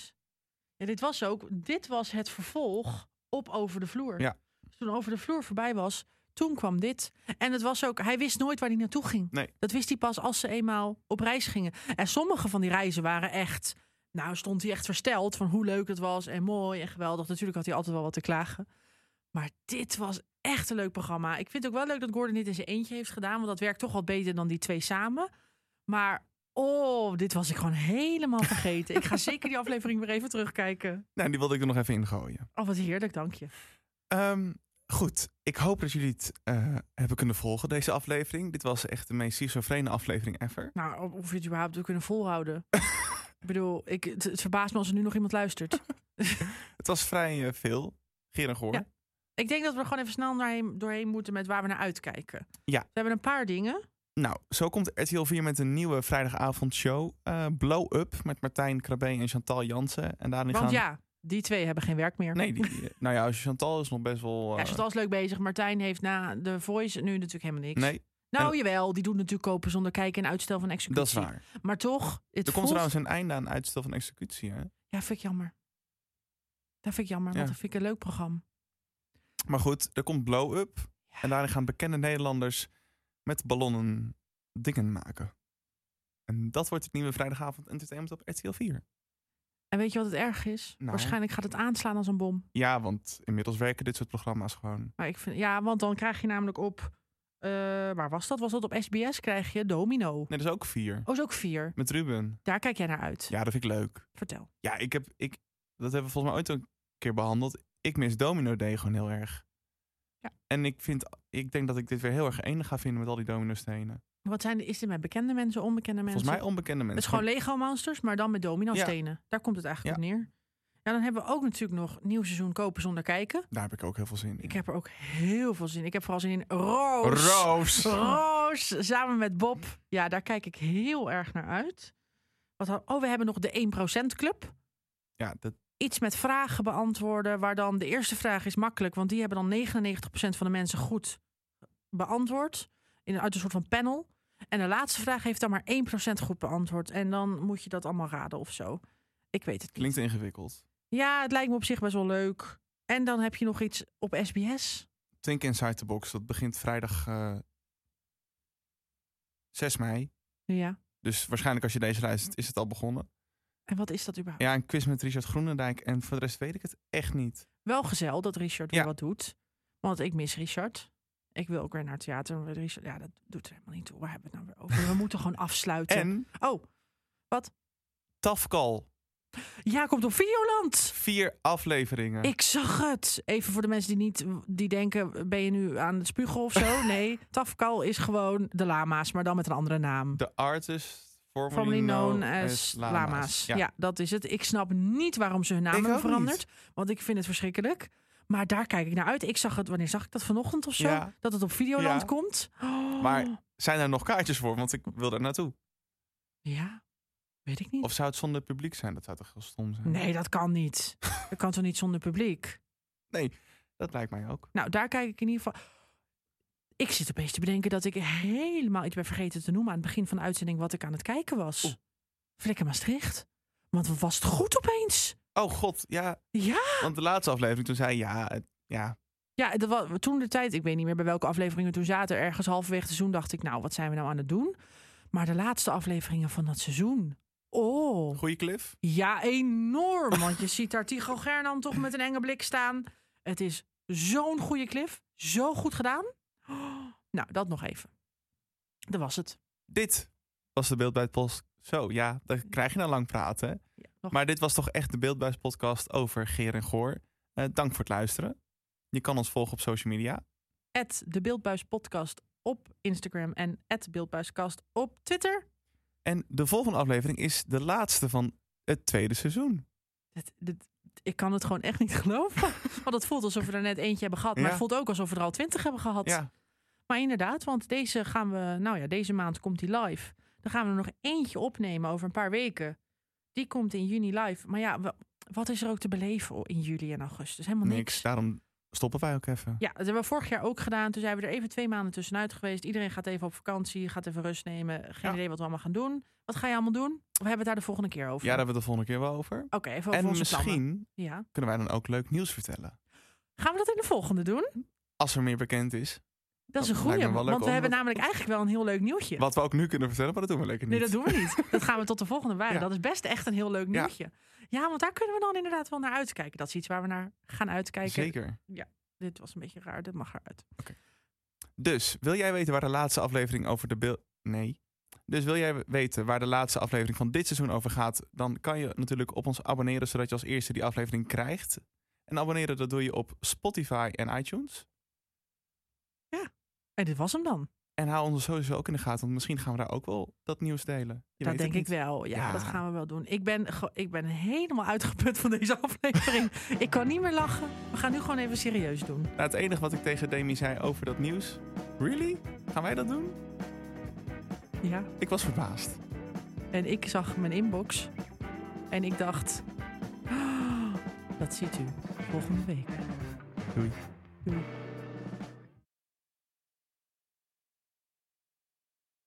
Speaker 2: Ja, dit was ook... Dit was het vervolg op Over de Vloer.
Speaker 1: Ja.
Speaker 2: Dus toen Over de Vloer voorbij was, toen kwam dit. En het was ook... Hij wist nooit waar hij naartoe ging.
Speaker 1: Nee.
Speaker 2: Dat wist hij pas als ze eenmaal op reis gingen. En sommige van die reizen waren echt... Nou, stond hij echt versteld van hoe leuk het was en mooi en geweldig. Natuurlijk had hij altijd wel wat te klagen. Maar dit was echt een leuk programma. Ik vind het ook wel leuk dat Gordon dit in zijn eentje heeft gedaan. Want dat werkt toch wat beter dan die twee samen. Maar oh, dit was ik gewoon helemaal vergeten. ik ga zeker die aflevering weer even terugkijken.
Speaker 1: Nou, die wilde ik er nog even ingooien.
Speaker 2: Oh, wat heerlijk, dank je.
Speaker 1: Ehm, goed, ik hoop dat jullie het eh, hebben kunnen volgen, deze aflevering. Dit was echt de meest schizofrene aflevering ever.
Speaker 2: Nou, of- of je het überhaupt wil kunnen volhouden. ik bedoel, ik, het, het verbaast me als er nu nog iemand luistert.
Speaker 1: Het was vrij eh, veel. Geer en Goor.
Speaker 2: Ja. Ik denk dat we er gewoon even snel doorheen, doorheen moeten met waar we naar uitkijken.
Speaker 1: Ja.
Speaker 2: We hebben een paar dingen.
Speaker 1: Nou, zo komt RTL 4 met een nieuwe vrijdagavondshow. eh Blow Up met Martijn Krabbe en Chantal Jansen. En daarin
Speaker 2: Want
Speaker 1: gaan...
Speaker 2: ja, Die twee hebben geen werk meer.
Speaker 1: Nee,
Speaker 2: (laughs)
Speaker 1: die, nou ja, Chantal is nog best wel... eh,
Speaker 2: Ja, Chantal is leuk bezig. Martijn heeft na de Voice nu natuurlijk helemaal niks.
Speaker 1: Nee,
Speaker 2: Nou
Speaker 1: En-
Speaker 2: jawel, die doet natuurlijk kopen zonder kijken en uitstel van executie.
Speaker 1: dat is waar.
Speaker 2: Maar toch, het
Speaker 1: Er komt
Speaker 2: voelt...
Speaker 1: trouwens een einde aan uitstel van executie, hè?
Speaker 2: Ja, vind ik jammer. Dat vind ik jammer,
Speaker 1: Ja.
Speaker 2: want dat vind ik een leuk programma.
Speaker 1: Maar goed, er komt blow-up. En daarin gaan bekende Nederlanders met ballonnen dingen maken. En dat wordt het nieuwe vrijdagavond entertainment op RTL 4.
Speaker 2: En weet je wat het erg is?
Speaker 1: Nou.
Speaker 2: Waarschijnlijk gaat het aanslaan als een bom.
Speaker 1: Ja, want inmiddels werken dit soort programma's gewoon.
Speaker 2: Maar ik vind, ja, want dan krijg je namelijk op... eh, waar was dat? Was dat op SBS? Krijg je Domino.
Speaker 1: Nee, dat is ook 4.
Speaker 2: Oh, is ook vier.
Speaker 1: Met Ruben.
Speaker 2: Daar kijk jij naar uit.
Speaker 1: Ja, dat vind ik leuk.
Speaker 2: Vertel.
Speaker 1: Ja, ik heb, ik, dat hebben we volgens mij ooit een keer behandeld. Ik mis Domino Day gewoon heel erg. En ik, vind, ik denk dat ik dit weer heel erg enig ga vinden met al die dominostenen.
Speaker 2: Wat zijn de, is dit met bekende mensen, onbekende mensen?
Speaker 1: Volgens mij onbekende mensen.
Speaker 2: Het is gewoon Lego Monsters, maar dan met domino stenen. Daar komt het eigenlijk op neer. Ja, dan hebben we ook natuurlijk nog nieuw seizoen kopen zonder kijken.
Speaker 1: Daar heb ik ook heel veel zin in.
Speaker 2: Ik heb er ook heel veel zin in. Ik heb vooral zin in Roos.
Speaker 1: Roos.
Speaker 2: Roos, samen met Bob. Ja, daar kijk ik heel erg naar uit. Wat had- oh, we hebben nog de 1% Club.
Speaker 1: Ja, dat,
Speaker 2: Iets met vragen beantwoorden, waar dan de eerste vraag is makkelijk... want die hebben dan 99% van de mensen goed beantwoord. In, een- uit een soort van panel. En de laatste vraag heeft dan maar 1% goed beantwoord. En dan moet je dat allemaal raden of zo. Ik weet het
Speaker 1: klinkt ingewikkeld.
Speaker 2: ja, het lijkt me op zich best wel leuk. En dan heb je nog iets op SBS.
Speaker 1: Think Inside the Box, dat begint vrijdag eh, 6 mei.
Speaker 2: Ja.
Speaker 1: Dus waarschijnlijk als je deze luistert, is het al begonnen.
Speaker 2: En wat is dat überhaupt?
Speaker 1: Ja, een quiz met Richard Groenendijk. En voor de rest weet ik het echt niet.
Speaker 2: Wel gezellig dat Richard weer wat doet. Want ik mis Richard. Ik wil ook weer naar het theater. maar Richard, ja, dat doet er helemaal niet toe. Waar hebben we het nou weer over? We moeten gewoon afsluiten.
Speaker 1: En?
Speaker 2: Oh, wat?
Speaker 1: Tafkal.
Speaker 2: Ja, komt op Videoland.
Speaker 1: Vier afleveringen.
Speaker 2: Ik zag het. Even voor de mensen die niet die denken, ben je nu aan het spugen of
Speaker 1: (laughs)
Speaker 2: zo? Nee, Tafkal is gewoon de lama's, maar dan met een andere naam.
Speaker 1: The artist formerly,
Speaker 2: Formerly known
Speaker 1: known
Speaker 2: as lama's. Ja. dat is het. Ik snap niet waarom ze hun naam
Speaker 1: Ik
Speaker 2: hebben
Speaker 1: ook niet.
Speaker 2: veranderd. Want ik vind het verschrikkelijk. Maar daar kijk ik naar uit. Ik zag het, wanneer zag ik dat? Vanochtend of zo?
Speaker 1: Ja.
Speaker 2: Dat het op Videoland
Speaker 1: Ja.
Speaker 2: komt. (gasps) Oh,
Speaker 1: Maar zijn er nog kaartjes voor? Want ik wil daar naartoe.
Speaker 2: Ja, weet ik niet.
Speaker 1: Of zou het zonder publiek zijn? Dat zou toch heel stom zijn?
Speaker 2: Nee, dat kan niet. dat kan toch niet zonder publiek?
Speaker 1: Nee, dat lijkt mij ook.
Speaker 2: Nou, daar kijk ik in ieder geval... Ik zit opeens te bedenken dat ik helemaal iets ben vergeten te noemen... aan het begin van de uitzending wat ik aan het kijken was. Flikker Maastricht. Want wat was het goed opeens?
Speaker 1: Oh god, ja.
Speaker 2: Ja?
Speaker 1: Want de laatste aflevering, toen zei hij ja, het- ja.
Speaker 2: Ja, dat was, toen de tijd, ik weet niet meer bij welke afleveringen we toen zaten, ergens halverwege het seizoen dacht ik, nou, wat zijn we nou aan het doen? Maar de laatste afleveringen van dat seizoen. Oh.
Speaker 1: Goeie cliff.
Speaker 2: Ja, enorm. Want je ziet daar Tycho Gernand toch met een enge blik staan. Het is zo'n goede cliff. Zo goed gedaan. Oh, nou, dat nog even. Dat was het.
Speaker 1: Dit was de Beeldbuis-podcast. Zo, ja, dan krijg je nou lang praten. hè? maar dit was toch echt de Beeldbuis-podcast over Geer en Goor. Eh, dank voor het luisteren. Je kan ons volgen op social media.
Speaker 2: At de Beeldbuis Podcast op Instagram en at Beeldbuiskast op Twitter.
Speaker 1: En de volgende aflevering is de laatste van het tweede seizoen.
Speaker 2: Dit- dit- ik kan het gewoon echt niet (laughs) geloven. Want het voelt alsof we er net eentje hebben gehad. Maar
Speaker 1: Ja.
Speaker 2: het voelt ook alsof we er al twintig hebben gehad.
Speaker 1: Ja.
Speaker 2: Maar inderdaad, want deze gaan we, nou ja, deze maand komt die live. Dan gaan we er nog eentje opnemen over een paar weken. Die komt in juni live. Maar ja, wa- wat is er ook te beleven in juli en augustus? Helemaal niks.
Speaker 1: Niks. Daarom stoppen wij ook even.
Speaker 2: Ja, dat hebben we vorig jaar ook gedaan. Toen zijn we er even twee maanden tussenuit geweest. Iedereen gaat even op vakantie, gaat even rust nemen. Geen idee wat we allemaal gaan doen. Wat ga je allemaal doen? We hebben het daar de volgende keer over.
Speaker 1: Ja, daar hebben we het de volgende keer wel over.
Speaker 2: Oké, even over
Speaker 1: en
Speaker 2: onze
Speaker 1: misschien
Speaker 2: plannen. Ja.
Speaker 1: kunnen wij dan ook leuk nieuws vertellen.
Speaker 2: Gaan we dat in de volgende doen?
Speaker 1: Als er meer bekend is.
Speaker 2: Dat is een
Speaker 1: lijkt me
Speaker 2: goeie,
Speaker 1: wel leuk
Speaker 2: want we
Speaker 1: om-
Speaker 2: hebben namelijk eigenlijk wel een heel leuk nieuwtje.
Speaker 1: Wat we ook nu kunnen vertellen, maar dat doen we lekker niet.
Speaker 2: Nee, dat doen we niet. Dat gaan we tot de
Speaker 1: (laughs)
Speaker 2: volgende waren.
Speaker 1: Ja.
Speaker 2: Dat is best echt een heel leuk
Speaker 1: Ja.
Speaker 2: nieuwtje. Ja. want daar kunnen we dan inderdaad wel naar uitkijken. Dat is iets waar we naar gaan uitkijken.
Speaker 1: Zeker.
Speaker 2: Ja, dit was een beetje raar. Dit mag eruit.
Speaker 1: Dus wil jij weten waar de laatste aflevering over de beeld. Nee. Dus wil jij weten waar de laatste aflevering van dit seizoen over gaat, dan kan je natuurlijk op ons abonneren, zodat je als eerste die aflevering krijgt. En abonneren, dat doe je op Spotify en iTunes.
Speaker 2: En dit was hem dan.
Speaker 1: En hou ons sowieso ook in de gaten, want misschien gaan we daar ook wel dat nieuws delen. Je
Speaker 2: dat
Speaker 1: weet het
Speaker 2: denk ik
Speaker 1: niet.
Speaker 2: wel. Ja, dat gaan we wel doen. Ik ben, ge- ik ben helemaal uitgeput van deze (laughs) aflevering. ik kan niet meer lachen. We gaan nu gewoon even serieus doen.
Speaker 1: Nou, het enige wat ik tegen Demi zei over dat nieuws. Really? Gaan wij dat doen?
Speaker 2: Ja.
Speaker 1: Ik was verbaasd.
Speaker 2: En ik zag mijn inbox. En ik dacht... (gasps) Dat ziet u volgende week.
Speaker 1: Doei.
Speaker 2: Doei.